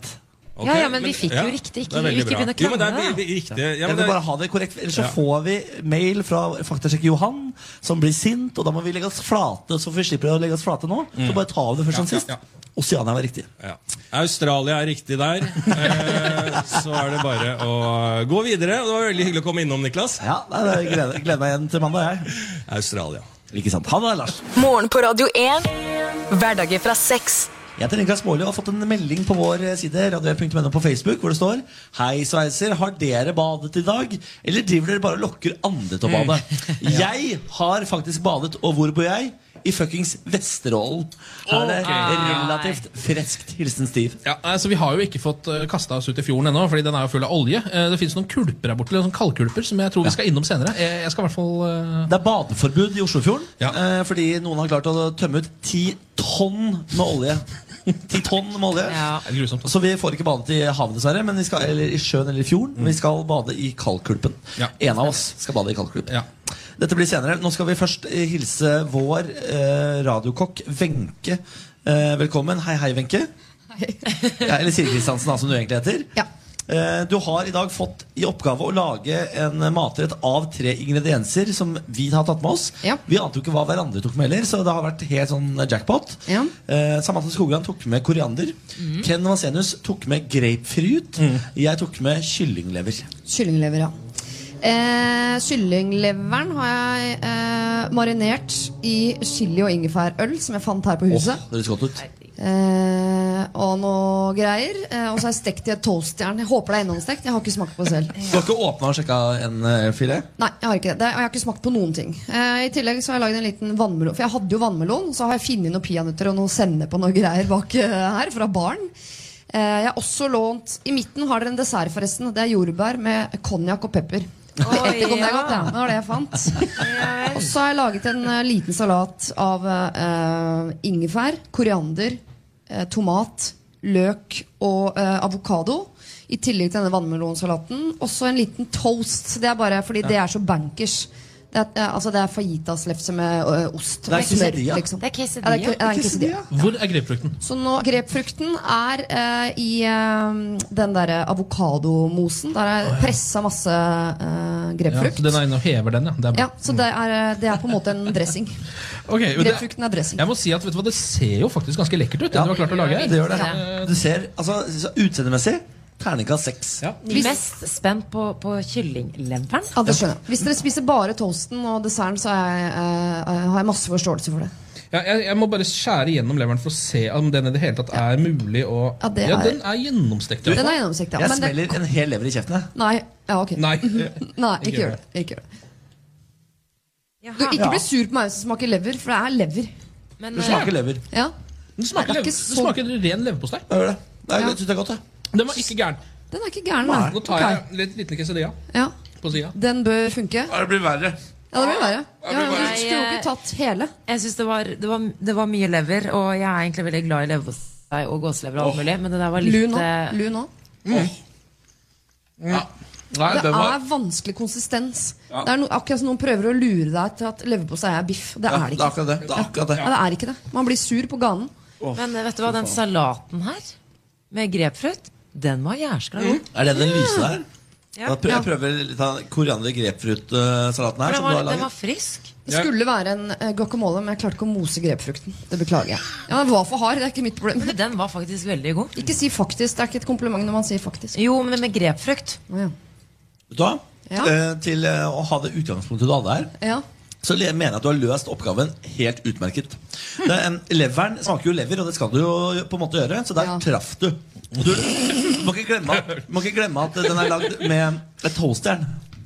[SPEAKER 7] Ok,
[SPEAKER 3] Ja, ja, men vi fikk jo riktig. Ikke-
[SPEAKER 7] det er veldig
[SPEAKER 3] ikke
[SPEAKER 7] bra.
[SPEAKER 3] begynne å
[SPEAKER 7] Jo, men det er
[SPEAKER 3] krangle, da.
[SPEAKER 7] vi- vi- riktig. Ja,
[SPEAKER 2] Jeg
[SPEAKER 7] men
[SPEAKER 2] vil
[SPEAKER 7] det,
[SPEAKER 2] bare ha det korrekt, ellers så
[SPEAKER 7] Ja.
[SPEAKER 2] får vi mail fra Faktasjekk Johan, som blir sint, og da må vi legge oss flate. Så vi slipper å legge oss flate nå. Så bare ta av det først som
[SPEAKER 7] Mm. Ja, ja,
[SPEAKER 2] sist.
[SPEAKER 7] ja.
[SPEAKER 2] Oceania var riktig.
[SPEAKER 7] ja. Australia er riktig der. Eh, så er det bare å gå videre. Og Det var veldig hyggelig å komme innom, Niklas.
[SPEAKER 2] Ja, nei, det jeg gleder, gleder meg igjen til mandag,
[SPEAKER 7] Australia.
[SPEAKER 2] jeg. Ikke sant. Ha det, Lars.
[SPEAKER 1] Morgen på Radio 1. Hverdager fra seks.
[SPEAKER 2] Jeg heter Niklas Baarli og har fått en melding på vår eh, side radio1.no på Facebook, hvor det står Hei, sveiser. Har dere badet i dag? Eller driver dere bare og lokker andre til å bade? Jeg har faktisk badet, og hvor bor jeg? I fuckings Vesterålen. Her er det relativt friskt. Hilsen Stiv.
[SPEAKER 4] Ja, altså, vi har jo ikke fått kasta oss ut i fjorden ennå, fordi den er jo full av olje. Eh, Det fins noen kulper her borte, eller sånn kaldkulper, som jeg tror vi skal innom senere. Jeg, jeg skal i hvert fall eh,
[SPEAKER 2] Det er badeforbud i Oslofjorden
[SPEAKER 4] Ja.
[SPEAKER 2] eh, fordi noen har klart å tømme ut ti tonn med olje. Ti tonn med olje.
[SPEAKER 3] Ja.
[SPEAKER 4] det er Grusomt. altså.
[SPEAKER 2] Så vi får ikke badet i havet, dessverre. Men vi skal, eller i sjøen eller i fjorden. Men vi skal bade i Kalkulpen.
[SPEAKER 4] Mm. Ja.
[SPEAKER 2] En av oss skal bade i Kalkulpen.
[SPEAKER 4] Ja.
[SPEAKER 2] Dette blir senere. Nå skal vi først eh, hilse vår eh, radiokokk Wenche. Eh, velkommen. Hei, hei, Wenche. Ja, eller Siri Kristiansen, da, som du egentlig heter.
[SPEAKER 5] Ja.
[SPEAKER 2] Eh, Du har i dag fått i oppgave å lage en matrett av tre ingredienser som vi har tatt med oss.
[SPEAKER 5] Ja.
[SPEAKER 2] Vi ante jo ikke hva hverandre tok med heller, så det har vært helt sånn jackpot.
[SPEAKER 5] Ja. Mm.
[SPEAKER 2] Eh, Samantha Skogran tok med koriander. Ken Vasenius tok med grapefruit. Jeg tok med kyllinglever.
[SPEAKER 5] Kyllinglever, ja. Eh, kyllingleveren har jeg eh, marinert i chili- og ingefærøl, som jeg fant her på
[SPEAKER 2] Åh,
[SPEAKER 5] huset.
[SPEAKER 2] det høres godt ut.
[SPEAKER 5] Eh, og noe greier. Eh, og så har jeg stekt i et toastjern. Jeg håper det er innomstekt. Jeg har ikke smakt på det selv.
[SPEAKER 2] Du har ikke åpna og sjekka en eh, filet?
[SPEAKER 5] Nei, jeg har ikke det. det. Og jeg har ikke smakt på noen ting. Eh, I tillegg så har jeg laget en liten vannmelon. For jeg hadde jo vannmelon, så har jeg funnet noen peanøtter og noe sennep og noe greier bak eh, her fra baren. Eh, jeg har også lånt I midten har dere en dessert, forresten. og Det er jordbær med konjakk og pepper. Det
[SPEAKER 3] Oi,
[SPEAKER 5] etterkom jeg
[SPEAKER 3] ja.
[SPEAKER 5] godt, ja. Det var det jeg fant. Og så har jeg laget en eh, liten salat av eh, ingefær, koriander, eh, tomat, løk og eh, avokado. I tillegg til denne vannmelonsalaten. Også en liten toast. Det er bare fordi det er så bankers. Det er, eh, altså det er fajitas-lefse med eh, ost.
[SPEAKER 2] Det er
[SPEAKER 5] og smør,
[SPEAKER 2] quesadilla.
[SPEAKER 5] liksom.
[SPEAKER 3] Det er
[SPEAKER 5] Ja, det er,
[SPEAKER 3] quesadilla.
[SPEAKER 5] ke- det er en quesadilla.
[SPEAKER 4] Hvor er grepefrukten?
[SPEAKER 5] Så nå, grepfrukten er eh, i eh, den derre avokadomosen. Der er pressa masse eh,
[SPEAKER 4] Ja,
[SPEAKER 5] grepfrukt.
[SPEAKER 4] så den er inne og hever den, ja. Det er bra.
[SPEAKER 5] Ja, så det er, eh, det er på en måte en dressing.
[SPEAKER 4] Ok, men det-
[SPEAKER 5] Grepfrukten er dressing.
[SPEAKER 4] Jeg må si at vet du hva, Det ser jo faktisk ganske lekkert ut. Det du har klart å lage her
[SPEAKER 2] det gjør det.
[SPEAKER 3] Ja.
[SPEAKER 2] Du ser, altså, så Utseendemessig Terningkast seks.
[SPEAKER 7] Ja.
[SPEAKER 5] Hvis-
[SPEAKER 3] Mest spent på, på kyllingleveren.
[SPEAKER 5] Ja, det skjønner jeg. Hvis dere spiser bare toasten og desserten, så er jeg, eh, eh, har jeg masse forståelse for det.
[SPEAKER 4] Ja, jeg, jeg må bare skjære gjennom leveren for å se om den i det hele tatt er mulig å
[SPEAKER 5] Ja, det er-
[SPEAKER 4] den er gjennomstekt. i hvert
[SPEAKER 5] Den
[SPEAKER 4] fall.
[SPEAKER 5] er gjennomsiktig. ja,
[SPEAKER 2] Jeg
[SPEAKER 5] men det-
[SPEAKER 2] smeller en hel lever i kjeften. jeg.
[SPEAKER 5] Nei, ja, ok.
[SPEAKER 4] Nei.
[SPEAKER 5] Nei, ikke gjør det. Ikke gjør det. Du,
[SPEAKER 3] Jaha.
[SPEAKER 5] ikke bli sur på meg som smaker lever, for det er lever.
[SPEAKER 3] Men,
[SPEAKER 2] Det
[SPEAKER 3] eh,
[SPEAKER 2] smaker lever.
[SPEAKER 5] Ja.
[SPEAKER 4] Den smaker,
[SPEAKER 5] Nei, det er
[SPEAKER 4] lever,
[SPEAKER 5] ikke
[SPEAKER 4] den smaker ren leverpostei.
[SPEAKER 2] Jeg gjør det. Nei, det synes jeg er godt, jeg.
[SPEAKER 4] Den var ikke gæren.
[SPEAKER 5] Den er ikke gæren, da.
[SPEAKER 4] Nå tar jeg litt liten quesadilla
[SPEAKER 5] Ja.
[SPEAKER 4] på sida.
[SPEAKER 5] Den bør funke. Ja,
[SPEAKER 2] Ja, Det blir verre.
[SPEAKER 5] det blir verre. Ja,
[SPEAKER 4] blir
[SPEAKER 5] du
[SPEAKER 4] verre.
[SPEAKER 5] skulle jo ikke tatt hele.
[SPEAKER 3] eh, Jeg synes det var, det, var, det var mye lever, og jeg er egentlig veldig glad i leverpostei og gåselever og alt mulig, men det der var
[SPEAKER 5] Lun
[SPEAKER 3] litt
[SPEAKER 5] nå.
[SPEAKER 3] eh,
[SPEAKER 5] Lun nå.
[SPEAKER 4] Ja. Nei,
[SPEAKER 5] Det
[SPEAKER 4] den var
[SPEAKER 5] er vanskelig konsistens. Det er no, akkurat som noen prøver å lure deg til at leverpostei er biff. Det
[SPEAKER 2] Ja,
[SPEAKER 5] er det
[SPEAKER 2] det er
[SPEAKER 5] ikke.
[SPEAKER 2] akkurat det. det, er akkurat det.
[SPEAKER 5] Ja, det er ikke det. Man blir sur på ganen.
[SPEAKER 3] Men eh, vet du hva, den salaten her, med grepfrukt, den var
[SPEAKER 5] Mm.
[SPEAKER 3] jæskla god.
[SPEAKER 2] Er det den lyse der?
[SPEAKER 3] Ja.
[SPEAKER 2] Da prøver, jeg prøver litt av koriander-grepfrutsalaten
[SPEAKER 3] For
[SPEAKER 2] her.
[SPEAKER 3] den
[SPEAKER 2] Som du
[SPEAKER 3] var,
[SPEAKER 2] har
[SPEAKER 3] den var
[SPEAKER 2] laget.
[SPEAKER 3] frisk.
[SPEAKER 5] Det skulle være en eh, guacamole, men jeg klarte ikke å mose grepfrukten. Det beklager jeg. Ja, men Den var for hard. Det er ikke mitt problem.
[SPEAKER 3] Men den var faktisk veldig god.
[SPEAKER 5] Ikke si faktisk. Det er ikke et kompliment når man sier faktisk.
[SPEAKER 3] Jo, men med grepfrukt.
[SPEAKER 5] Å, Ja.
[SPEAKER 2] Vet du hva?
[SPEAKER 5] Ja.
[SPEAKER 2] Eh, til eh, å ha det utgangspunktet du hadde her,
[SPEAKER 5] Ja.
[SPEAKER 2] så le- mener jeg at du har løst oppgaven helt utmerket. Det, er en- leveren smaker jo lever, og det skal du jo på en måte gjøre, så der
[SPEAKER 5] Ja.
[SPEAKER 2] traff du. Og du må ikke, glemme, at- må ikke glemme at den er lagd med et toastjern.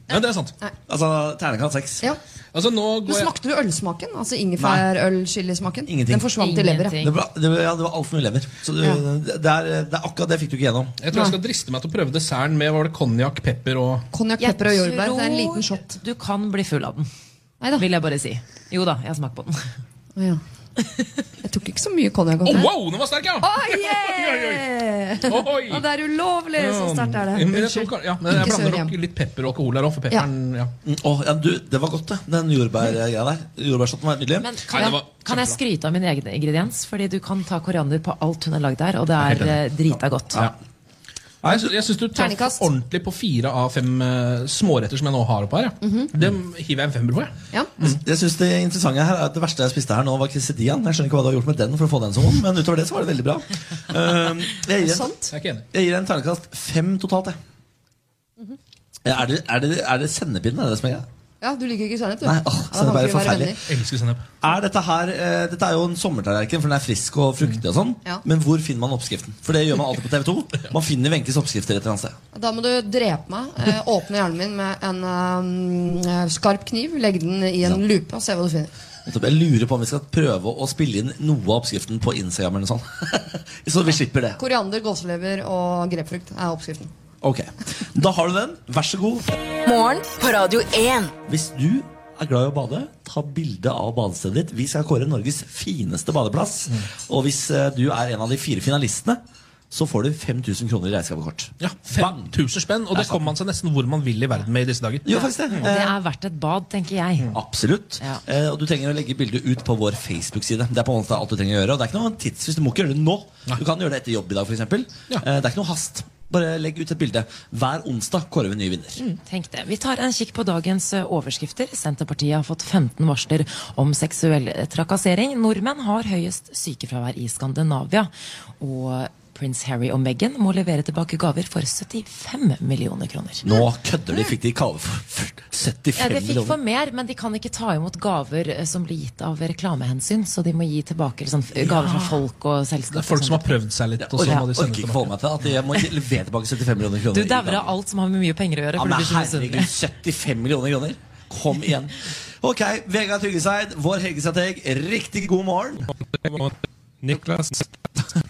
[SPEAKER 4] Ja, det er sant.
[SPEAKER 2] Altså terningkast seks.
[SPEAKER 5] ja.
[SPEAKER 4] Altså, nå
[SPEAKER 5] Men
[SPEAKER 4] går jeg
[SPEAKER 5] smakte du ølsmaken? Altså ingefærøl-chilismaken? Den
[SPEAKER 2] Ingenting.
[SPEAKER 5] forsvant i leveret.
[SPEAKER 2] Det var, det, var- ja, det var altfor mye lever. Så du,
[SPEAKER 5] Ja.
[SPEAKER 2] det, er, det er akkurat det fikk du ikke gjennom.
[SPEAKER 4] Jeg tror jeg skal driste meg til å prøve desserten med var det konjakk, pepper og
[SPEAKER 5] Konjakk,
[SPEAKER 3] Jeg
[SPEAKER 5] pepper og jordbær. Det er en
[SPEAKER 3] tror
[SPEAKER 5] liten shot.
[SPEAKER 3] Du kan bli full av den,
[SPEAKER 5] Neida.
[SPEAKER 3] vil jeg bare si. Jo da, jeg smaker på den.
[SPEAKER 5] Å, ja. Jeg tok ikke så mye konjakk.
[SPEAKER 4] Å, Wow, den var sterk, ja!
[SPEAKER 5] Oh, yeah!
[SPEAKER 4] Oi!
[SPEAKER 5] Og det er ulovlig! Så sterkt er
[SPEAKER 4] Ja,
[SPEAKER 5] det.
[SPEAKER 4] men Mm, jeg, tror, kan- ja, men jeg
[SPEAKER 5] Ikke
[SPEAKER 4] blander
[SPEAKER 5] sør
[SPEAKER 4] nok
[SPEAKER 5] igjen.
[SPEAKER 4] litt pepper og alkohol her òg, for pepperen ja.
[SPEAKER 2] Mm, åh, ja, du, det var godt, det. Den jordbærgreia der. Jordbærsotten var nydelig.
[SPEAKER 3] Men
[SPEAKER 4] Nei,
[SPEAKER 3] kan
[SPEAKER 4] det
[SPEAKER 3] jeg,
[SPEAKER 4] var
[SPEAKER 3] kan jeg skryte av min egen ingrediens? Fordi du kan ta koriander på alt hun har lagd der, og det er eh, drita godt.
[SPEAKER 4] Nei, Jeg, sy- jeg syns du traff
[SPEAKER 5] Terningkast.
[SPEAKER 4] ordentlig på fire av fem eh, småretter som jeg nå har oppå her. Ja. Dem hiver jeg en femmer på. Mhm. jeg. Mm.
[SPEAKER 5] Ja.
[SPEAKER 2] Jeg synes Det interessante eh, her er at det verste jeg spiste her nå, var quesadillaen. Jeg skjønner ikke hva du har gjort med den for å få den som vond, men utover det så var det veldig bra. Um, jeg, gir en,
[SPEAKER 5] Sant.
[SPEAKER 4] Jeg er ikke enig.
[SPEAKER 2] jeg gir en terningkast fem totalt, jeg.
[SPEAKER 5] Mhm.
[SPEAKER 2] Er det, er det, er det sennepinn? Er det det som er greia?
[SPEAKER 5] Ja, du liker ikke sennep, du.
[SPEAKER 2] Nei,
[SPEAKER 5] Ja, da
[SPEAKER 2] åh, sennep
[SPEAKER 5] kan
[SPEAKER 2] er
[SPEAKER 5] ikke vi være
[SPEAKER 2] forferdelig.
[SPEAKER 5] venner.
[SPEAKER 4] Jeg Elsker sennep.
[SPEAKER 2] Er dette her eh, Dette er jo en sommertallerken, for den er frisk og fruktig og sånn.
[SPEAKER 5] Ja.
[SPEAKER 2] Men hvor finner man oppskriften? For det gjør man alltid på TV2. Man finner Wenches oppskrifter et eller annet sted.
[SPEAKER 5] Da må du drepe meg. Eh, åpne hjernen min med en eh, skarp kniv, legge den i en lupe og se hva du finner.
[SPEAKER 2] Nettopp. Jeg lurer på om vi skal prøve å spille inn noe av oppskriften på Instagram. eller noe sånt. Så vi slipper det.
[SPEAKER 5] Koriander, gåselever og grepfrukt er oppskriften.
[SPEAKER 2] Ok, Da har du den. Vær så god.
[SPEAKER 1] Morgen på Radio 1.
[SPEAKER 2] Hvis du er glad i å bade, ta bilde av badestedet ditt. Vi skal kåre Norges fineste badeplass.
[SPEAKER 4] Mm.
[SPEAKER 2] Og hvis eh, du er en av de fire finalistene, så får du 5000 kroner i regnskapskort.
[SPEAKER 4] Ja,
[SPEAKER 2] Bang!
[SPEAKER 4] 5000 spenn, og det kommer man seg nesten hvor man vil i verden med i disse dager.
[SPEAKER 2] Du gjør faktisk det.
[SPEAKER 3] Og det
[SPEAKER 2] Eh,
[SPEAKER 3] er verdt et bad, tenker jeg.
[SPEAKER 4] Mm.
[SPEAKER 2] Absolutt.
[SPEAKER 3] Ja.
[SPEAKER 2] Eh, og du trenger å legge bildet ut på vår Facebook-side. Det er på en måte alt du trenger å gjøre. Og det er ikke noe tids hvis du må ikke gjøre det nå. Du kan gjøre det etter jobb i dag, f.eks.
[SPEAKER 4] Ja.
[SPEAKER 2] Eh, det er ikke noe hast. Bare legg ut et bilde. Hver onsdag kårer vi en ny vinner.
[SPEAKER 3] Tenk det. Vi tar en kikk på dagens eh, overskrifter. Senterpartiet har fått 15 varsler om seksuell eh, trakassering. Nordmenn har høyest sykefravær i Skandinavia. Og prins Harry og Meghan må levere tilbake gaver for 75 millioner kroner.
[SPEAKER 2] Nå kødder de! Fikk de kave for 75
[SPEAKER 3] Ja, de fikk
[SPEAKER 2] millioner?
[SPEAKER 3] for mer, men de kan ikke ta imot gaver eh, som blir gitt av reklamehensyn. Så de må gi tilbake liksom, f- gaver fra folk og
[SPEAKER 4] Det
[SPEAKER 3] selskap.
[SPEAKER 4] er folk
[SPEAKER 3] og
[SPEAKER 4] som har
[SPEAKER 3] sånt.
[SPEAKER 4] prøvd seg litt.
[SPEAKER 2] Jeg
[SPEAKER 4] Og så må
[SPEAKER 2] orker,
[SPEAKER 4] de sende
[SPEAKER 2] orker ikke
[SPEAKER 4] tilbake.
[SPEAKER 2] forholde meg til at jeg må levere tilbake 75 millioner kroner.
[SPEAKER 3] Du
[SPEAKER 2] i
[SPEAKER 3] dauer
[SPEAKER 2] gaven.
[SPEAKER 3] av alt som har med mye penger å sånn. gjøre.
[SPEAKER 2] Ja,
[SPEAKER 3] for du
[SPEAKER 2] men
[SPEAKER 3] blir så misunnelig.
[SPEAKER 2] herregud, 75 millioner kroner? Kom igjen. Ok, Vegard Tryggeseid, vår helgestrateg, riktig god morgen.
[SPEAKER 9] Niklas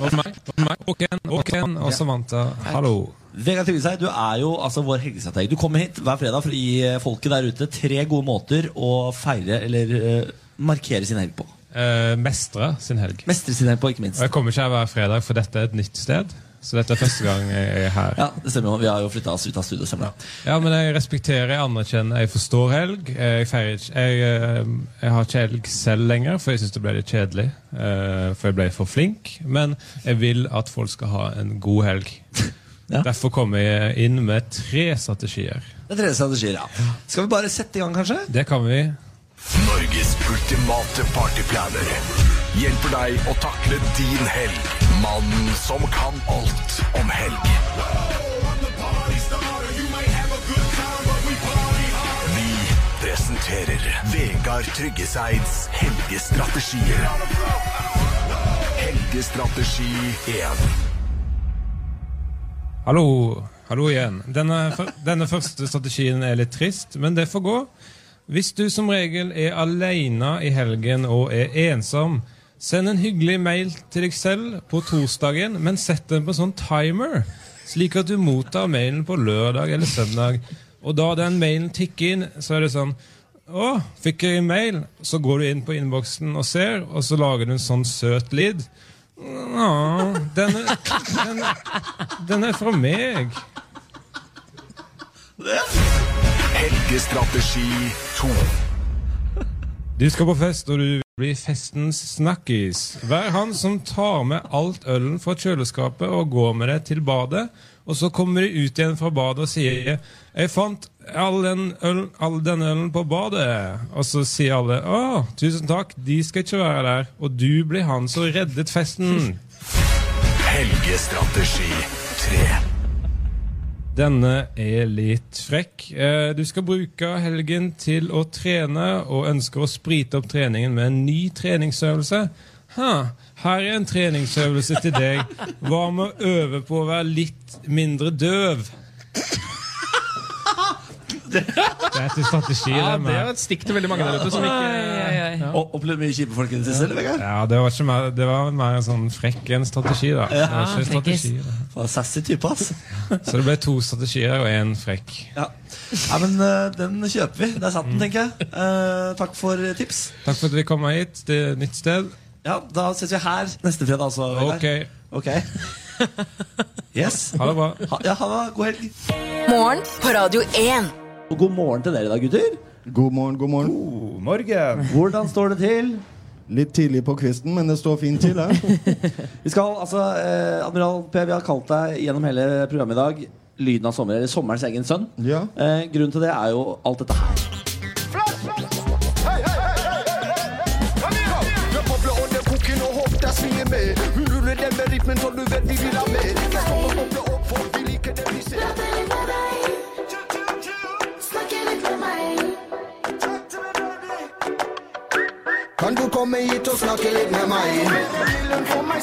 [SPEAKER 9] Og meg, og meg, og Ken, og Ken, og Samantha. Hallo.
[SPEAKER 2] Vegard Tryggeseid, du er jo altså vår helgestrateg. Du kommer hit hver fredag for å gi eh, folket der ute tre gode måter å feire eller eh, markere sin helg på.
[SPEAKER 9] Eh, mestre sin helg.
[SPEAKER 2] Mestre sin helg på, ikke
[SPEAKER 9] Og
[SPEAKER 2] minst.
[SPEAKER 9] jeg kommer ikke her hver fredag, for dette er et nytt sted. Så dette er første gang jeg er her.
[SPEAKER 2] Ja, det stemmer jo. Vi har jo flytta oss ut av studio, stemmer det.
[SPEAKER 9] Ja, men jeg respekterer, jeg anerkjenner, jeg forstår helg. Eh, Jeg feirer ikke Jeg, eh, jeg har ikke helg selv lenger, for jeg syns det ble litt kjedelig. eh, For jeg ble for flink. Men jeg vil at folk skal ha en god helg.
[SPEAKER 2] Ja.
[SPEAKER 9] Derfor kommer jeg inn med tre strategier.
[SPEAKER 2] Det er tredje strategier, ja. Skal vi bare sette i gang, kanskje?
[SPEAKER 9] Det kan vi.
[SPEAKER 10] Norges ultimate partyplaner hjelper deg å takle din helg. Mannen som kan alt om helg. Vi presenterer Vegard Tryggeseids helgestrategier. Helgestrategi 1.
[SPEAKER 9] Hallo, hallo igjen. Denne, fø- denne første strategien er litt trist, men det får gå. Hvis du som regel er alene i helgen og er ensom, send en hyggelig mail til deg selv på torsdagen, men sett den på sånn timer, slik at du mottar mailen på lørdag eller søndag. Og da den mailen tikker inn, så er det sånn å, fikk jeg en mail? Så går du inn på innboksen og ser, og så lager du en sånn søt lyd. Å, den er, den, den er fra meg.
[SPEAKER 10] Helgestrategi 2.
[SPEAKER 9] Du skal på fest, og du blir festens snakkis. Vær han som tar med alt ølen fra kjøleskapet og går med det til badet. Og så kommer de ut igjen fra badet og sier 'Jeg fant all den ølen, all den ølen på badet'. Og så sier alle 'Å, tusen takk, de skal ikke være der'. Og du blir han som reddet festen.
[SPEAKER 10] Helgestrategi 3.
[SPEAKER 9] Denne er litt frekk. Eh, Du skal bruke helgen til å trene og ønsker å sprite opp treningen med en ny treningsøvelse. Ha, her er en treningsøvelse til deg. Hva med å øve på å være litt mindre døv? Det er til strategi,
[SPEAKER 4] Ja,
[SPEAKER 9] det
[SPEAKER 4] det er
[SPEAKER 9] med.
[SPEAKER 4] et stikk til eh, veldig mange der ute som ikke
[SPEAKER 2] Og opplevd mye kjipe folk i det siste, eller, Vegard?
[SPEAKER 9] Ja, det var, ikke mer, det var mer en sånn frekk enn strategi, da. Det var ikke
[SPEAKER 3] Ja, frekkis.
[SPEAKER 9] strategi, da.
[SPEAKER 2] Faen, Sassy type, ass.
[SPEAKER 9] Så det ble to strategier og én frekk.
[SPEAKER 2] Ja. Nei, men eh, den kjøper vi. Der satt den,
[SPEAKER 9] Mm.
[SPEAKER 2] tenker jeg. Eh, takk for tips.
[SPEAKER 9] Takk for at vi kom hit til et nytt sted.
[SPEAKER 2] Ja, Da ses vi her neste fredag, altså. Vegard.
[SPEAKER 9] Ok,
[SPEAKER 2] Ok. Yes.
[SPEAKER 9] ha det bra.
[SPEAKER 2] Ha, ja, ha det. God helg.
[SPEAKER 1] Morgen på Radio 1.
[SPEAKER 2] Og god morgen til dere i dag, gutter.
[SPEAKER 11] God morgen, god morgen.
[SPEAKER 12] God morgen.
[SPEAKER 2] Hvordan står det til?
[SPEAKER 11] Litt tidlig på kvisten, men det står fint til. Eh?
[SPEAKER 2] Vi skal, altså, eh, Admiral P, vi har kalt deg gjennom hele programmet i dag Lyden av sommer, eller Sommerens egen sønn.
[SPEAKER 11] Ja.
[SPEAKER 2] Eh, grunnen til det er jo alt dette her.
[SPEAKER 10] Kan du komme hit og snakke litt med meg?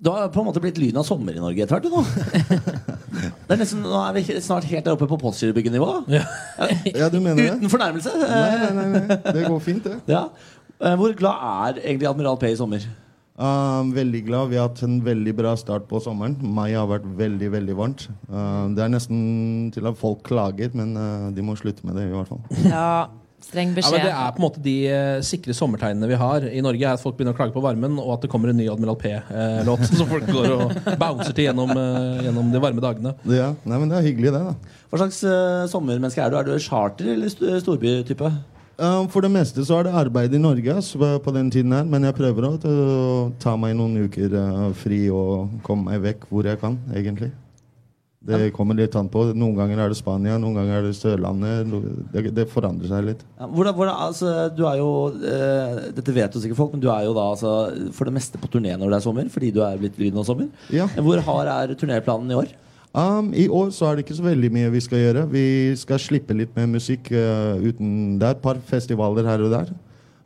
[SPEAKER 2] Du har på en måte blitt lyden av sommer i Norge etter hvert. du, Nå. Det er nesten, nå er vi he- snart helt der oppe på Postgirobyggenivå. Ja.
[SPEAKER 11] ja, du mener det?
[SPEAKER 2] Uten fornærmelse.
[SPEAKER 11] Nei,
[SPEAKER 2] Eh,
[SPEAKER 11] nei, nei, nei. Det går fint, det.
[SPEAKER 2] ja. Eh, Hvor glad er egentlig Admiral P i sommer?
[SPEAKER 11] Um, veldig glad. Vi har hatt en veldig bra start på sommeren. Mai har vært veldig veldig varmt. Um, det er nesten til at folk klager, men uh, de må slutte med det. i hvert fall
[SPEAKER 3] Ja, streng
[SPEAKER 4] Ja, men
[SPEAKER 3] beskjed.
[SPEAKER 4] Det er på en måte de eh, sikre sommertegnene vi har i Norge. er At folk begynner å klage på varmen, og at det kommer en ny Admiral P-låt. Som folk går og bouncer til gjennom, eh, gjennom de varme dagene.
[SPEAKER 11] Ja, nei, men Det er hyggelig, det. da
[SPEAKER 2] Hva slags eh, sommermenneske er du? Er du charter- eller st storbytype?
[SPEAKER 11] um, For det meste så er det arbeid i Norge ass, på på den tiden her, men jeg prøver å ta- ta meg noen uker uh, fri og komme meg vekk hvor jeg kan, egentlig. Det kommer litt an på. Noen ganger er det Spania, noen ganger er det Sørlandet. no- Det, det forandrer seg litt.
[SPEAKER 2] Ja, hvordan, hvordan, altså, du er jo eh, Dette vet jo sikkert folk, men du er jo da altså, for det meste på turné når det er sommer. Fordi du er blitt lyden av sommer.
[SPEAKER 11] Ja.
[SPEAKER 2] Hvor hard er turnéplanen i år?
[SPEAKER 11] Um, I år så er det ikke så veldig mye vi skal gjøre. Vi skal slippe litt med musikk eh, uten Det er et par festivaler her og der.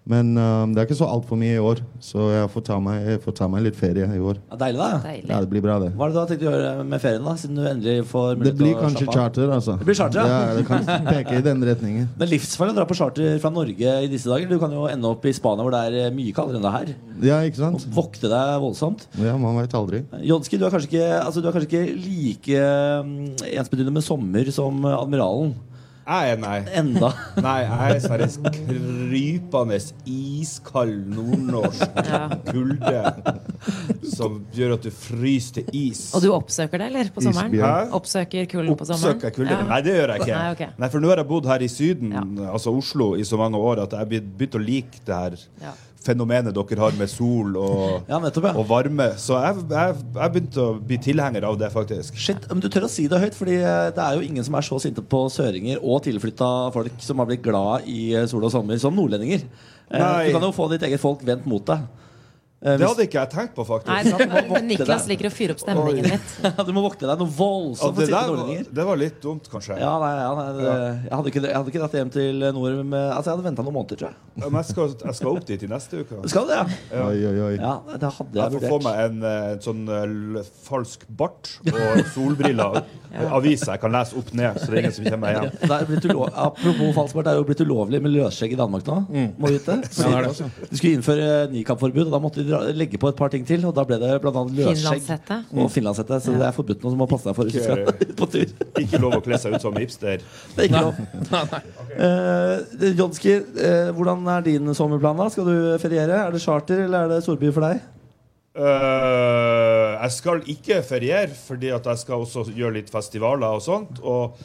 [SPEAKER 11] Men um, det er ikke så altfor mye i år, så jeg får ta meg, jeg får ta meg litt ferie i år.
[SPEAKER 2] Ja, deilig, da.
[SPEAKER 11] Ja,
[SPEAKER 3] Deilig.
[SPEAKER 11] Det blir bra, det.
[SPEAKER 2] Hva er det du har tenkt å gjøre med ferien, da? Siden du endelig får
[SPEAKER 11] Det
[SPEAKER 2] mulighet
[SPEAKER 11] blir
[SPEAKER 2] til å
[SPEAKER 11] kanskje
[SPEAKER 2] slappe av?
[SPEAKER 11] charter, altså.
[SPEAKER 2] Det blir charter, ja.
[SPEAKER 11] ja. Det kan peke i den retningen.
[SPEAKER 2] Det er livsfarlig å dra på charter fra Norge i disse dager. Du kan jo ende opp i Spania, hvor det er eh, mye kaldere enn det er her.
[SPEAKER 11] Ja, ikke sant?
[SPEAKER 2] Vokte deg voldsomt.
[SPEAKER 11] Ja, Man veit aldri.
[SPEAKER 2] Eh, Jonski, du, er kanskje ikke- altså, du er kanskje ikke like mm, ensbetydende med sommer som eh, Admiralen.
[SPEAKER 12] Jeg er nei.
[SPEAKER 2] Enda.
[SPEAKER 12] Nei, jeg er seriøst krypende iskald nordnorsk kulde som gjør at du fryser til is.
[SPEAKER 3] Og du oppsøker det, eller? På sommeren?
[SPEAKER 12] Isbjørn.
[SPEAKER 3] Oppsøker kulden på sommeren?
[SPEAKER 12] Oppsøker kulde.
[SPEAKER 3] Ja.
[SPEAKER 12] Nei, det gjør jeg ikke.
[SPEAKER 3] Nei, ok.
[SPEAKER 12] for nå har jeg bodd her i Syden,
[SPEAKER 3] Ja.
[SPEAKER 12] altså Oslo, i så mange år at jeg har begynt å like det her
[SPEAKER 3] Ja.
[SPEAKER 12] fenomenet dere har med sol og, og varme. Så jeg, jeg, jeg begynte å bli tilhenger av det, faktisk.
[SPEAKER 2] Shit, men Du tør å si det høyt, Fordi eh, det er jo ingen som er så sinte på søringer og tilflytta folk som har blitt glad i eh, sol og sommer, som nordlendinger. Eh,
[SPEAKER 12] Nei.
[SPEAKER 2] Du kan jo få ditt eget folk vendt mot deg. Eh,
[SPEAKER 12] Det hadde ikke jeg tenkt på, faktisk.
[SPEAKER 3] Nei, men- men Niklas liker å fyre opp stemningen litt.
[SPEAKER 2] du må vokte deg noe
[SPEAKER 12] Ja,
[SPEAKER 2] voldsomt for
[SPEAKER 12] det,
[SPEAKER 2] sinte
[SPEAKER 12] der var,
[SPEAKER 2] nordlendinger.
[SPEAKER 12] det var litt dumt, kanskje.
[SPEAKER 2] Ja, nei, ja, nei, det, jeg, hadde ikke, jeg hadde ikke dratt hjem til nord med Altså, jeg hadde venta noen måneder, tror jeg.
[SPEAKER 12] Ja, Men jeg skal, jeg skal opp dit i neste uke.
[SPEAKER 2] Skal du det, ja?
[SPEAKER 12] Ja.
[SPEAKER 11] Oi, oi, oi.
[SPEAKER 2] Ja, det hadde jeg
[SPEAKER 12] Jeg får få
[SPEAKER 2] vurdert.
[SPEAKER 12] meg en, eh, en sånn eh, l- falsk bart og solbriller. og Aviser jeg kan lese opp ned, så det er ingen som kommer meg
[SPEAKER 2] Ja,
[SPEAKER 12] hjem.
[SPEAKER 2] det er blitt ulo- Apropos falskbart, det er jo blitt ulovlig med løsskjegg i Danmark nå. Må du vite.
[SPEAKER 12] Mm. Ja, det er det.
[SPEAKER 2] De skulle innføre nikabforbud, og da måtte de dra, legge på et par ting til. Og da ble det bl.a. løsskjegg
[SPEAKER 3] Finlandshette.
[SPEAKER 12] Mm.
[SPEAKER 2] og finlandshette. Så det er forbudt nå, så du må passe deg for hvis du skal
[SPEAKER 12] Ikke-
[SPEAKER 2] ut på tur.
[SPEAKER 12] Ikke lov å kle seg ut som hipster.
[SPEAKER 2] Det er ikke lov. Eh, Jonski, eh, hvordan er din sommerplan? da? Skal du feriere? Er det charter eller er det storby for deg?
[SPEAKER 12] Eh, jeg skal ikke feriere, fordi at jeg skal også gjøre litt festivaler og sånt. Og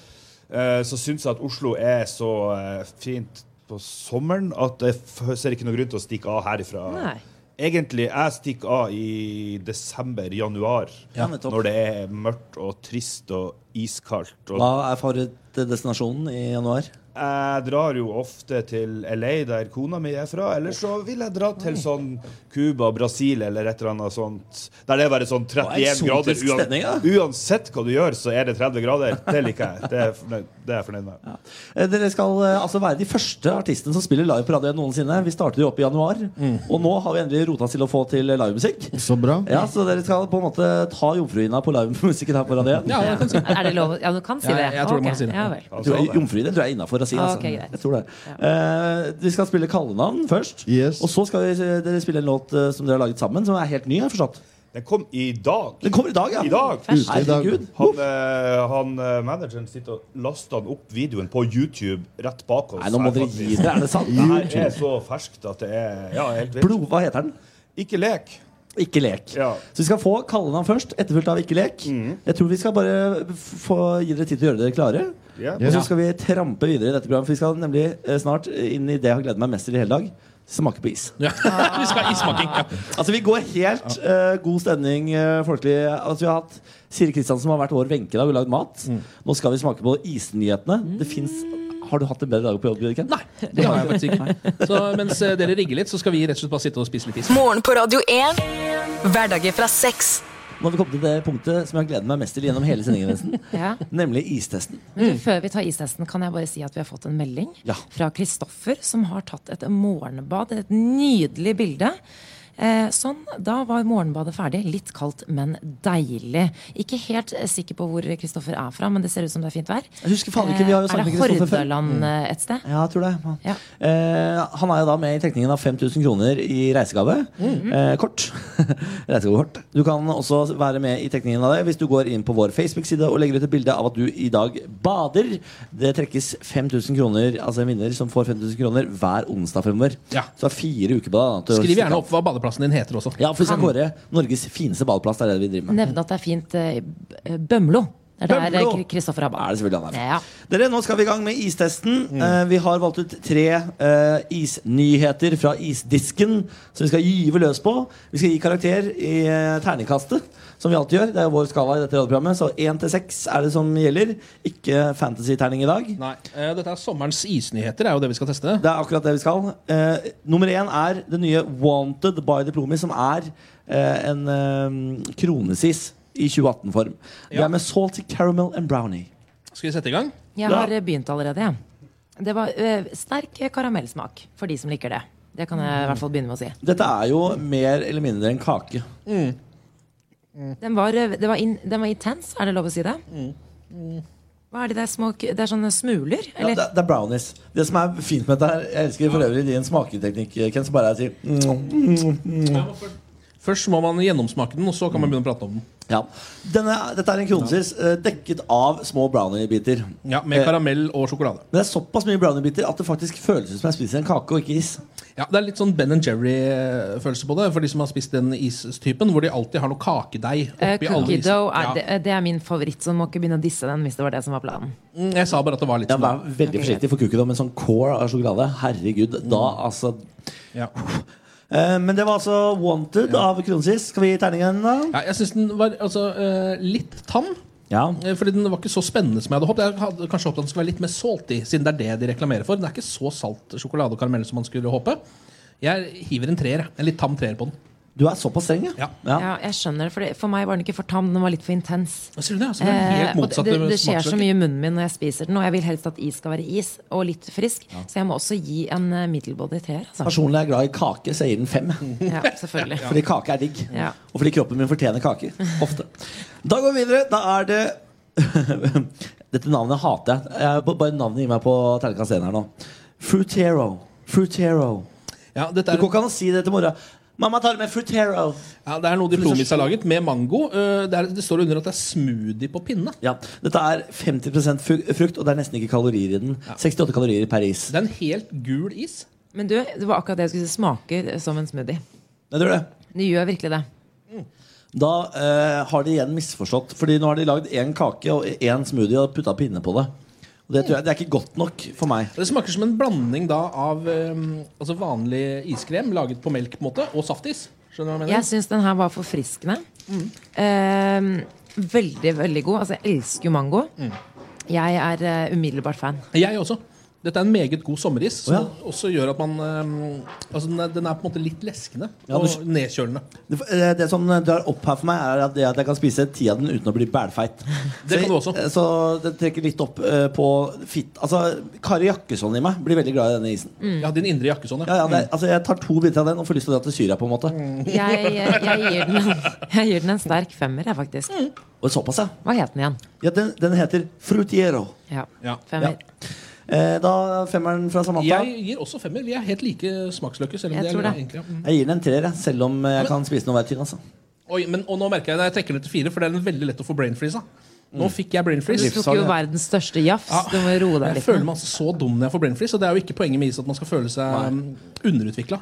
[SPEAKER 12] eh, så syns jeg at Oslo er så eh, fint på sommeren at jeg f- ser ikke noen grunn til å stikke av herifra.
[SPEAKER 3] Nei.
[SPEAKER 12] Egentlig, jeg stikker av i desember-januar,
[SPEAKER 2] Ja, nettopp.
[SPEAKER 12] når det er mørkt og trist og iskaldt. Og
[SPEAKER 2] Hva er favorittdestinasjonen i januar?
[SPEAKER 12] jeg drar jo ofte til LA, der kona mi er fra. Eller så vil jeg dra til sånn Cuba, Brasil eller et eller annet sånt. Der det er bare sånn
[SPEAKER 2] Å,
[SPEAKER 12] 31
[SPEAKER 2] eksotisk
[SPEAKER 12] grader.
[SPEAKER 2] stemning, ja.
[SPEAKER 12] uansett hva du gjør, så er det 30 grader. Det liker jeg. Det er, jeg fornøyd, det er jeg fornøyd med.
[SPEAKER 2] Eh, Dere skal eh, altså være de første artistene som spiller live på radioen noensinne. Vi startet jo opp i januar, og nå har vi endelig rota oss til å få til eh, livemusikk.
[SPEAKER 11] Mm. Så bra.
[SPEAKER 2] Ja, så dere skal på en måte ta jomfruhinna på livemusikken her på radioen?
[SPEAKER 4] Ja, det kan si.
[SPEAKER 3] Er det lov? Ja, du kan si
[SPEAKER 4] Ja,
[SPEAKER 3] det.
[SPEAKER 4] jeg- jeg tror du må
[SPEAKER 3] Ok,
[SPEAKER 4] si det.
[SPEAKER 3] Ja, vel.
[SPEAKER 12] Altså,
[SPEAKER 2] Du er jomfruhinne, du er innafor å si.
[SPEAKER 3] Ah,
[SPEAKER 2] Altså.
[SPEAKER 3] ok, greit.
[SPEAKER 2] Jeg tror det. Eh, vi skal spille kallenavn først.
[SPEAKER 11] Yes.
[SPEAKER 2] Og så skal vi, eh, dere spille en låt eh, som dere har laget sammen, som er helt ny. har jeg forstått
[SPEAKER 12] Den kom i dag.
[SPEAKER 2] Den kommer i dag, ja!
[SPEAKER 12] I dag.
[SPEAKER 11] Ute i dag.
[SPEAKER 2] Herregud.
[SPEAKER 12] Han, eh, han eh, manageren sitter og laster han opp videoen på YouTube rett bak oss.
[SPEAKER 2] Nei, nå må
[SPEAKER 12] her,
[SPEAKER 2] dere
[SPEAKER 12] faktisk.
[SPEAKER 2] gi dere. Er det sant?
[SPEAKER 12] Det her er så ferskt at det er ja, helt vilt.
[SPEAKER 2] Blod, hva heter den?
[SPEAKER 12] Ikke lek.
[SPEAKER 2] Ikke lek.
[SPEAKER 12] Ja.
[SPEAKER 2] Så vi skal få kallenavn først, etterfulgt av ikke lek.
[SPEAKER 11] Mm.
[SPEAKER 2] Jeg tror vi skal bare f- få gi dere tid til å gjøre dere klare.
[SPEAKER 12] Ja.
[SPEAKER 2] Og så skal vi trampe videre i dette programmet, for vi skal nemlig eh, snart inn i det jeg har gledet meg mest til i hele dag. Smake på is.
[SPEAKER 4] Ja. Vi skal ha issmaking. Ja.
[SPEAKER 2] Altså Vi går helt eh, god stemning eh, folkelig. Altså, vi har hatt Siri Kristiansen har vært vår Wenche i dag og lagd mat. Nå skal vi smake på isnyhetene. Det finnes Har du hatt en bedre dag på jobb? Jørgen?
[SPEAKER 4] Nei, det har jeg faktisk ikke. Så mens eh, dere rigger litt, så skal vi rett og slett bare sitte og spise litt is.
[SPEAKER 1] Morgen på Radio 1. Hverdager fra seks.
[SPEAKER 2] Nå har vi kommet til det punktet som jeg har gledet meg mest til gjennom hele sendingen. nesten.
[SPEAKER 3] Ja.
[SPEAKER 2] Nemlig istesten.
[SPEAKER 3] Men
[SPEAKER 4] Mm.
[SPEAKER 3] du, før vi tar istesten, kan jeg bare si at vi har fått en melding
[SPEAKER 2] Mm. Ja.
[SPEAKER 3] fra Kristoffer, som har tatt et morgenbad. Et nydelig bilde. Eh, sånn, Da var morgenbadet ferdig. Litt kaldt, men deilig. Ikke helt eh, sikker på hvor Kristoffer er fra, men det ser ut som det er fint vær.
[SPEAKER 2] Jeg husker faen ikke, vi har jo
[SPEAKER 3] Eh, er
[SPEAKER 2] snakket
[SPEAKER 3] det
[SPEAKER 2] med Kristoffer før. Mm.
[SPEAKER 3] Hordaland eh, et sted?
[SPEAKER 2] Ja, jeg tror det.
[SPEAKER 3] Ja.
[SPEAKER 2] Eh, han er jo da med i trekningen av 5000 kroner i reisegave.
[SPEAKER 4] Mm.
[SPEAKER 2] eh, kort. Reisegavekort. Du kan også være med i trekningen av det hvis du går inn på vår Facebook-side og legger ut et bilde av at du i dag bader. Det trekkes 5000 kroner, altså en vinner som får 5000 kroner hver onsdag fremover.
[SPEAKER 4] Ja.
[SPEAKER 2] Så det er fire uker på deg. da, til å
[SPEAKER 4] Skriv
[SPEAKER 2] stikke
[SPEAKER 4] gjerne
[SPEAKER 2] av.
[SPEAKER 4] opp hva badeplassen din heter også.
[SPEAKER 2] Ja, for vi skal kåre Norges fineste badeplass. Det er det vi driver med.
[SPEAKER 3] Nevne at det er fint eh, i B- eh, Bømlo. Det er der
[SPEAKER 2] Bømlo!
[SPEAKER 3] eh, Kri- Kristoffer har
[SPEAKER 2] er
[SPEAKER 3] bad.
[SPEAKER 2] det selvfølgelig han er.
[SPEAKER 3] Ja.
[SPEAKER 2] Dere, nå skal vi i gang med istesten.
[SPEAKER 4] Mm.
[SPEAKER 2] Eh, vi har valgt ut tre eh, isnyheter fra isdisken som vi skal gyve løs på. Vi skal gi karakter i eh, terningkastet, som vi alltid gjør. Det er jo vår skala i dette radioprogrammet, så én til seks er det som gjelder. Ikke fantasy-terning i dag.
[SPEAKER 4] Nei, eh, Dette er sommerens isnyheter, er jo det vi skal teste.
[SPEAKER 2] Det er akkurat det vi skal. Eh, nummer én er det nye Wanted by Diplomi, som er eh, en eh, kronesis i 2018-form. Det
[SPEAKER 4] Ja.
[SPEAKER 2] er med salty caramel and brownie.
[SPEAKER 4] Skal vi sette i gang?
[SPEAKER 3] Jeg har eh, begynt allerede, jeg. Det var eh, sterk eh, karamellsmak for de som liker det. Det kan jeg i hvert fall begynne med å si.
[SPEAKER 2] Dette er jo mer eller mindre en kake.
[SPEAKER 4] Mm.
[SPEAKER 3] Den var, eh, det var, in, den var intens, er det lov å si det?
[SPEAKER 2] Mm.
[SPEAKER 3] Hva er de der små k- Det er sånne smuler?
[SPEAKER 2] Ja,
[SPEAKER 3] Eller?
[SPEAKER 2] det, det er brownies. Det som er fint med dette her Jeg elsker for øvrig din smaketeknikk, Ken, som bare er å si mm.
[SPEAKER 4] Først må man gjennomsmake den, og så kan man begynne å prate om den.
[SPEAKER 2] ja. Denne, Dette er en kronesis eh, dekket av små browniebiter.
[SPEAKER 4] Ja, Med
[SPEAKER 2] Eh,
[SPEAKER 4] karamell og sjokolade.
[SPEAKER 2] Men det er såpass mye browniebiter at det faktisk føles ut som jeg spiser en kake og ikke is.
[SPEAKER 4] Ja, Det er litt sånn Ben Jerry-følelse på det, for de som har spist den istypen hvor de alltid har noe kakedeig
[SPEAKER 3] Eh,
[SPEAKER 4] oppi alle
[SPEAKER 3] cookie
[SPEAKER 4] isene.
[SPEAKER 3] dough er,
[SPEAKER 4] Ja.
[SPEAKER 3] det, eh, det er min favoritt, så du må ikke begynne å disse den hvis det var det som var planen.
[SPEAKER 4] Mm, Jeg sa bare at det var litt
[SPEAKER 2] Ja,
[SPEAKER 4] sånn.
[SPEAKER 2] Vær veldig forsiktig for kukken om en sånn core av sjokolade. Herregud, da altså
[SPEAKER 4] Mm. Ja.
[SPEAKER 2] Eh, Men det var altså Wanted av Kronesis. Skal vi gi terningen, da?
[SPEAKER 4] Ja, jeg syns den var altså, eh, litt tam. Eh, Fordi Den var ikke så spennende som jeg hadde håpet. Jeg hadde kanskje håpet at den skulle være litt mer salty, siden det er det de reklamerer for. Den er ikke så salt sjokolade og karamell som man skulle håpe. Jeg hiver en treer. jeg. En litt tam treer på den.
[SPEAKER 2] Du er såpass streng,
[SPEAKER 4] ja.
[SPEAKER 3] Ja, jeg skjønner det. For, det, for meg var den ikke for tam, den var litt for intens. Eh,
[SPEAKER 4] det, altså, det er helt
[SPEAKER 3] og
[SPEAKER 4] motsatt
[SPEAKER 3] det, det, det skjer
[SPEAKER 4] smaksløk.
[SPEAKER 3] så mye i munnen min når jeg spiser den, og jeg vil helst at is skal være is, og litt frisk. Så jeg må også gi en eh, middelbody teer. Altså.
[SPEAKER 2] Personlig er jeg glad i kake, så jeg gir den fem.
[SPEAKER 3] Ja, selvfølgelig.
[SPEAKER 2] Fordi kake er digg.
[SPEAKER 3] Ja.
[SPEAKER 2] Og fordi kroppen min fortjener kaker. Ofte. Da går vi videre. Da er det Dette navnet hater jeg. jeg. b- Bare navnet gir meg på terningkast én her nå. Frutero. Frutero.
[SPEAKER 4] dette er-
[SPEAKER 2] Du går ikke an å si det til mora. Mamma tar med Frutero.
[SPEAKER 4] Ja, det er noe de Plomis har laget, med mango. Eh, Det, er, det står under at det er smoothie på pinne.
[SPEAKER 2] Ja, Dette er 50 fru- frukt, og det er nesten ikke kalorier i den. 68 kalorier per is.
[SPEAKER 4] Det er en helt gul is.
[SPEAKER 3] Men du, det var akkurat det jeg skulle si. Smaker som en smoothie.
[SPEAKER 2] Det tror jeg.
[SPEAKER 3] Det gjør virkelig det.
[SPEAKER 2] Da eh, har de igjen misforstått. Fordi nå har de lagd én kake og én smoothie og putta pinne på det. Og det, tror jeg, det er ikke godt nok for meg.
[SPEAKER 4] Det smaker som en blanding da av eh, altså vanlig iskrem laget på melk på en måte, og saftis. Skjønner du hva jeg mener?
[SPEAKER 3] Jeg syns den her var forfriskende. Eh, veldig, veldig god. Altså, jeg elsker jo mango.
[SPEAKER 4] Mm.
[SPEAKER 3] Jeg er eh, umiddelbart fan.
[SPEAKER 4] Jeg også. Dette er en meget god sommeris, som
[SPEAKER 2] Å,
[SPEAKER 4] også gjør at man eh, altså den, er, den er på en måte litt leskende
[SPEAKER 2] Ja,
[SPEAKER 4] og
[SPEAKER 2] du-
[SPEAKER 4] nedkjølende.
[SPEAKER 2] Det, eh, det som drar opp her for meg, er at, det at jeg kan spise ti av den uten å bli bælfeit.
[SPEAKER 4] Det kan du
[SPEAKER 2] også. Så det trekker litt opp eh, på fitt. Altså, Kari Jakkesson i meg blir veldig glad i denne isen.
[SPEAKER 3] Mm.
[SPEAKER 4] Ja, din indre jakkesånne.
[SPEAKER 2] Ja, ja, det, er- altså, jeg tar to biter av den og får lyst til å dra til Syria, på en måte.
[SPEAKER 3] Jeg, jeg, gir, den, jeg gir den en sterk femmer, jeg, faktisk.
[SPEAKER 4] Mm.
[SPEAKER 2] Og såpass, ja.
[SPEAKER 3] Hva het den igjen?
[SPEAKER 2] ja den, den heter Frutiero.
[SPEAKER 3] Ja.
[SPEAKER 4] Mm. Ja.
[SPEAKER 3] Femmer.
[SPEAKER 2] Eh, da femmeren fra Samantha.
[SPEAKER 4] Jeg gir også femmer. Vi er helt like smaksløker. Selv om
[SPEAKER 3] Jeg
[SPEAKER 4] det
[SPEAKER 3] tror
[SPEAKER 4] er
[SPEAKER 3] det.
[SPEAKER 4] egentlig, ja.
[SPEAKER 2] Jeg gir den en treer, jeg, selv om eh, jeg kan spise den og være tynn. Altså.
[SPEAKER 4] Oi, men, og nå merker jeg at jeg trekker ned til fire, for det er den veldig lett å få brain freeze av. Nå fikk jeg brain
[SPEAKER 3] Du
[SPEAKER 4] freeze.
[SPEAKER 3] tok jo verdens største jafs.
[SPEAKER 4] Ja.
[SPEAKER 3] Du må roe deg
[SPEAKER 4] Jeg
[SPEAKER 3] litt.
[SPEAKER 4] føler
[SPEAKER 3] nå.
[SPEAKER 4] meg altså så dum når jeg får brain freeze, og det er jo ikke poenget med is at man skal føle seg um, underutvikla.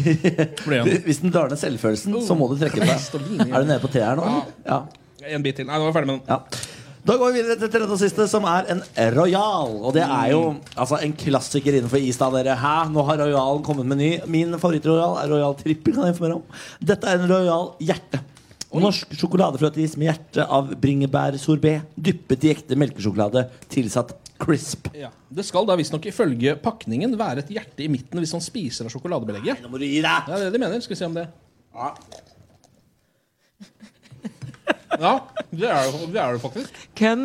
[SPEAKER 2] Hvis den drar ned selvfølelsen, så må du trekke på
[SPEAKER 4] Kast og
[SPEAKER 2] deg. Er du nede på treeren nå? eller? Ja.
[SPEAKER 4] En bit til. Nei, nå er jeg ferdig med den.
[SPEAKER 2] Da går vi videre til tredje og siste, som er en Royal. Og det er jo altså, en klassiker innenfor is, da, dere. Hæ? Nå har Royalen kommet med ny. Min favoritt-Royal er Royal Trippel, kan jeg informere om. Dette er en Royal Hjerte. Norsk sjokoladefløteis med hjerte av bringebærsorbé dyppet i ekte melkesjokolade tilsatt crisp.
[SPEAKER 4] Ja. Det skal da visstnok ifølge pakningen være et hjerte i midten hvis man spiser av sjokoladebelegget. Nei,
[SPEAKER 2] nå må du gi deg!
[SPEAKER 4] Det er det de mener. Skal vi se om det Ja, det er det, det, er det faktisk.
[SPEAKER 3] Ken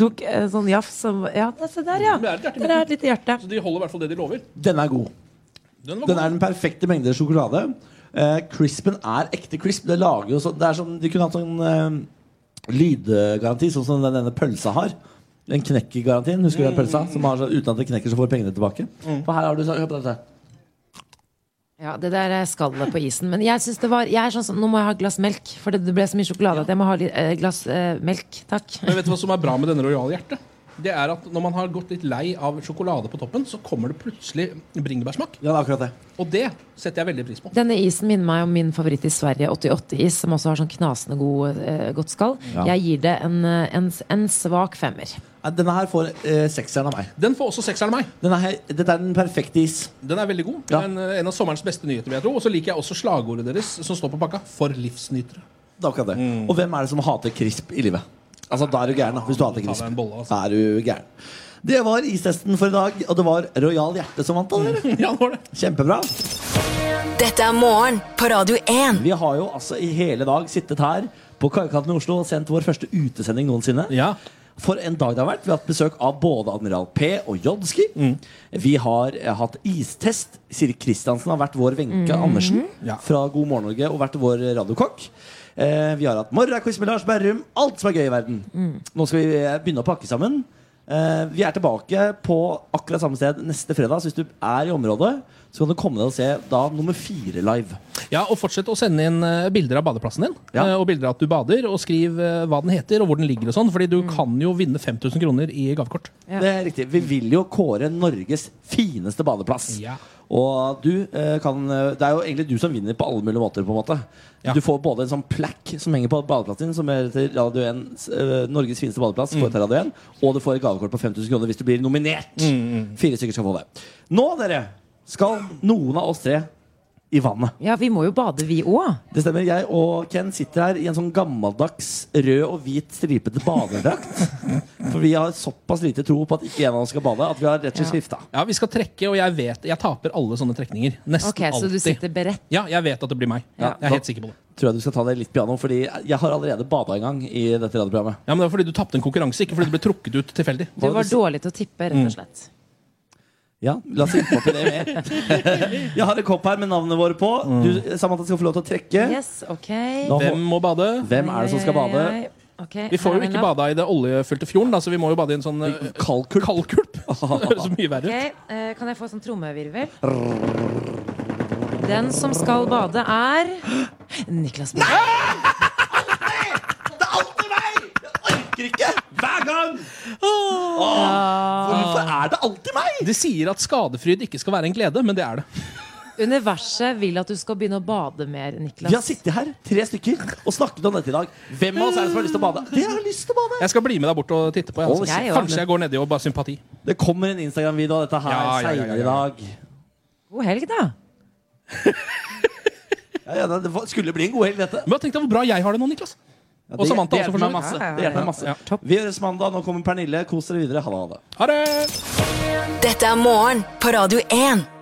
[SPEAKER 3] tok en sånn jafs som Ja, se der, ja.
[SPEAKER 4] Det er et hjerte i
[SPEAKER 3] Der er et lite hjerte.
[SPEAKER 4] Så de holder i hvert fall det de lover.
[SPEAKER 2] Den er god.
[SPEAKER 4] Den var
[SPEAKER 2] Den
[SPEAKER 4] god.
[SPEAKER 2] er den perfekte mengde sjokolade. Eh, crispen er ekte crisp. Det, lager jo så, det er som, De kunne hatt sånn eh, lydgaranti, sånn som den, denne pølsa har. Den knekkergarantien. Husker du den pølsa? Som har sånn, Uten at det knekker, så får du pengene tilbake. For her har du sånn, hør på dette.
[SPEAKER 3] Ja, Det der er skallet på isen. Men jeg synes det var jeg er sånn, som- Nå må jeg ha et glass melk, for det det ble så mye sjokolade at jeg må ha litt eh, glass eh, melk. Takk.
[SPEAKER 4] Men vet du hva som er bra med denne Royal Hjerte? Det er at Når man har gått litt lei av sjokolade på toppen, så kommer det plutselig bringebærsmak.
[SPEAKER 2] Ja, det er akkurat det.
[SPEAKER 4] Og det setter jeg veldig pris på.
[SPEAKER 3] Denne isen minner meg om min favoritt i Sverige, 88-is, som også har sånn knasende god, eh, godt skall.
[SPEAKER 2] Ja.
[SPEAKER 3] Jeg gir det en, eh, en, en svak femmer.
[SPEAKER 2] Nei, Denne her får eh, sekseren av meg.
[SPEAKER 4] Den får også sekseren av meg.
[SPEAKER 2] Den er, her- dette er den perfekte is.
[SPEAKER 4] Den er veldig god.
[SPEAKER 2] Ja.
[SPEAKER 4] Den er en av sommerens beste nyheter, vil jeg tro. Og så liker jeg også slagordet deres som står på pakka. For livsnytere.
[SPEAKER 2] Det er akkurat det. Og hvem er det som hater crisp i livet? Altså, Da er du gæren, da. Hvis du
[SPEAKER 4] Ta
[SPEAKER 2] hater
[SPEAKER 4] deg en
[SPEAKER 2] crisp.
[SPEAKER 4] bolle, altså.
[SPEAKER 2] Da er du gæren. Det var istesten for i dag, og det var Royal Hjerte som vant. da, dere.
[SPEAKER 4] Ja, det var det.
[SPEAKER 2] Kjempebra.
[SPEAKER 1] Dette er morgen på Radio 1.
[SPEAKER 2] Vi har jo altså i hele dag sittet her på Kaikanten i Oslo og sendt vår første utesending noensinne.
[SPEAKER 4] Ja.
[SPEAKER 2] For en dag det har vært. Vi har hatt besøk av både Admiral P og Jodski.
[SPEAKER 4] Mm.
[SPEAKER 2] Vi har eh, hatt istest. Siri Kristiansen har vært vår Wenche
[SPEAKER 1] Mhm.
[SPEAKER 2] Andersen
[SPEAKER 4] Ja.
[SPEAKER 2] fra God morgen Norge og vært vår radiokokk. Eh, vi har hatt morgenquiz med Lars Berrum. Alt som er gøy i verden.
[SPEAKER 1] Mm.
[SPEAKER 2] Nå skal vi eh, begynne å pakke sammen. Eh, vi er tilbake på akkurat samme sted neste fredag. Så hvis du er i området, så kan du komme deg og se da nummer fire live.
[SPEAKER 4] Ja, og fortsett å sende inn eh, bilder av badeplassen din.
[SPEAKER 2] Ja.
[SPEAKER 4] eh, Og bilder av at du bader, og skriv eh, hva den heter og hvor den ligger og sånn. Fordi du
[SPEAKER 3] Mm.
[SPEAKER 4] kan jo vinne 5000 kroner i gavekort.
[SPEAKER 2] Det er riktig. Vi vil jo kåre Norges fineste badeplass.
[SPEAKER 4] Ja.
[SPEAKER 2] Og du eh, kan eh, Det er jo egentlig du som vinner på alle mulige måter. på en måte
[SPEAKER 4] Ja.
[SPEAKER 2] Du får både en sånn plack som henger på badeplassen din, som er til Radio 1, eh, Norges fineste badeplass,
[SPEAKER 4] Mm.
[SPEAKER 2] får til Radio 1, og du får et gavekort på 5000 kroner hvis du blir
[SPEAKER 4] Mm,
[SPEAKER 2] nominert. Fire stykker skal få det. Nå, dere, skal noen av oss tre i vannet.
[SPEAKER 3] Ja, vi må jo bade, vi òg.
[SPEAKER 2] Det stemmer. Jeg og Ken sitter her i en sånn gammeldags rød og hvit stripete badedrakt. For vi har såpass lite tro på at ikke en av oss skal bade, at vi har rett og slett skifta.
[SPEAKER 4] Ja, vi skal trekke, og jeg vet Jeg taper alle sånne trekninger. Nesten
[SPEAKER 3] Ok, Så
[SPEAKER 4] alltid.
[SPEAKER 3] du sitter beredt?
[SPEAKER 4] Ja, jeg vet at det blir meg.
[SPEAKER 2] Ja.
[SPEAKER 4] Jeg er helt sikker på det.
[SPEAKER 2] Tror jeg du skal ta det litt piano, fordi jeg har allerede bada en gang i dette radioprogrammet.
[SPEAKER 4] Ja, men Det var fordi du tapte en konkurranse, ikke fordi du ble trukket ut tilfeldig.
[SPEAKER 3] Du var dårlig til å tippe,
[SPEAKER 4] Mm.
[SPEAKER 3] rett og slett.
[SPEAKER 2] Mm. Ja, la oss innpå til det mer. Jeg har en kopp her med navnene våre på. Du, Samantha skal få lov til å trekke.
[SPEAKER 3] Yes, ok
[SPEAKER 4] Hvem må bade?
[SPEAKER 2] Hvem er det som skal bade?
[SPEAKER 3] Ai, ai, ai. Ok,
[SPEAKER 4] Vi
[SPEAKER 3] her
[SPEAKER 4] får jo
[SPEAKER 3] er
[SPEAKER 4] ikke
[SPEAKER 3] den da.
[SPEAKER 4] bada i det oljefylte fjorden, da, så vi må jo bade i en sånn eh,
[SPEAKER 2] kaldkulp.
[SPEAKER 4] Det høres så mye verre ut.
[SPEAKER 3] Ok, eh, Kan jeg få sånn trommevirvel? Den som skal bade, er Niklas Bae.
[SPEAKER 2] Hver gang!
[SPEAKER 4] Hvorfor
[SPEAKER 2] er det alltid meg?
[SPEAKER 4] De sier at skadefryd ikke skal være en glede, men det er det.
[SPEAKER 3] Universet vil at du skal begynne å bade mer, Niklas.
[SPEAKER 2] Vi har sittet her, tre stykker, og snakket om dette i dag. Hvem av oss er det som har lyst til å bade? Dere har lyst til å bade!
[SPEAKER 4] Jeg skal bli med deg bort og titte på. Jeg,
[SPEAKER 2] Hold
[SPEAKER 4] altså.
[SPEAKER 2] kjeft.
[SPEAKER 4] Kanskje jeg går nedi og bare sympati.
[SPEAKER 2] Det kommer en Instagram-video av dette
[SPEAKER 4] Ja,
[SPEAKER 2] her
[SPEAKER 4] ja, ja, ja, ja.
[SPEAKER 2] senere i dag.
[SPEAKER 3] God helg, da.
[SPEAKER 2] Ja, ja, det var- skulle bli en god helg, dette.
[SPEAKER 4] Men tenk deg hvor bra jeg har det nå, Niklas.
[SPEAKER 2] Ja,
[SPEAKER 4] Og Samantha
[SPEAKER 2] det
[SPEAKER 4] også, for
[SPEAKER 2] hjelper
[SPEAKER 4] så
[SPEAKER 2] meg
[SPEAKER 4] vidt.
[SPEAKER 2] masse.
[SPEAKER 4] Ja, ja, ja.
[SPEAKER 2] Det hjelper meg masse. Vi høres mandag. Nå kommer Pernille. Kos dere videre. Ha det. Ha det.
[SPEAKER 1] Dette er morgen på Radio 1.